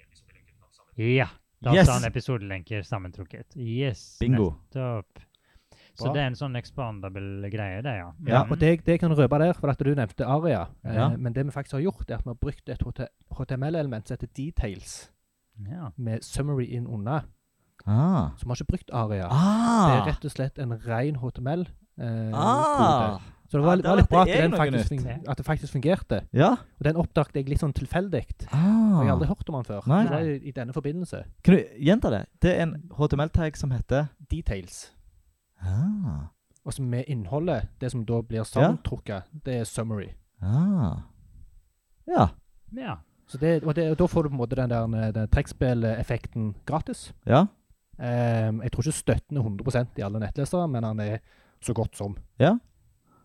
[SPEAKER 3] Ja! Da
[SPEAKER 1] Yes!
[SPEAKER 3] sa han episodelenker sammentrukket. Yes!
[SPEAKER 1] Bingo.
[SPEAKER 3] Nettopp. Så
[SPEAKER 2] Bra.
[SPEAKER 3] det er en sånn expandable greie, det, ja.
[SPEAKER 1] Ja,
[SPEAKER 2] Og det, det kan røpe der, for at du nevnte Aria. Eh,
[SPEAKER 1] Ja.
[SPEAKER 2] Men det vi faktisk har gjort, er at vi har brukt et HTML-element som heter details,
[SPEAKER 3] Mm. ja.
[SPEAKER 2] med summary inn under.
[SPEAKER 1] Ah.
[SPEAKER 2] Så vi har ikke brukt Aria. Det er
[SPEAKER 1] Ah.
[SPEAKER 2] rett og slett en ren HTML-kode.
[SPEAKER 3] Eh,
[SPEAKER 1] ah.
[SPEAKER 2] Så det var,
[SPEAKER 1] Ah, der
[SPEAKER 2] var litt bra at,
[SPEAKER 1] lærte jeg
[SPEAKER 2] den
[SPEAKER 1] noe
[SPEAKER 2] faktisk,
[SPEAKER 1] nytt.
[SPEAKER 2] fun- at det faktisk fungerte.
[SPEAKER 1] Ja.
[SPEAKER 2] Og den oppdaget jeg litt sånn tilfeldig. for Jeg har
[SPEAKER 1] Ah.
[SPEAKER 2] aldri hørt om den før.
[SPEAKER 1] Nei.
[SPEAKER 2] Så det er i denne forbindelse.
[SPEAKER 1] Kan du gjenta det? Det er en HTML-tag som heter
[SPEAKER 2] Details.
[SPEAKER 1] ah.
[SPEAKER 2] Og så med innholdet, det som da blir sammentrukket, det er summary.
[SPEAKER 1] Ah. Ja.
[SPEAKER 3] Ja.
[SPEAKER 2] Så det, og, det, og da får du på en måte den der eh, den trekkspilleffekten gratis.
[SPEAKER 1] Ja.
[SPEAKER 2] Ehm, jeg tror ikke støtten er 100 i alle nettlesere, men han er så godt som.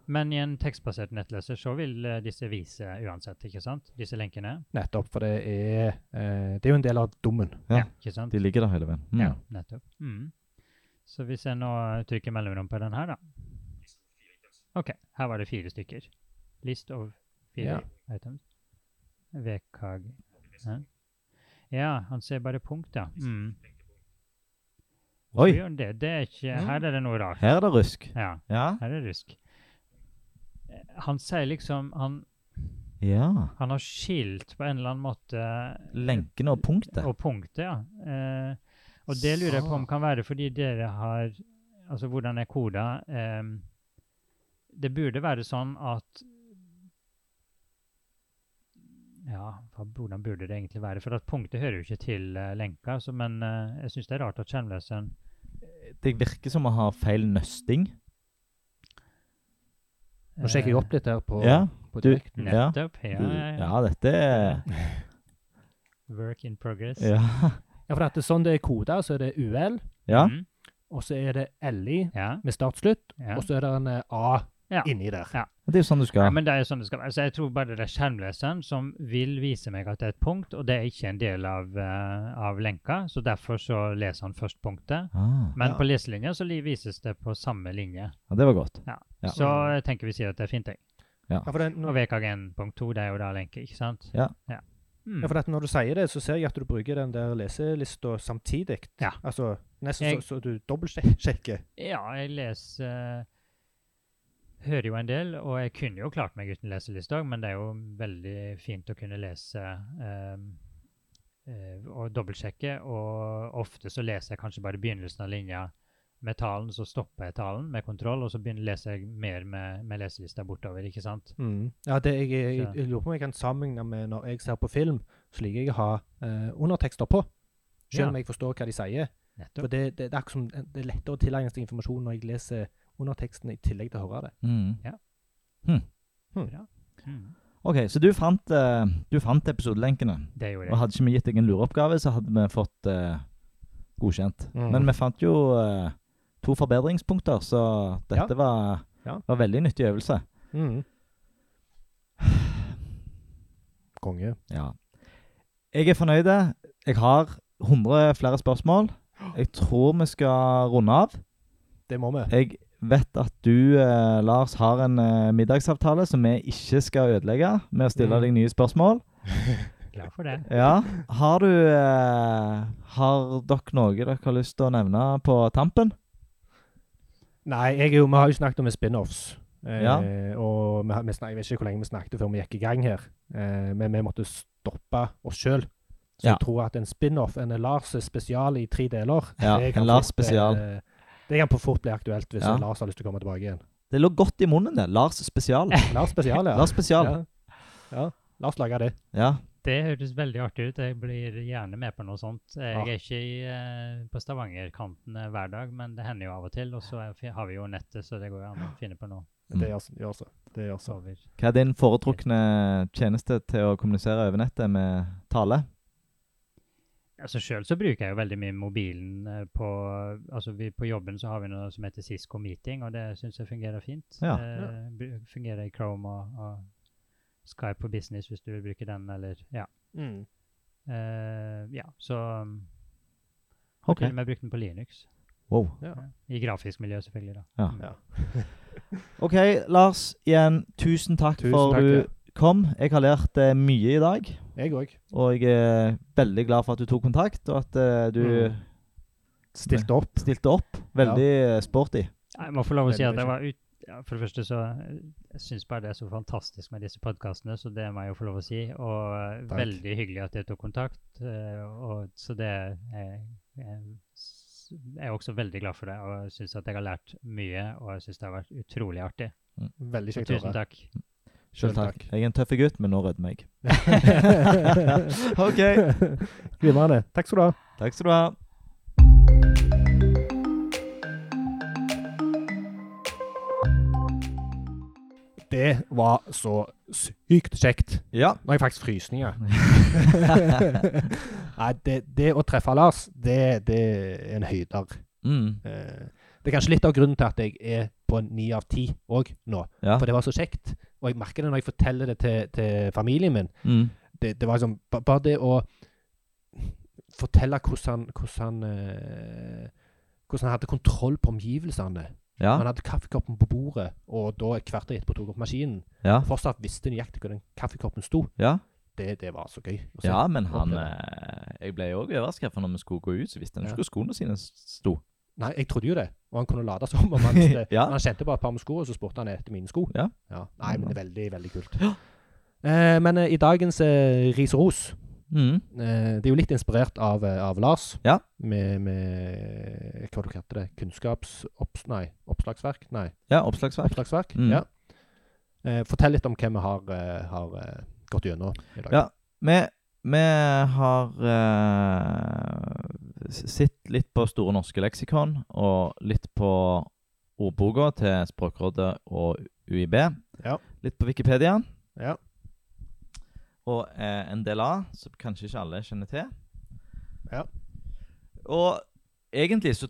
[SPEAKER 3] Men i en tekstbasert nettleser så vil eh, disse vise uansett, ikke sant? Disse lenkene.
[SPEAKER 2] Nettopp, for det er, eh, det er jo en del av dommen.
[SPEAKER 1] Ja.
[SPEAKER 3] Ikke sant?
[SPEAKER 1] De ligger der hele veien. Mm.
[SPEAKER 3] Ja, nettopp. Mm. Så hvis jeg nå trykker mellomrom på den her, da. OK, her var det fire stykker. List of fire items. Vekag... Hæ? Ja, han ser bare punkt, ja. Mm.
[SPEAKER 1] Oi,
[SPEAKER 3] Gjør han Det, det er ikke, her er det noe rart.
[SPEAKER 1] her er det rusk.
[SPEAKER 3] Ja,
[SPEAKER 1] Ja.
[SPEAKER 3] her er det rusk. Eh, Han sier liksom han,
[SPEAKER 1] ja.
[SPEAKER 3] han har skilt på en eller annen måte
[SPEAKER 1] Lenkene og punktet.
[SPEAKER 3] Og punktet, ja. Eh, og det lurer jeg på om kan være fordi dere har Altså hvordan er koda ehm, Det burde være sånn at Ja, hva, hvordan burde det egentlig være? For at punktet hører jo ikke til eh, lenka, så, men eh, jeg syns det er rart at skjermleseren
[SPEAKER 1] Det virker som å ha feil nøsting.
[SPEAKER 2] Nå sjekker jeg
[SPEAKER 3] eh,
[SPEAKER 2] opp litt her på,
[SPEAKER 1] Ja,
[SPEAKER 2] på
[SPEAKER 1] du-
[SPEAKER 2] direkten.
[SPEAKER 1] Ja.
[SPEAKER 3] Nettopp. Ja,
[SPEAKER 1] Du-
[SPEAKER 3] ja, ja.
[SPEAKER 1] ja, dette er
[SPEAKER 3] Work in progress.
[SPEAKER 1] Ja.
[SPEAKER 2] Ja, for at det er sånn det er kodet, så er det UL,
[SPEAKER 1] ja.
[SPEAKER 3] Mhm.
[SPEAKER 2] og så er det LI
[SPEAKER 3] ja,
[SPEAKER 2] med start-slutt,
[SPEAKER 3] ja.
[SPEAKER 2] og så er det en eh, A
[SPEAKER 3] Ja.
[SPEAKER 2] inni der.
[SPEAKER 1] Det er jo sånn du
[SPEAKER 3] Ja.
[SPEAKER 1] skal.
[SPEAKER 3] men det er jo sånn det skal være. Så jeg tror bare det er skjermleseren som vil vise meg at det er et punkt, og det er ikke en del av, eh, av lenka, så derfor så leser han først punktet.
[SPEAKER 1] Ah,
[SPEAKER 3] Men
[SPEAKER 2] Ja.
[SPEAKER 3] på leselinja så li- vises det på samme linje.
[SPEAKER 1] ja, det var godt. Ja.
[SPEAKER 3] Så jeg tenker vi sier at det er fint, jeg.
[SPEAKER 2] Ja, for, det,
[SPEAKER 3] Og
[SPEAKER 2] når,
[SPEAKER 3] VKG1.2, det er jo da lenke, ikke sant?
[SPEAKER 1] Ja.
[SPEAKER 3] Mm.
[SPEAKER 2] ja, for at når du sier det, så ser jeg at du bruker den der leselista samtidig.
[SPEAKER 3] Ja.
[SPEAKER 2] Altså, nesten
[SPEAKER 3] Jeg-
[SPEAKER 2] så, så du dobbeltsjekker.
[SPEAKER 3] ja, jeg leser eh, Hører jo en del, og jeg kunne jo klart meg uten leseliste òg, men det er jo veldig fint å kunne lese eh, eh, og dobbeltsjekke, og ofte så leser jeg kanskje bare begynnelsen av linja med talen, så stopper jeg talen med kontroll, og så begynner, leser jeg mer med, med leselista bortover, ikke sant?
[SPEAKER 2] Mm. Ja, det jeg, jeg,
[SPEAKER 3] Ja.
[SPEAKER 2] jeg lurer på om jeg kan sammenligne med når jeg ser på film, så liker jeg å ha eh, undertekster på. Selv om jeg forstår hva de sier. For
[SPEAKER 3] Nettopp.
[SPEAKER 2] det, det, det er akkurat som det er lettere å tilegne seg informasjon når jeg leser undertekstene i tillegg til å høre det.
[SPEAKER 1] Mm.
[SPEAKER 3] Ja.
[SPEAKER 1] Hm.
[SPEAKER 3] Mm.
[SPEAKER 1] OK, så du fant, eh, du fant episodelenkene.
[SPEAKER 3] Det gjorde
[SPEAKER 1] Og
[SPEAKER 3] jeg.
[SPEAKER 1] hadde ikke vi gitt deg en lureoppgave, så hadde vi fått eh, godkjent.
[SPEAKER 2] Mm.
[SPEAKER 1] Men vi fant jo eh, to forbedringspunkter, så dette
[SPEAKER 2] Ja.
[SPEAKER 1] var,
[SPEAKER 2] Ja.
[SPEAKER 1] var veldig nyttig øvelse.
[SPEAKER 2] Mm. Konge.
[SPEAKER 1] Ja. Jeg er fornøyd. Jeg har 100 flere spørsmål. Jeg tror vi skal runde av.
[SPEAKER 2] Det må vi.
[SPEAKER 1] Jeg vet at du, eh, Lars, har en eh, middagsavtale som vi ikke skal ødelegge med å stille
[SPEAKER 2] Mm.
[SPEAKER 1] deg nye spørsmål.
[SPEAKER 3] Glad for det.
[SPEAKER 1] Ja. Har du eh, Har dere noe dere har lyst til å nevne på tampen?
[SPEAKER 2] Nei, jeg er jo, vi har jo snakket om spin-offs. Eh,
[SPEAKER 1] Ja.
[SPEAKER 2] Og vi, har- vi snak, jeg vet ikke hvor lenge vi snakket før vi gikk i gang her, eh, men vi måtte stoppe oss sjøl. Så
[SPEAKER 1] Ja.
[SPEAKER 2] jeg tror at en spin-off, en Lars spesial i tre deler
[SPEAKER 1] Ja,
[SPEAKER 2] det
[SPEAKER 1] en
[SPEAKER 2] kan
[SPEAKER 1] Lars
[SPEAKER 2] fort, eh,
[SPEAKER 1] spesial.
[SPEAKER 2] Det kan på fort bli aktuelt hvis
[SPEAKER 1] Ja.
[SPEAKER 2] Lars har lyst til å komme tilbake igjen.
[SPEAKER 1] Det lå godt i munnen, det. Lars spesial.
[SPEAKER 2] Lars spesial, ja.
[SPEAKER 1] Lars spesial. Ja.
[SPEAKER 2] Ja. ja. Lars lager det.
[SPEAKER 3] Det høres veldig artig ut. Jeg blir gjerne med på noe sånt. Jeg
[SPEAKER 2] Ja.
[SPEAKER 3] er ikke i, eh, på Stavanger-kanten eh, hver dag, men det hender jo av og til. Og så er- fi- har vi jo nettet, så det går jo an å finne på noe
[SPEAKER 1] Mm.
[SPEAKER 2] Det gjør, gjør så. Det gjør så.
[SPEAKER 3] over.
[SPEAKER 1] Hva er din foretrukne tjeneste til å kommunisere over nettet med tale?
[SPEAKER 3] Altså Sjøl så bruker jeg jo veldig mye mobilen eh, på Altså vi, på jobben så har vi noe som heter Cisco Meeting, og det syns jeg fungerer fint.
[SPEAKER 1] Ja.
[SPEAKER 3] Eh, br- Fungerer i Chrome og, og Skype på Business hvis du vil bruke den, eller Ja.
[SPEAKER 2] Mm.
[SPEAKER 3] Eh, ja, så um,
[SPEAKER 1] Ok.
[SPEAKER 3] Til og med brukt den på Linux.
[SPEAKER 1] Wow.
[SPEAKER 2] Ja.
[SPEAKER 3] I grafisk miljø, selvfølgelig. da.
[SPEAKER 1] Ja.
[SPEAKER 3] Mm.
[SPEAKER 2] Ja.
[SPEAKER 1] OK, Lars. Igjen, tusen takk
[SPEAKER 2] Tusen
[SPEAKER 1] for
[SPEAKER 2] takk,
[SPEAKER 1] du
[SPEAKER 2] ja.
[SPEAKER 1] kom. Jeg har lært eh, mye i dag.
[SPEAKER 2] Jeg òg.
[SPEAKER 1] Og jeg er veldig glad for at du tok kontakt, og at eh, du
[SPEAKER 2] Mm. Stilte opp.
[SPEAKER 1] stilte opp. Veldig eh, sporty.
[SPEAKER 3] Jeg må få lov å si
[SPEAKER 2] Veldig
[SPEAKER 3] at jeg
[SPEAKER 2] mye.
[SPEAKER 3] var ut, ja, For det første så eh, Jeg syns bare det er så fantastisk med disse podkastene, så det må jeg jo få lov å si. Og eh,
[SPEAKER 2] Takk.
[SPEAKER 3] veldig hyggelig at jeg tok kontakt. eh, og, så det er jeg, s- jeg er også veldig glad for det, og jeg syns at jeg har lært mye. Og jeg syns det har vært utrolig artig.
[SPEAKER 2] Veldig
[SPEAKER 3] Så
[SPEAKER 2] kjekt å
[SPEAKER 3] tusen
[SPEAKER 2] høre.
[SPEAKER 3] takk.
[SPEAKER 1] Selv
[SPEAKER 2] Selv
[SPEAKER 1] takk.
[SPEAKER 2] takk.
[SPEAKER 1] Jeg er en tøff gutt, men nå rødmer jeg. OK.
[SPEAKER 2] Glimrende. Takk skal du ha.
[SPEAKER 1] Takk skal du ha.
[SPEAKER 2] Det var så sykt kjekt.
[SPEAKER 1] Ja.
[SPEAKER 2] Nå har jeg faktisk frysninger. Nei, det, det å treffe Lars, det, det er en høyder.
[SPEAKER 1] Mm.
[SPEAKER 2] Eh, Det er kanskje litt av grunnen til at jeg er på en ni av ti òg nå.
[SPEAKER 1] Ja.
[SPEAKER 2] For det var så kjekt. Og jeg merker det når jeg forteller det til, til familien min.
[SPEAKER 1] Mm.
[SPEAKER 2] Det, det var liksom ba- Bare det å fortelle hvordan, hvordan, eh, hvordan han hadde kontroll på omgivelsene.
[SPEAKER 1] Ja.
[SPEAKER 2] Han hadde kaffekoppen på bordet, og da et kvarter etterpå tok opp maskinen.
[SPEAKER 1] Ja.
[SPEAKER 2] Og Fortsatt visste nøyaktig hvor den kaffekoppen sto.
[SPEAKER 1] Ja.
[SPEAKER 2] Det, det var så gøy. å se.
[SPEAKER 1] Ja, men han
[SPEAKER 2] oppleve.
[SPEAKER 1] eh, Jeg ble òg overraska, for når vi skulle gå ut, så visste han
[SPEAKER 2] Ja.
[SPEAKER 1] ikke hvor skoene sine s- sto.
[SPEAKER 2] Nei, jeg trodde jo det. Og han kunne lade som om han visste.
[SPEAKER 1] Ja.
[SPEAKER 2] Men han kjente bare et par med sko, og så spurte han etter mine sko.
[SPEAKER 1] Ja.
[SPEAKER 2] Nei, men det er veldig, veldig kult. Eh, men eh, i dagens eh, ris og ros
[SPEAKER 1] Mm.
[SPEAKER 2] eh, Det er jo litt inspirert av, eh, av Lars.
[SPEAKER 1] Ja.
[SPEAKER 2] Med, med Hva var det du kalte det? Kunnskapsopps... Nei, oppslagsverk? Nei.
[SPEAKER 1] Ja, oppslagsverk.
[SPEAKER 2] Oppslagsverk?
[SPEAKER 1] Mm.
[SPEAKER 2] Ja. Eh, fortell litt om hvem vi har, eh, har eh, gått gjennom i dag.
[SPEAKER 1] Ja. Vi, vi har eh, s- sett litt på Store norske leksikon og litt på ordboka til Språkrådet og UiB.
[SPEAKER 2] Ja.
[SPEAKER 1] Litt på Wikipedia.
[SPEAKER 2] Ja.
[SPEAKER 1] Og eh, en del A, som kanskje ikke alle kjenner til.
[SPEAKER 2] Ja.
[SPEAKER 1] Og egentlig så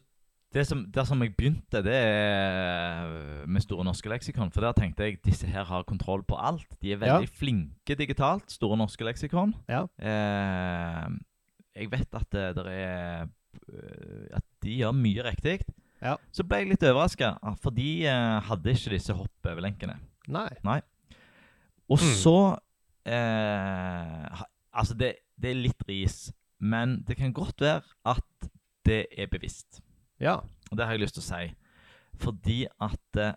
[SPEAKER 1] det som, Der som jeg begynte, det er med Store norske leksikon. For der tenkte jeg disse her har kontroll på alt. De er veldig flinke digitalt, Store norske leksikon.
[SPEAKER 2] Ja.
[SPEAKER 1] Eh, jeg vet at det der er eh, At de gjør mye riktig.
[SPEAKER 2] Ja.
[SPEAKER 1] Så ble jeg litt overraska, for de eh, hadde ikke disse hopp over lenkene.
[SPEAKER 2] Nei.
[SPEAKER 1] Og
[SPEAKER 2] Mm.
[SPEAKER 1] så eh, ha- Altså, det, det er litt ris, men det kan godt være at det er bevisst.
[SPEAKER 2] Ja.
[SPEAKER 1] Og det har jeg lyst til å si. Fordi at eh,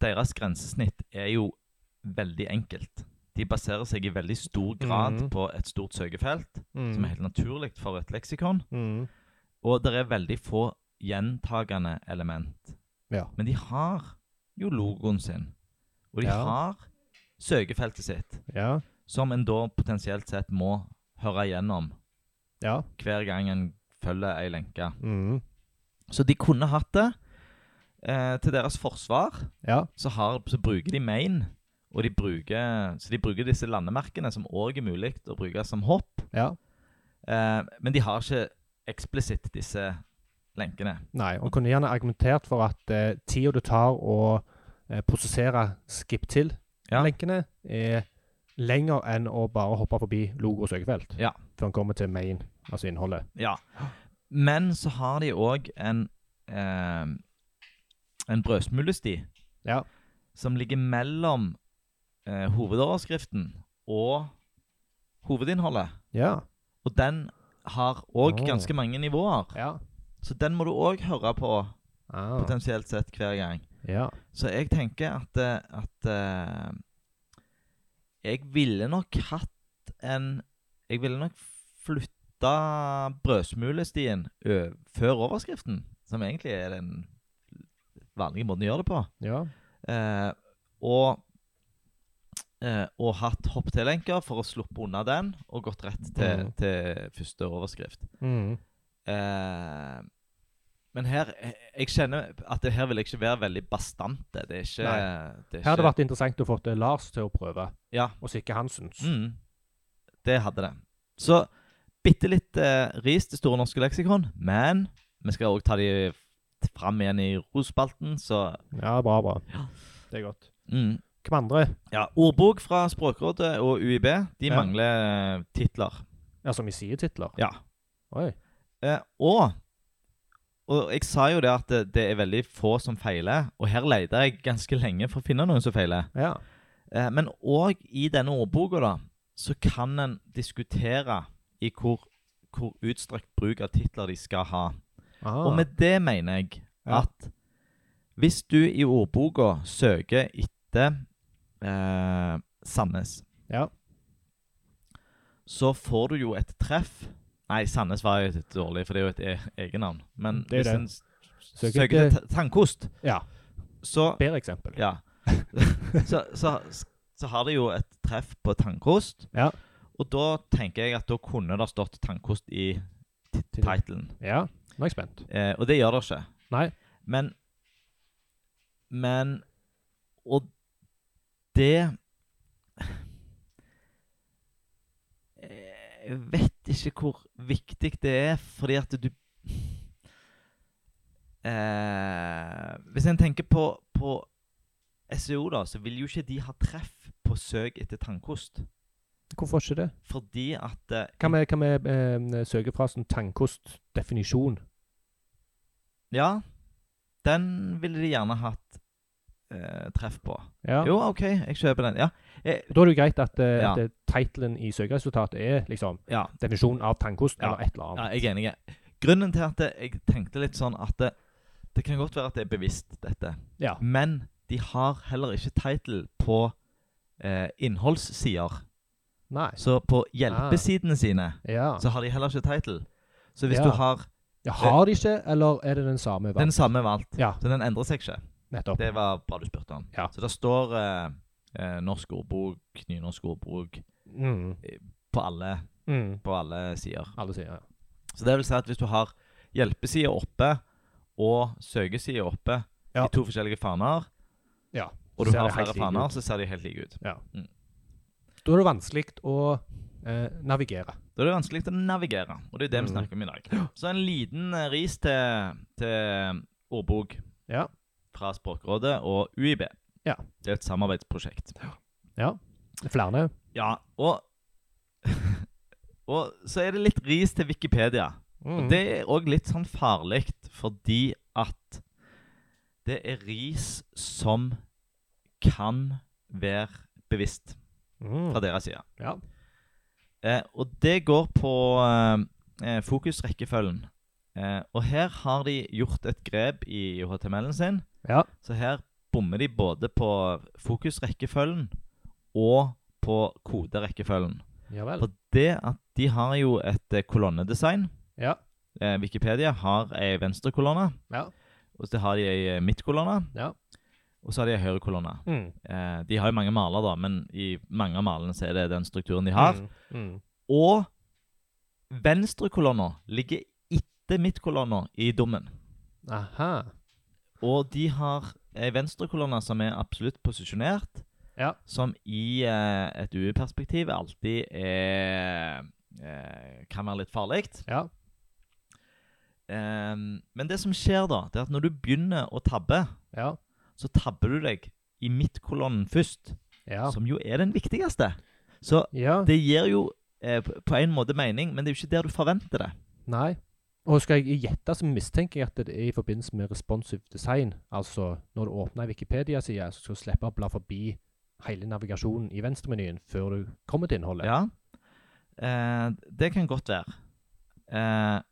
[SPEAKER 1] deres grensesnitt er jo veldig enkelt. De baserer seg i veldig stor grad
[SPEAKER 2] Mhm.
[SPEAKER 1] på et stort søkefelt, som er helt naturlig for et leksikon.
[SPEAKER 2] Mm.
[SPEAKER 1] Og det er veldig få gjentagende element.
[SPEAKER 2] Ja.
[SPEAKER 1] Men de har jo logoen sin. Og de
[SPEAKER 2] Ja.
[SPEAKER 1] har søkefeltet sitt,
[SPEAKER 2] ja.
[SPEAKER 1] som en da potensielt sett må høre igjennom
[SPEAKER 2] Ja.
[SPEAKER 1] hver gang en følger ei lenke.
[SPEAKER 2] Mm.
[SPEAKER 1] Så de kunne hatt det. Eh, til deres forsvar
[SPEAKER 2] Ja.
[SPEAKER 1] så, har, så bruker de main. Og de bruker, så de bruker disse landemerkene, som òg er mulig å bruke som hopp.
[SPEAKER 2] Ja.
[SPEAKER 1] Eh, men de har ikke eksplisitt disse lenkene.
[SPEAKER 2] Nei. Og kunne gjerne argumentert for at eh, tida du tar å eh, prosessere skip
[SPEAKER 1] Ja.
[SPEAKER 2] til-lenkene, er lenger enn å bare hoppe forbi logo og søkefelt.
[SPEAKER 1] Ja.
[SPEAKER 2] Før en kommer til main, altså innholdet.
[SPEAKER 1] Ja. Men så har de òg en eh, En brødsmulesti
[SPEAKER 2] Ja.
[SPEAKER 1] som ligger mellom eh, hovedoverskriften og hovedinnholdet.
[SPEAKER 2] Ja.
[SPEAKER 1] Og den har òg
[SPEAKER 2] Åh.
[SPEAKER 1] ganske mange nivåer.
[SPEAKER 2] Ja.
[SPEAKER 1] Så den må du òg høre på
[SPEAKER 2] Ah.
[SPEAKER 1] potensielt sett hver gang.
[SPEAKER 2] Ja.
[SPEAKER 1] Så jeg tenker at, eh, at eh, Jeg ville nok hatt en Jeg ville nok flytta brødsmulestien ø- før overskriften, som egentlig er den vanlige måten å gjøre det på,
[SPEAKER 2] Ja.
[SPEAKER 1] eh, og eh, og hatt hopp til-lenker for å sluppe unna den, og gått rett til,
[SPEAKER 2] Mhm.
[SPEAKER 1] til første overskrift.
[SPEAKER 2] Mm.
[SPEAKER 1] Eh, men her eh, Jeg kjenner at det her vil jeg ikke være veldig bastante. Det er ikke det er
[SPEAKER 2] Her hadde det
[SPEAKER 1] ikke-
[SPEAKER 2] vært interessant å få til Lars til å prøve,
[SPEAKER 1] Ja.
[SPEAKER 2] og se hva han syns.
[SPEAKER 1] Mm, det hadde det. Så bitte litt eh, ris til Store norske leksikon, men vi skal òg ta de fram igjen i rosspalten, så
[SPEAKER 2] Ja, bra, bra. Det er godt.
[SPEAKER 1] mm.
[SPEAKER 2] Hvem andre?
[SPEAKER 1] Ja, ordbok fra Språkrådet og UiB, de
[SPEAKER 2] Ja.
[SPEAKER 1] mangler eh, titler.
[SPEAKER 2] Ja, som i sidetitler?
[SPEAKER 1] Ja.
[SPEAKER 2] Oi.
[SPEAKER 1] Eh, og og jeg sa jo det at det, det er veldig få som feiler, og her leter jeg ganske lenge for å finne noen som feiler.
[SPEAKER 2] Ja.
[SPEAKER 1] Eh, men òg i denne ordboka, da, så kan en diskutere i hvor, hvor utstrakt bruk av titler de skal ha.
[SPEAKER 2] Ah.
[SPEAKER 1] Og med det mener jeg
[SPEAKER 2] Ja.
[SPEAKER 1] at hvis du i ordboka søker etter eh, Sandnes,
[SPEAKER 2] Ja.
[SPEAKER 1] så får du jo et treff Nei, Sandnes var jo litt dårlig, for det er jo et e egennavn. Men
[SPEAKER 2] Det er
[SPEAKER 1] hvis
[SPEAKER 2] det.
[SPEAKER 1] en s-
[SPEAKER 2] Søker
[SPEAKER 1] søker
[SPEAKER 2] etter-
[SPEAKER 1] etter tannkost,
[SPEAKER 2] eh, Ja.
[SPEAKER 1] så
[SPEAKER 2] Bedre eksempel.
[SPEAKER 1] Ja. så, så, så har det jo et treff på tannkost.
[SPEAKER 2] Ja.
[SPEAKER 1] Og da tenker jeg at da kunne det stått tannkost i titlen.
[SPEAKER 2] Ja. Nå er jeg spent.
[SPEAKER 1] Eh, og det gjør det ikke.
[SPEAKER 2] Nei.
[SPEAKER 1] Men Men Og det Eh, Jeg vet ikke hvor viktig det er, fordi at du eh, Hvis en tenker på, på SEO, da, så vil jo ikke de ha treff på søk etter tannkost.
[SPEAKER 2] Hvorfor ikke det?
[SPEAKER 1] Fordi at eh,
[SPEAKER 2] Hva med, hva med eh, søkefrasen 'tannkostdefinisjon'?
[SPEAKER 1] Ja, den ville de gjerne hatt eh, treff på.
[SPEAKER 2] Ja.
[SPEAKER 1] Jo, OK, jeg kjøper den. Ja.
[SPEAKER 2] Da er det jo greit at, eh,
[SPEAKER 1] Ja.
[SPEAKER 2] at eh, titlen i søkeresultatet er liksom
[SPEAKER 1] ja.
[SPEAKER 2] 'definisjon av tannkost'
[SPEAKER 1] Ja.
[SPEAKER 2] eller et eller annet.
[SPEAKER 1] Ja, jeg er enig. Grunnen til at jeg tenkte litt sånn at det, det kan godt være at det er bevisst, dette.
[SPEAKER 2] Ja.
[SPEAKER 1] Men de har heller ikke title på eh, innholdssider.
[SPEAKER 2] Nei.
[SPEAKER 1] Så på hjelpesidene sine
[SPEAKER 2] Ja.
[SPEAKER 1] så har de heller ikke title. Så hvis
[SPEAKER 2] Ja.
[SPEAKER 1] du har
[SPEAKER 2] ja. Har de ikke, eller er det den samme?
[SPEAKER 1] den samme valgt,
[SPEAKER 2] Ja,
[SPEAKER 1] så den endrer seg ikke.
[SPEAKER 2] nettopp.
[SPEAKER 1] Det var bra du spurte om.
[SPEAKER 2] Ja.
[SPEAKER 1] Så det står eh, eh, norsk ordbok, nynorsk ordbok
[SPEAKER 2] Mm.
[SPEAKER 1] på alle,
[SPEAKER 2] Mm.
[SPEAKER 1] på alle sider.
[SPEAKER 2] Alle sier ja.
[SPEAKER 1] Så det vil si at hvis du har hjelpesida oppe og søkesida oppe
[SPEAKER 2] Ja.
[SPEAKER 1] i to forskjellige faner,
[SPEAKER 2] Ja,
[SPEAKER 1] og du
[SPEAKER 2] ser
[SPEAKER 1] har
[SPEAKER 2] det helt
[SPEAKER 1] flere
[SPEAKER 2] like
[SPEAKER 1] faner,
[SPEAKER 2] ut.
[SPEAKER 1] så ser de helt like ut.
[SPEAKER 2] Da er det vanskelig å eh, navigere.
[SPEAKER 1] Da er det vanskelig å navigere, og det er det vi
[SPEAKER 2] Mhm.
[SPEAKER 1] snakker om i dag. Så en liten eh, ris til, til ordbok
[SPEAKER 2] Ja.
[SPEAKER 1] fra Språkrådet og UiB.
[SPEAKER 2] Ja.
[SPEAKER 1] Det er et samarbeidsprosjekt.
[SPEAKER 2] Flere?
[SPEAKER 1] Ja, og, og så er det litt ris til Wikipedia.
[SPEAKER 2] Mhm. Mm.
[SPEAKER 1] Og Mm. det er òg litt sånn farlig, fordi at det er ris som kan være bevisst
[SPEAKER 2] mm.
[SPEAKER 1] fra deres side.
[SPEAKER 2] Ja.
[SPEAKER 1] Eh, og det går på eh, eh, fokusrekkefølgen. Eh, og her har de gjort et grep i HTML-en sin,
[SPEAKER 2] Ja.
[SPEAKER 1] så her bommer de både på fokusrekkefølgen og på koderekkefølgen.
[SPEAKER 2] Ja vel.
[SPEAKER 1] For det at de har jo et eh, kolonnedesign.
[SPEAKER 2] Ja.
[SPEAKER 1] Eh, Wikipedia har ei venstrekolonne,
[SPEAKER 2] ja.
[SPEAKER 1] og så har de ei eh, midtkolonne,
[SPEAKER 2] Ja.
[SPEAKER 1] og så har de ei høyrekolonne.
[SPEAKER 2] Mm.
[SPEAKER 1] Eh, de har jo mange maler, da, men i mange av malene så er det den strukturen de har.
[SPEAKER 2] Mm. Mm.
[SPEAKER 1] Og venstrekolonna ligger etter midtkolonna i dommen.
[SPEAKER 2] Aha.
[SPEAKER 1] Og de har ei venstrekolonne som er absolutt posisjonert,
[SPEAKER 2] Ja.
[SPEAKER 1] som i eh, et UE-perspektiv alltid er eh, kan være litt farlig.
[SPEAKER 2] Ja.
[SPEAKER 1] Eh, men det som skjer, da, det er at når du begynner å tabbe,
[SPEAKER 2] Ja.
[SPEAKER 1] så tabber du deg i midtkolonnen først,
[SPEAKER 2] Ja.
[SPEAKER 1] som jo er den viktigste. Så
[SPEAKER 2] ja.
[SPEAKER 1] det gir jo eh, på- på en måte mening, men det er jo ikke der du forventer det.
[SPEAKER 2] Nei. Og skal jeg gjette, så mistenker jeg at det er i forbindelse med responsive design. Altså når du åpner en Wikipedia-side, så skal du slippe å bla forbi hele navigasjonen i venstremenyen før du kommer til innholdet.
[SPEAKER 1] Ja. Eh, det kan godt være. Eh,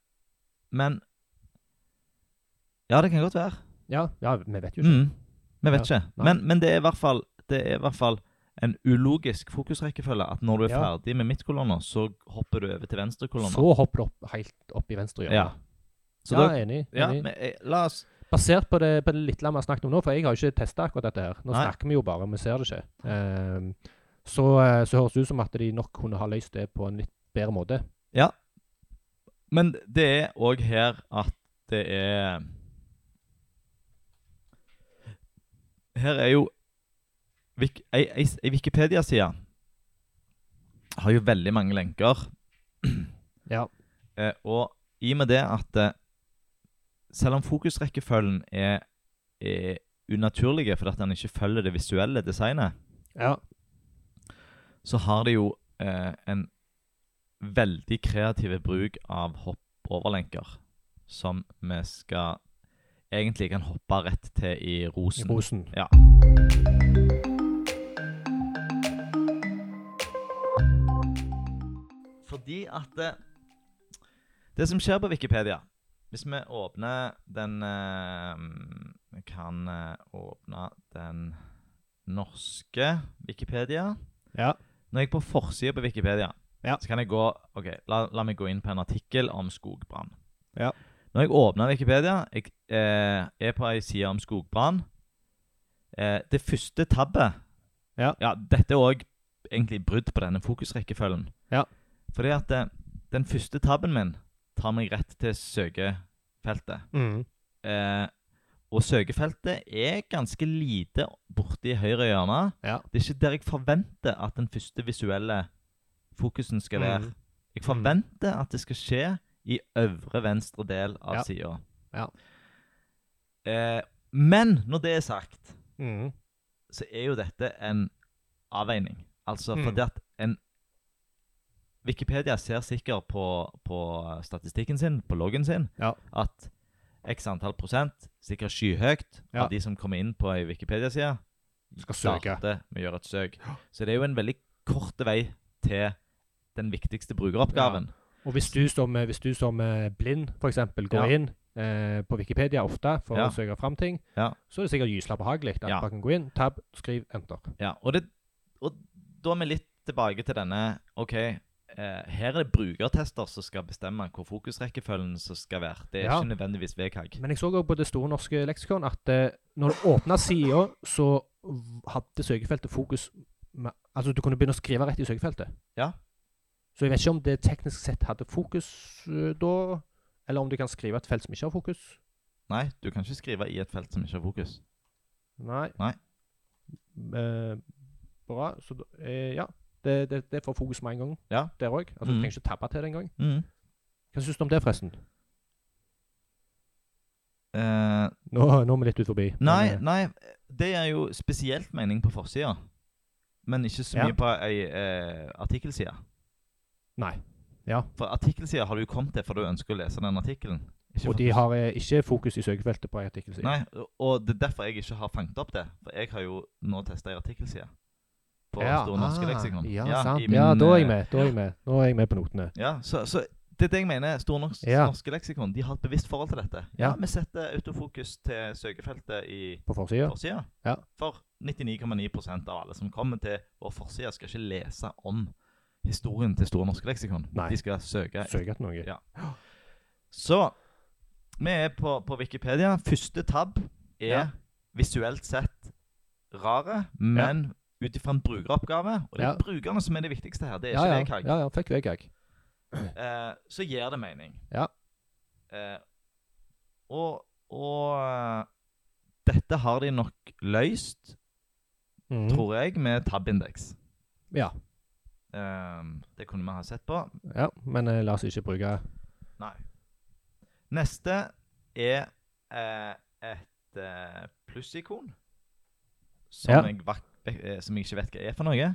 [SPEAKER 1] men Ja, det kan godt være.
[SPEAKER 2] Ja, ja, vi vet jo ikke.
[SPEAKER 1] Mm. Vi vet
[SPEAKER 2] Ja,
[SPEAKER 1] ikke.
[SPEAKER 2] nei.
[SPEAKER 1] Men, men det er i hvert fall Det er i hvert fall en ulogisk fokusrekkefølge at når du er
[SPEAKER 2] Ja.
[SPEAKER 1] ferdig med midtkolonna, så hopper du over til venstrekolonna.
[SPEAKER 2] Så hopper du opp, helt opp i venstre hjørne.
[SPEAKER 1] Ja. Så
[SPEAKER 2] Ja,
[SPEAKER 1] da,
[SPEAKER 2] enig.
[SPEAKER 1] ja,
[SPEAKER 2] enig.
[SPEAKER 1] men, eh, la oss
[SPEAKER 2] Basert på det, på det lille vi har snakket om nå, for jeg har jo ikke testa akkurat dette her. Nå
[SPEAKER 1] Nei.
[SPEAKER 2] snakker vi jo bare, vi ser det ikke. Ehm, så, eh, så høres det ut som at de nok kunne ha løst det på en litt bedre måte.
[SPEAKER 1] Men det er òg her at det er Her er jo Wik- ei- ei- Ei Wikipedia-side har jo veldig mange lenker.
[SPEAKER 2] Ja.
[SPEAKER 1] Eh, og i og med det at eh, selv om fokusrekkefølgen er, er unaturlig fordi at den ikke følger det visuelle designet,
[SPEAKER 2] Ja.
[SPEAKER 1] så har de jo eh, en veldig kreativ bruk av hopp-overlenker, som vi skal egentlig kan hoppe rett til i rosen.
[SPEAKER 2] Rosen.
[SPEAKER 1] Ja. Fordi at det, det som skjer på Wikipedia Hvis vi åpner den eh, Vi kan eh, åpne den norske Wikipedia.
[SPEAKER 2] Ja.
[SPEAKER 1] Når jeg er på forsida på Wikipedia,
[SPEAKER 2] Ja.
[SPEAKER 1] så kan jeg gå Ok, la, la meg gå inn på en artikkel om skogbrann.
[SPEAKER 2] Ja.
[SPEAKER 1] Når jeg åpner Wikipedia, jeg eh, er på ei side om skogbrann. Eh, det første tabbet
[SPEAKER 2] Ja.
[SPEAKER 1] Dette er òg egentlig brudd på denne fokusrekkefølgen.
[SPEAKER 2] Ja.
[SPEAKER 1] Fordi at eh, den første tabben min tar meg rett til søkefeltet.
[SPEAKER 2] Mm.
[SPEAKER 1] Eh, og søkefeltet er ganske lite borti høyre hjørne.
[SPEAKER 2] Ja.
[SPEAKER 1] Det er ikke der jeg forventer at den første visuelle fokusen skal være.
[SPEAKER 2] Mm.
[SPEAKER 1] Jeg forventer at det skal skje i øvre venstre del av
[SPEAKER 2] Ja.
[SPEAKER 1] sida.
[SPEAKER 2] Ja.
[SPEAKER 1] Eh, men når det er sagt,
[SPEAKER 2] Mm.
[SPEAKER 1] så er jo dette en avveining. Altså
[SPEAKER 2] Mm.
[SPEAKER 1] fordi at en Wikipedia ser sikkert på, på statistikken sin, på loggen sin,
[SPEAKER 2] Ja.
[SPEAKER 1] at x antall prosent, sikkert skyhøyt,
[SPEAKER 2] Ja.
[SPEAKER 1] av de som kommer inn på ei Wikipedia-side,
[SPEAKER 2] Skal søke.
[SPEAKER 1] starte med å gjøre et søk. Så det er jo en veldig kort vei til den viktigste brukeroppgaven.
[SPEAKER 2] Og hvis du som, hvis du som eh, blind f.eks. går
[SPEAKER 1] Ja.
[SPEAKER 2] inn eh, på Wikipedia ofte for
[SPEAKER 1] Ja.
[SPEAKER 2] å søke fram ting,
[SPEAKER 1] Ja.
[SPEAKER 2] så er det sikkert gysla behagelig at
[SPEAKER 1] Ja.
[SPEAKER 2] man kan gå inn, tab, skriv, enter.
[SPEAKER 1] Ja, og, det, og da er vi litt tilbake til denne OK, eh, her er det brukertester som skal bestemme hvor fokusrekkefølgen som skal være. Det er
[SPEAKER 2] Ja.
[SPEAKER 1] ikke nødvendigvis VKG.
[SPEAKER 2] Men jeg så også på Det store norske leksikon at eh, når du åpna sida, så v- hadde søkefeltet fokus med, Altså, du kunne begynne å skrive rett i søkefeltet.
[SPEAKER 1] Ja.
[SPEAKER 2] Så jeg vet ikke om det teknisk sett hadde fokus eh, da, eller om du kan skrive et felt som ikke har fokus.
[SPEAKER 1] Nei, du kan ikke skrive i et felt som ikke har fokus.
[SPEAKER 2] Nei.
[SPEAKER 1] Nei.
[SPEAKER 2] Eh, bra. Så da eh, Ja. Det, det, det får fokus med en gang
[SPEAKER 1] Ja.
[SPEAKER 2] der òg. Altså,
[SPEAKER 1] Mhm.
[SPEAKER 2] Du trenger ikke tabbe til det engang.
[SPEAKER 1] Mm.
[SPEAKER 2] Hva syns du om det, forresten?
[SPEAKER 1] Eh,
[SPEAKER 2] Nå, nå er vi litt ut forbi. men,
[SPEAKER 1] nei,
[SPEAKER 2] eh,
[SPEAKER 1] nei, det gir jo spesielt mening på forsida, men ikke så mye
[SPEAKER 2] Ja.
[SPEAKER 1] på ei eh, artikkelside.
[SPEAKER 2] nei. Ja.
[SPEAKER 1] For artikkelsida har du jo kommet til for du ønsker å lese den artikkelen. Ikke
[SPEAKER 2] Og
[SPEAKER 1] for-
[SPEAKER 2] de har eh, ikke fokus i søkefeltet på en artikkelside.
[SPEAKER 1] Nei, og- og det er derfor jeg ikke har fanget opp det. For jeg har jo nå testa ei artikkelside på Store norske leksikon.
[SPEAKER 2] Ja,
[SPEAKER 1] i
[SPEAKER 2] sant.
[SPEAKER 1] min,
[SPEAKER 2] ja, da er
[SPEAKER 1] eh,
[SPEAKER 2] jeg med. Da er jeg med. Nå er jeg med på notene.
[SPEAKER 1] Ja, så, så Det er det jeg mener. Store norsk,
[SPEAKER 2] Ja.
[SPEAKER 1] norske leksikon de har et bevisst forhold til dette.
[SPEAKER 2] Ja.
[SPEAKER 1] Vi setter autofokus til søkefeltet i
[SPEAKER 2] på forsida.
[SPEAKER 1] forsida.
[SPEAKER 2] Ja.
[SPEAKER 1] For 99,9 av alle som kommer til vår forside, skal ikke lese om historien til Store norske leksikon.
[SPEAKER 2] Nei.
[SPEAKER 1] De skal søke.
[SPEAKER 2] Søker etter noe.
[SPEAKER 1] Ja. Så vi er på, på Wikipedia. Første tab er
[SPEAKER 2] Ja.
[SPEAKER 1] visuelt sett rare, men ut ifra en brukeroppgave. Og det er
[SPEAKER 2] Ja.
[SPEAKER 1] brukerne som er det viktigste her. Det er
[SPEAKER 2] ja, ja.
[SPEAKER 1] ikke det jeg
[SPEAKER 2] ja, ja. Fikk jo jeg, jeg.
[SPEAKER 1] eh, så gir det mening.
[SPEAKER 2] Ja.
[SPEAKER 1] Eh, og og eh, dette har de nok løst,
[SPEAKER 2] Mhm.
[SPEAKER 1] tror jeg, med tab-indeks.
[SPEAKER 2] Ja.
[SPEAKER 1] Eh, det kunne vi ha sett på.
[SPEAKER 2] ja. Men eh, la oss ikke bruke
[SPEAKER 1] Nei. Neste er eh, et eh, plussikon, som,
[SPEAKER 2] Ja.
[SPEAKER 1] jeg vak- eh, som jeg ikke vet hva er for noe.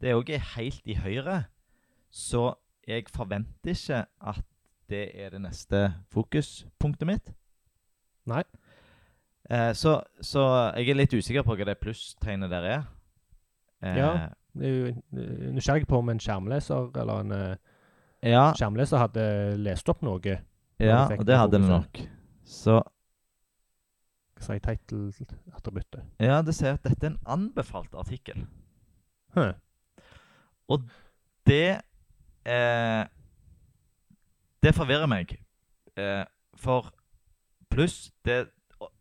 [SPEAKER 1] Det er òg helt i høyre, så jeg forventer ikke at det er det neste fokuspunktet mitt.
[SPEAKER 2] Nei.
[SPEAKER 1] Eh, så, så jeg er litt usikker på hva det plusstegnet der er. Eh,
[SPEAKER 2] Ja. Jeg er jo eh, nysgjerrig på om en skjermleser eller en eh,
[SPEAKER 1] ja.
[SPEAKER 2] skjermleser hadde lest opp noe. Hva
[SPEAKER 1] Ja,
[SPEAKER 2] Perfekt
[SPEAKER 1] og det hadde det nok. Så
[SPEAKER 2] sier title-attributtet?
[SPEAKER 1] ja, det sier at dette er en anbefalt artikkel.
[SPEAKER 2] Hm.
[SPEAKER 1] Det eh, Det forvirrer meg. Eh, for pluss det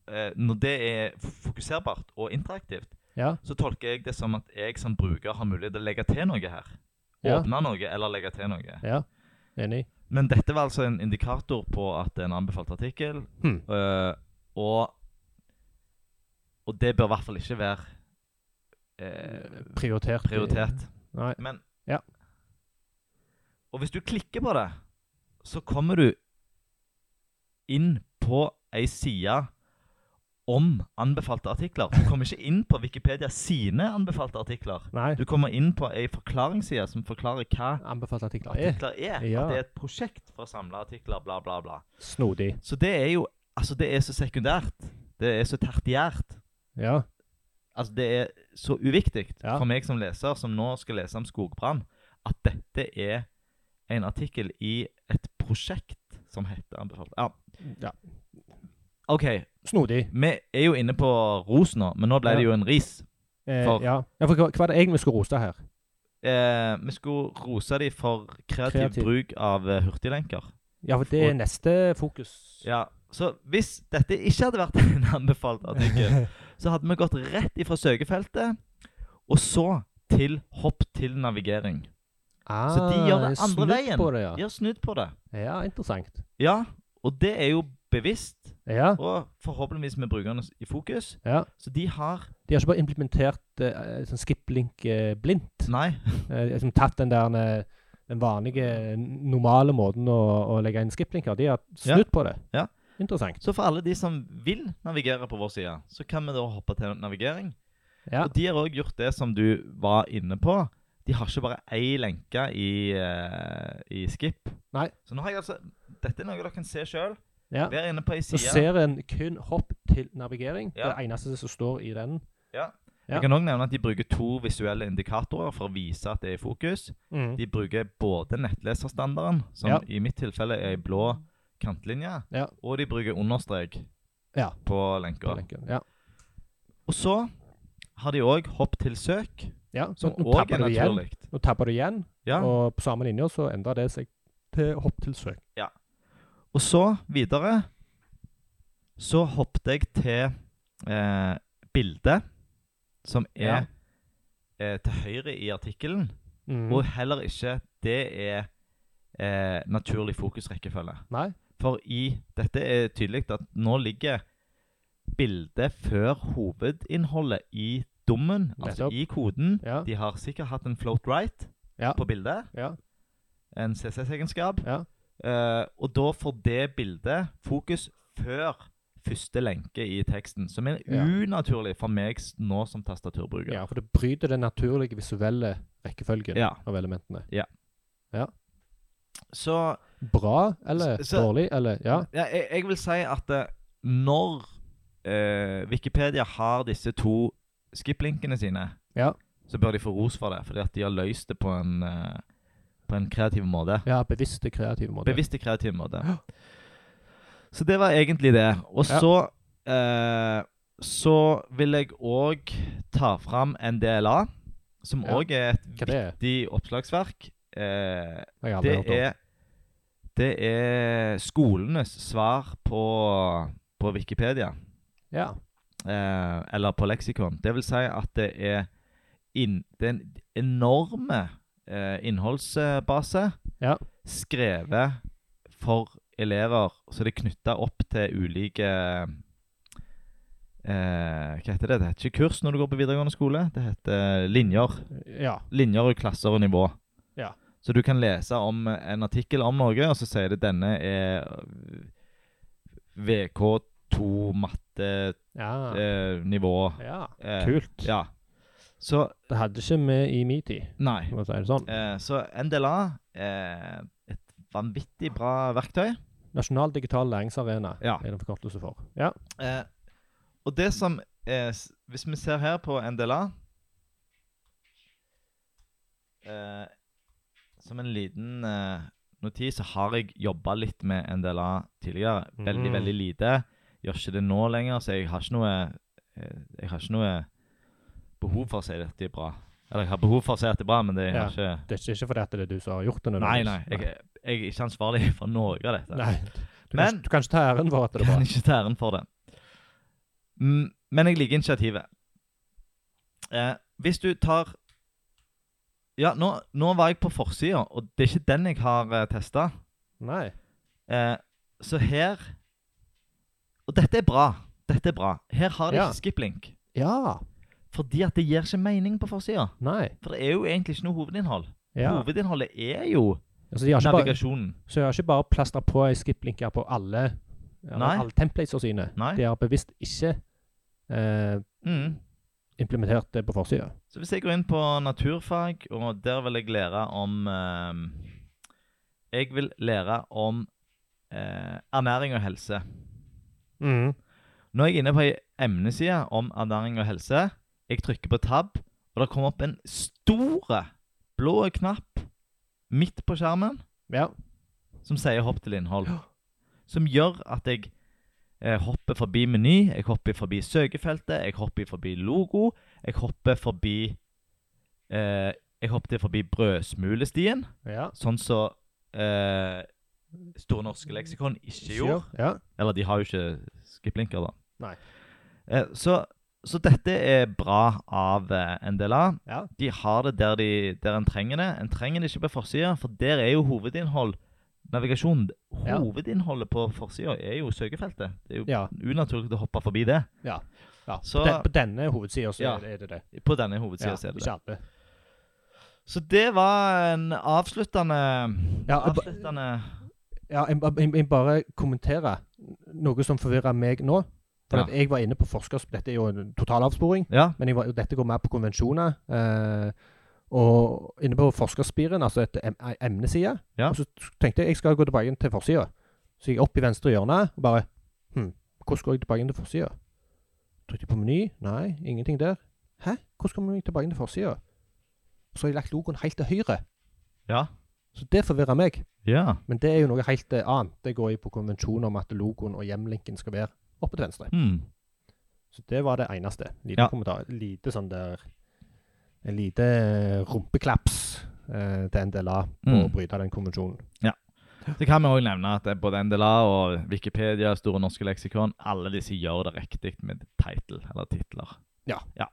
[SPEAKER 1] eh, Når det er fokuserbart og interaktivt,
[SPEAKER 2] Ja.
[SPEAKER 1] så tolker jeg det som at jeg som bruker har mulighet til å legge til noe her.
[SPEAKER 2] Ja.
[SPEAKER 1] Åpne noe eller legge til noe.
[SPEAKER 2] ja. Enig.
[SPEAKER 1] Men dette var altså en indikator på at det er en anbefalt artikkel.
[SPEAKER 2] Hm.
[SPEAKER 1] eh, og Og det bør i hvert fall ikke være eh,
[SPEAKER 2] Prioritert.
[SPEAKER 1] prioritert.
[SPEAKER 2] Nei.
[SPEAKER 1] Men
[SPEAKER 2] Ja.
[SPEAKER 1] Og hvis du klikker på det, så kommer du inn på ei side om anbefalte artikler. Du kommer ikke inn på Wikipedia sine anbefalte artikler.
[SPEAKER 2] Nei.
[SPEAKER 1] Du kommer inn på ei forklaringsside som forklarer hva
[SPEAKER 2] Anbefalt artikler. Eh,
[SPEAKER 1] artikler er.
[SPEAKER 2] Ja.
[SPEAKER 1] At det er et prosjekt for å samle artikler, bla, bla, bla.
[SPEAKER 2] Snodig.
[SPEAKER 1] Så det er jo Altså, det er så sekundært. Det er så tertiært.
[SPEAKER 2] Ja.
[SPEAKER 1] Altså, det er så uviktig
[SPEAKER 2] Ja.
[SPEAKER 1] for meg som leser, som nå skal lese om skogbrann, at dette er en artikkel i et prosjekt som heter Anbefalt. Ja,
[SPEAKER 2] ja.
[SPEAKER 1] OK.
[SPEAKER 2] Snodig.
[SPEAKER 1] Vi er jo inne på ros nå, men nå ble
[SPEAKER 2] Ja.
[SPEAKER 1] det jo en ris.
[SPEAKER 2] Eh,
[SPEAKER 1] For-
[SPEAKER 2] Ja. ja, for hva, hva er det egentlig vi skulle roste her?
[SPEAKER 1] Eh, vi skulle rose dem for kreativ,
[SPEAKER 2] Kreativ.
[SPEAKER 1] bruk av eh, hurtiglenker.
[SPEAKER 2] Ja, for det er neste fokus.
[SPEAKER 1] Ja, Så hvis dette ikke hadde vært en anbefalt artikkel, så hadde vi gått rett ifra søkefeltet, og så til hopp til navigering.
[SPEAKER 2] Ah,
[SPEAKER 1] Så de gjør det
[SPEAKER 2] jeg har
[SPEAKER 1] andre
[SPEAKER 2] snudd
[SPEAKER 1] veien.
[SPEAKER 2] På det, ja.
[SPEAKER 1] De har snudd på det.
[SPEAKER 2] ja, interessant.
[SPEAKER 1] Ja, og det er jo bevisst,
[SPEAKER 2] Ja,
[SPEAKER 1] og forhåpentligvis med brukerne i fokus.
[SPEAKER 2] ja.
[SPEAKER 1] Så de har
[SPEAKER 2] De har ikke bare implementert eh, sånn skip-link eh, blindt.
[SPEAKER 1] Nei.
[SPEAKER 2] Eh, liksom tatt den der eh, den vanlige, n- normale måten å, å legge inn skip-linker. De har snudd på det.
[SPEAKER 1] Ja.
[SPEAKER 2] Interessant.
[SPEAKER 1] Så for alle de som vil navigere på vår side, så kan vi da hoppe til navigering.
[SPEAKER 2] Ja.
[SPEAKER 1] Og de har òg gjort det som du var inne på. De har ikke bare én lenke i, eh, i skip.
[SPEAKER 2] Nei.
[SPEAKER 1] Så nå har jeg altså Dette er noe dere kan se sjøl.
[SPEAKER 2] Ja.
[SPEAKER 1] Vi er inne på ei
[SPEAKER 2] Så
[SPEAKER 1] side.
[SPEAKER 2] ser en kun hopp til navigering. Det
[SPEAKER 1] Ja.
[SPEAKER 2] er det eneste som står i den. ja.
[SPEAKER 1] Jeg kan òg nevne at de bruker to visuelle indikatorer for å vise at det er i fokus. De bruker både nettleserstandarden, som
[SPEAKER 2] Ja.
[SPEAKER 1] i mitt tilfelle er ei blå kantlinje,
[SPEAKER 2] Ja.
[SPEAKER 1] og de bruker understrek
[SPEAKER 2] Ja.
[SPEAKER 1] på
[SPEAKER 2] På
[SPEAKER 1] lenka.
[SPEAKER 2] lenken. Ja.
[SPEAKER 1] Og så har de òg hopp til søk,
[SPEAKER 2] ja.
[SPEAKER 1] som
[SPEAKER 2] Så nå
[SPEAKER 1] òg
[SPEAKER 2] tapper
[SPEAKER 1] er
[SPEAKER 2] du igjen.
[SPEAKER 1] naturlig.
[SPEAKER 2] Nå tapper du igjen,
[SPEAKER 1] Ja.
[SPEAKER 2] og på samme linje så endrer det seg til hopp til søk.
[SPEAKER 1] Og så videre så hoppet jeg til eh, bildet, som er eh, til høyre i artikkelen,
[SPEAKER 2] Mm.
[SPEAKER 1] og heller ikke det er eh, naturlig fokusrekkefølge.
[SPEAKER 2] Nei?
[SPEAKER 1] For i dette er tydelig at nå ligger bildet før hovedinnholdet i dommen, altså
[SPEAKER 2] Nettopp.
[SPEAKER 1] i koden.
[SPEAKER 2] Ja.
[SPEAKER 1] De har sikkert hatt en float right
[SPEAKER 2] Ja.
[SPEAKER 1] på bildet,
[SPEAKER 2] Ja.
[SPEAKER 1] en CCS-egenskap.
[SPEAKER 2] Ja.
[SPEAKER 1] Eh, og da får det bildet fokus før første lenke i teksten, som er
[SPEAKER 2] Ja.
[SPEAKER 1] unaturlig for meg s- nå som tastaturbruker.
[SPEAKER 2] ja, for det bryter den naturlige visuelle rekkefølgen
[SPEAKER 1] Ja.
[SPEAKER 2] av elementene.
[SPEAKER 1] Så
[SPEAKER 2] Bra eller
[SPEAKER 1] Så- så-
[SPEAKER 2] dårlig eller Ja.
[SPEAKER 1] Ja, jeg, jeg vil si at eh, når eh, Wikipedia har disse to skip-linkene sine,
[SPEAKER 2] Ja.
[SPEAKER 1] så bør de få ros for det, fordi at de har løst det på en, eh, på en kreativ måte.
[SPEAKER 2] Ja, bevisste, kreative måter.
[SPEAKER 1] Bevisst og kreativ måte. Så det var egentlig det. Og
[SPEAKER 2] Ja.
[SPEAKER 1] så eh, Så vil jeg òg ta fram NDLA, som
[SPEAKER 2] Ja.
[SPEAKER 1] òg er et
[SPEAKER 2] Hva det er
[SPEAKER 1] viktig oppslagsverk. Eh,
[SPEAKER 2] det? har jeg aldri
[SPEAKER 1] det
[SPEAKER 2] hørt om.
[SPEAKER 1] er Det er skolenes svar på, på Wikipedia.
[SPEAKER 2] Ja.
[SPEAKER 1] eh, eller på leksikon. Det vil si at det er, inn- det er en enorme eh, innholdsbase
[SPEAKER 2] Ja.
[SPEAKER 1] skrevet for elever, så det er knytta opp til ulike eh, Hva heter det? Det heter ikke kurs når du går på videregående skole. Det heter linjer.
[SPEAKER 2] ja.
[SPEAKER 1] Linjer og klasser og nivå.
[SPEAKER 2] Ja.
[SPEAKER 1] Så du kan lese om en artikkel om noe, og så sier det denne er VK2 matte
[SPEAKER 2] Ja.
[SPEAKER 1] eh, nivå.
[SPEAKER 2] ja.
[SPEAKER 1] Eh,
[SPEAKER 2] Kult.
[SPEAKER 1] Ja. Så
[SPEAKER 2] Det hadde ikke vi i min tid,
[SPEAKER 1] Nei.
[SPEAKER 2] for å si det sånn.
[SPEAKER 1] Eh, så NDLA eh, Et vanvittig bra verktøy.
[SPEAKER 2] Nasjonal digital læringsarena
[SPEAKER 1] Ja.
[SPEAKER 2] er det en forkortelse for. Ja.
[SPEAKER 1] Eh, og det som er, s- Hvis vi ser her på NDLA eh, Som en liten eh, notis så har jeg jobba litt med NDLA tidligere. Veldig,
[SPEAKER 2] Mm.
[SPEAKER 1] veldig lite. Gjør ikke det nå lenger, så jeg har ikke noe eh, Jeg har ikke noe behov for å si dette er bra. Eller jeg har behov for å si at det er bra, men det jeg
[SPEAKER 2] Ja.
[SPEAKER 1] har ikke
[SPEAKER 2] Det er ikke- ikke fordi at det er du som har gjort det.
[SPEAKER 1] Nei,
[SPEAKER 2] nødvendigvis.
[SPEAKER 1] nei. Jeg, er- jeg er ikke ansvarlig for noe av dette.
[SPEAKER 2] nei. Du, kan,
[SPEAKER 1] Men-
[SPEAKER 2] ikke- du kan ikke ta æren for at det er
[SPEAKER 1] Kan
[SPEAKER 2] bra.
[SPEAKER 1] ikke ta æren for det. Mm, men jeg liker initiativet. Eh, hvis du tar Ja, nå, nå var jeg på forsida, og det er ikke den jeg har eh, testa.
[SPEAKER 2] Nei.
[SPEAKER 1] Eh, så her Og dette er bra. Dette er bra. Her har de
[SPEAKER 2] Ja.
[SPEAKER 1] ikke skip-link.
[SPEAKER 2] Ja.
[SPEAKER 1] Fordi at det gir ikke mening på forsida.
[SPEAKER 2] Nei.
[SPEAKER 1] For det er jo egentlig ikke noe hovedinnhold.
[SPEAKER 2] Ja.
[SPEAKER 1] Hovedinnholdet er jo
[SPEAKER 2] Altså, de har ikke bare,
[SPEAKER 1] navigasjonen.
[SPEAKER 2] så de har ikke bare plastra på ei skip-linker på alle, ja,
[SPEAKER 1] Nei.
[SPEAKER 2] alle templates og sine.
[SPEAKER 1] Nei.
[SPEAKER 2] De har bevisst ikke eh,
[SPEAKER 1] Mm.
[SPEAKER 2] implementert det på forsida.
[SPEAKER 1] Så hvis jeg går inn på naturfag, og der vil jeg lære om eh, Jeg vil lære om eh, ernæring og helse. Nå er jeg inne på ei emneside om ernæring og helse. Jeg trykker på tab, og det kommer opp en stor blå knapp midt på skjermen
[SPEAKER 2] Ja.
[SPEAKER 1] som sier 'hopp til innhold'. Som gjør at jeg eh, hopper forbi meny, jeg hopper forbi søkefeltet, jeg hopper forbi logo, jeg hopper forbi eh, Jeg hoppet forbi brødsmulestien,
[SPEAKER 2] ja.
[SPEAKER 1] sånn som eh, Store norske leksikon ikke gjorde.
[SPEAKER 2] Ja.
[SPEAKER 1] Eller de har jo ikke skiplinker, da.
[SPEAKER 2] Nei.
[SPEAKER 1] Eh, så, så dette er bra av eh, NDLA.
[SPEAKER 2] Ja.
[SPEAKER 1] De har det der, de, der en trenger det. En trenger det ikke på forsida, for der er jo hovedinnhold navigasjon.
[SPEAKER 2] Ja.
[SPEAKER 1] Hovedinnholdet på forsida er jo søkefeltet. Det er jo
[SPEAKER 2] ja.
[SPEAKER 1] unaturlig å hoppe forbi det.
[SPEAKER 2] ja.
[SPEAKER 1] Så-
[SPEAKER 2] på, den, på denne hovedsida så
[SPEAKER 1] Ja.
[SPEAKER 2] er det det.
[SPEAKER 1] På denne
[SPEAKER 2] Ja,
[SPEAKER 1] hovedsida ser du
[SPEAKER 2] ikke
[SPEAKER 1] det.
[SPEAKER 2] alle.
[SPEAKER 1] Så det var en avsluttende
[SPEAKER 2] Ja, jeg ba-
[SPEAKER 1] Avsluttende
[SPEAKER 2] Ja, jeg, jeg, jeg bare kommenterer noe som forvirrer meg nå. For
[SPEAKER 1] Ja.
[SPEAKER 2] at jeg var inne på forskers... Dette er jo en totalavsporing,
[SPEAKER 1] Ja.
[SPEAKER 2] men jeg var, dette går mer på konvensjoner. Eh, og inne på forskerspiren, altså et em ei emneside,
[SPEAKER 1] Ja.
[SPEAKER 2] og så tenkte jeg jeg skal gå tilbake til forsida. Så gikk jeg opp i venstre hjørne og bare hm, Hvordan går jeg tilbake til forsida? Trykte på meny. Nei, ingenting der. Hæ? Hvordan kommer jeg tilbake til forsida? Så har jeg lagt logoen helt til høyre.
[SPEAKER 1] Ja.
[SPEAKER 2] Så det forvirrer meg.
[SPEAKER 1] ja.
[SPEAKER 2] Men det er jo noe helt eh, annet. Det går jo på konvensjoner om at logoen og hjemlinken skal være oppe til venstre.
[SPEAKER 1] Hmm.
[SPEAKER 2] Så det var det eneste. Liten
[SPEAKER 1] Ja.
[SPEAKER 2] kommentar. Lite sånn der En lite eh, rumpeklaps eh, til NDLA på
[SPEAKER 1] Mm.
[SPEAKER 2] å bryte den konvensjonen.
[SPEAKER 1] Så kan vi òg nevne at både NDLA og Wikipedia, Store norske leksikon, alle disse gjør det riktig med title, eller titler.
[SPEAKER 2] Ja. Ja.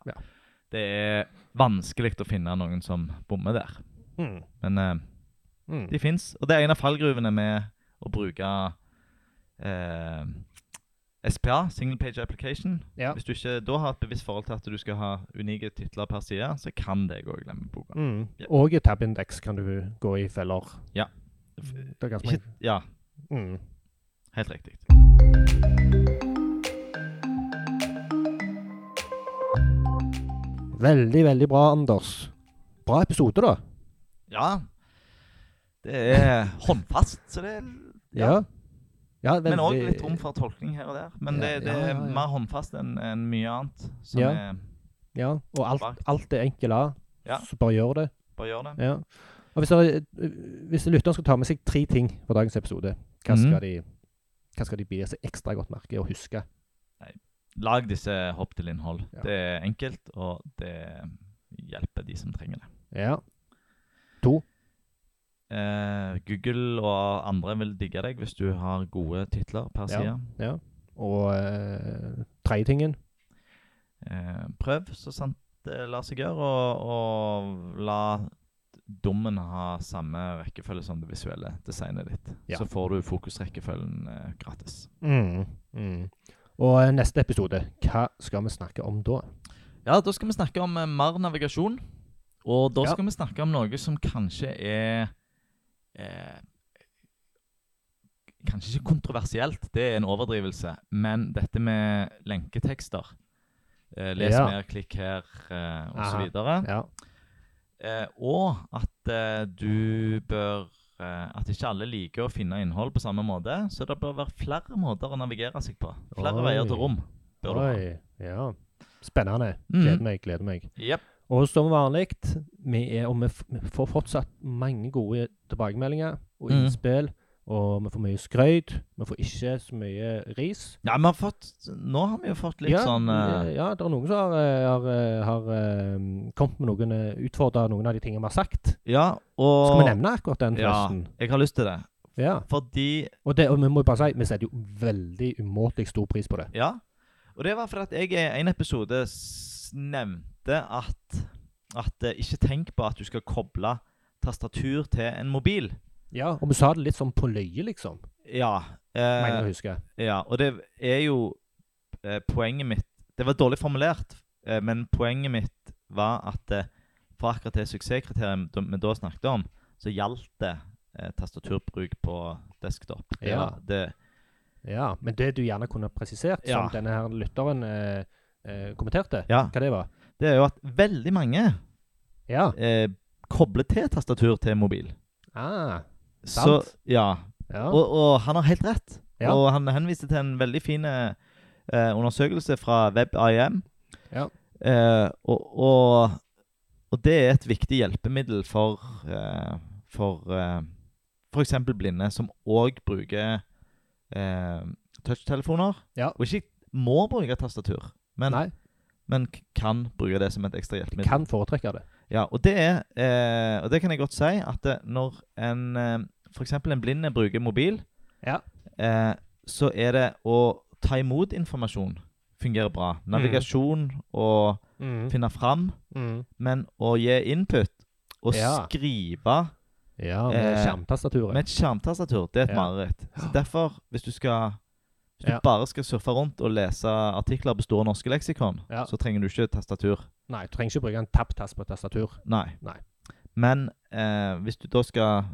[SPEAKER 1] Det er vanskelig å finne noen som bommer der.
[SPEAKER 2] Mm.
[SPEAKER 1] Men eh,
[SPEAKER 2] Mm.
[SPEAKER 1] de fins, og det er en av fallgruvene med å bruke eh, SPA, Single Page Application.
[SPEAKER 2] Ja.
[SPEAKER 1] Hvis du ikke da har et bevisst forhold til at du skal ha unike titler per side, så kan det gå i glemmeboka.
[SPEAKER 2] Mm.
[SPEAKER 1] Ja.
[SPEAKER 2] Og i tabindex kan du gå i feller.
[SPEAKER 1] Ja.
[SPEAKER 2] Det er ganske
[SPEAKER 1] Ikke,
[SPEAKER 2] mange.
[SPEAKER 1] ja,
[SPEAKER 2] Mm.
[SPEAKER 1] helt riktig.
[SPEAKER 2] Veldig, veldig bra, Anders. Bra episode, da.
[SPEAKER 1] Ja. Det er håndfast, så det er Ja.
[SPEAKER 2] Ja. ja veldig,
[SPEAKER 1] Men òg litt rom for tolkning her og der. Men
[SPEAKER 2] Ja,
[SPEAKER 1] det, det
[SPEAKER 2] ja, ja,
[SPEAKER 1] er
[SPEAKER 2] ja.
[SPEAKER 1] mer håndfast enn enn mye annet. Så
[SPEAKER 2] Ja.
[SPEAKER 1] vi
[SPEAKER 2] Ja, og alt,
[SPEAKER 1] Bakt.
[SPEAKER 2] alt er enkel A.
[SPEAKER 1] Ja.
[SPEAKER 2] Så bare gjør det.
[SPEAKER 1] bare gjør det.
[SPEAKER 2] Ja. Og hvis, dere, hvis lytteren skal ta med seg tre ting på dagens episode, hva
[SPEAKER 1] Mhm.
[SPEAKER 2] skal, de, hva skal de bli seg ekstra godt merke og huske?
[SPEAKER 1] Lag disse hopp til innhold.
[SPEAKER 2] Ja.
[SPEAKER 1] Det er enkelt, og det hjelper de som trenger det.
[SPEAKER 2] Ja.
[SPEAKER 1] Eh, Google og andre vil digge deg hvis du har gode titler per side.
[SPEAKER 2] ja. Og uh, tredje tingen
[SPEAKER 1] Eh, prøv så sant det lar seg gjøre, og, og la dommen ha samme rekkefølge som det visuelle designet ditt.
[SPEAKER 2] Ja.
[SPEAKER 1] Så får du fokusrekkefølgen eh, gratis.
[SPEAKER 2] mm. Mm. Og eh, neste episode, hva skal vi snakke om da?
[SPEAKER 1] Ja, da skal vi snakke om eh, mer navigasjon. Og da
[SPEAKER 2] Ja.
[SPEAKER 1] skal vi snakke om noe som kanskje er eh, Kanskje ikke kontroversielt, det er en overdrivelse, men dette med lenketekster eh, Les
[SPEAKER 2] Ja.
[SPEAKER 1] mer, klikk her, eh, og så
[SPEAKER 2] Aha.
[SPEAKER 1] videre.
[SPEAKER 2] Ja.
[SPEAKER 1] Eh, og at eh, du bør eh, At ikke alle liker å finne innhold på samme måte. Så det bør være flere måter å navigere seg på. Flere
[SPEAKER 2] Oi.
[SPEAKER 1] veier til rom. bør du ha.
[SPEAKER 2] Oi. Ja. Spennende.
[SPEAKER 1] Mhm.
[SPEAKER 2] Gleder meg, gleder meg.
[SPEAKER 1] Jep.
[SPEAKER 2] Og som vanlig, vi, er, og vi f- vi får fortsatt mange gode tilbakemeldinger og
[SPEAKER 1] Mhm.
[SPEAKER 2] innspill. Og vi får mye skrøyt. Vi får ikke så mye ris.
[SPEAKER 1] Nei, vi har fått, nå har vi jo fått litt
[SPEAKER 2] ja,
[SPEAKER 1] sånn eh,
[SPEAKER 2] eh, ja, det er noen som har, eh, har, eh, har eh, kommet med noen eh, Utfordret noen av de tingene vi har sagt.
[SPEAKER 1] Ja, og
[SPEAKER 2] Skal vi nevne akkurat den,
[SPEAKER 1] Ja,
[SPEAKER 2] forresten?
[SPEAKER 1] jeg har lyst til det.
[SPEAKER 2] Ja.
[SPEAKER 1] Fordi
[SPEAKER 2] Og, det, og vi må jo bare si vi setter jo veldig umåtelig stor pris på det.
[SPEAKER 1] Ja. Og det var fordi at jeg i en episode s- nevnte at, at eh, Ikke tenk på at du skal koble tastatur til en mobil.
[SPEAKER 2] Ja, Og vi sa det litt sånn på løye, liksom.
[SPEAKER 1] Ja.
[SPEAKER 2] Mener
[SPEAKER 1] Eh,
[SPEAKER 2] jeg å huske.
[SPEAKER 1] Ja, og det er jo eh, poenget mitt Det var dårlig formulert, eh, men poenget mitt var at eh, for akkurat det suksesskriteriet da- vi da snakket om, så gjaldt det eh, tastaturbruk på desktop. Det
[SPEAKER 2] Ja.
[SPEAKER 1] var- Det,
[SPEAKER 2] Ja, Men det du gjerne kunne presisert,
[SPEAKER 1] Ja.
[SPEAKER 2] som denne her lytteren eh, eh, kommenterte,
[SPEAKER 1] ja,
[SPEAKER 2] hva det var
[SPEAKER 1] det er jo at veldig mange
[SPEAKER 2] Ja.
[SPEAKER 1] eh, kobler til tastatur til mobil.
[SPEAKER 2] Ah,
[SPEAKER 1] Så,
[SPEAKER 2] Sant.
[SPEAKER 1] ja.
[SPEAKER 2] ja.
[SPEAKER 1] Og, og han har helt rett.
[SPEAKER 2] Ja.
[SPEAKER 1] Og han henviste til en veldig fin eh, undersøkelse fra WebIM.
[SPEAKER 2] Ja.
[SPEAKER 1] Eh, og, og, og det er et viktig hjelpemiddel for eh, for eh, f.eks. blinde som òg bruker eh, touchtelefoner.
[SPEAKER 2] Ja.
[SPEAKER 1] Og ikke må bruke tastatur, men,
[SPEAKER 2] Nei,
[SPEAKER 1] men k- kan bruke det som et ekstra
[SPEAKER 2] de
[SPEAKER 1] hjelpemiddel.
[SPEAKER 2] kan foretrekke det.
[SPEAKER 1] Ja, og det er eh, Og det kan jeg godt si, at eh, når en eh, f.eks. en blinde bruker mobil,
[SPEAKER 2] Ja.
[SPEAKER 1] eh, så er det å ta imot informasjon fungerer bra.
[SPEAKER 2] Mm.
[SPEAKER 1] Navigasjon og finne fram,
[SPEAKER 2] mm.
[SPEAKER 1] men å gi input og
[SPEAKER 2] Ja.
[SPEAKER 1] skrive
[SPEAKER 2] Ja, med
[SPEAKER 1] Eh,
[SPEAKER 2] skjermtastaturet.
[SPEAKER 1] med et skjermtastatur, det er et
[SPEAKER 2] Ja.
[SPEAKER 1] mareritt. Så derfor, hvis du skal hvis du
[SPEAKER 2] Ja.
[SPEAKER 1] bare skal surfe rundt og lese artikler på Store norske leksikon,
[SPEAKER 2] Ja.
[SPEAKER 1] så trenger du ikke tastatur.
[SPEAKER 2] Nei, du trenger ikke bruke en tapptass på et tastatur.
[SPEAKER 1] Nei.
[SPEAKER 2] Nei.
[SPEAKER 1] Men eh, hvis du da skal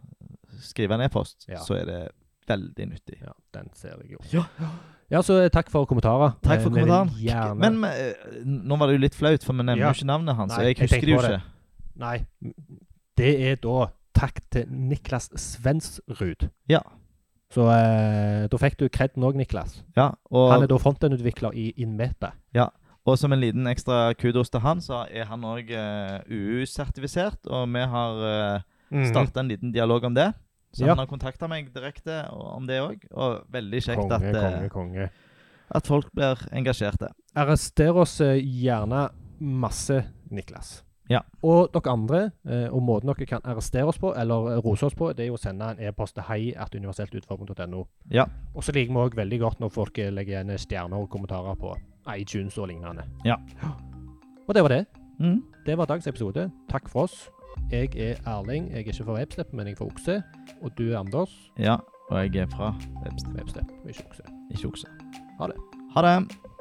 [SPEAKER 1] skrive en e-post,
[SPEAKER 2] Ja.
[SPEAKER 1] så er det veldig nyttig.
[SPEAKER 2] Ja, den ser jeg jo.
[SPEAKER 1] Ja.
[SPEAKER 2] Ja, så eh, takk for kommentarer.
[SPEAKER 1] Takk for
[SPEAKER 2] Eh, vi vil
[SPEAKER 1] kommentaren.
[SPEAKER 2] Gjerne...
[SPEAKER 1] Men eh, nå var det jo litt flaut, for vi nevner
[SPEAKER 2] Ja.
[SPEAKER 1] jo ikke navnet hans.
[SPEAKER 2] Nei,
[SPEAKER 1] så jeg
[SPEAKER 2] jeg
[SPEAKER 1] husker det jo
[SPEAKER 2] tenkte på
[SPEAKER 1] ikke.
[SPEAKER 2] Nei, det er da takk til Niklas Svensrud.
[SPEAKER 1] Ja.
[SPEAKER 2] Så eh, da fikk du kreden òg, Niklas.
[SPEAKER 1] Ja,
[SPEAKER 2] Han
[SPEAKER 1] og,
[SPEAKER 2] er da frontendutvikler i InMeta.
[SPEAKER 1] og som en liten ekstra kudos til han, så er han òg UU-sertifisert. Og vi har uh, starta en liten dialog om det. Så
[SPEAKER 2] Mhm. Ja.
[SPEAKER 1] han har kontakta meg direkte og- om det òg. Og veldig kjekt
[SPEAKER 2] Konge,
[SPEAKER 1] at, eh,
[SPEAKER 2] konge, konge.
[SPEAKER 1] at folk blir engasjerte.
[SPEAKER 2] Arrester oss eh, gjerne masse, Niklas.
[SPEAKER 1] Ja.
[SPEAKER 2] Og dere andre, eh, og måten dere kan arrestere oss på, eller eh, rose oss på, det er jo å sende en e-post til heiatuniverseltutformet.no.
[SPEAKER 1] Ja.
[SPEAKER 2] Og så liker vi òg veldig godt når folk eh, legger igjen stjerner og kommentarer på iTunes og lignende.
[SPEAKER 1] Ja.
[SPEAKER 2] Og det var det.
[SPEAKER 1] Mm.
[SPEAKER 2] Det var dagens episode. Takk for oss. Jeg er Erling. Jeg er ikke fra Webstep, men jeg er fra Okse. Og du er Anders.
[SPEAKER 1] ja. Og jeg er fra Vebst,
[SPEAKER 2] Webstep, ikke Okse.
[SPEAKER 1] ikke okse.
[SPEAKER 2] Ha det.
[SPEAKER 1] Ha det.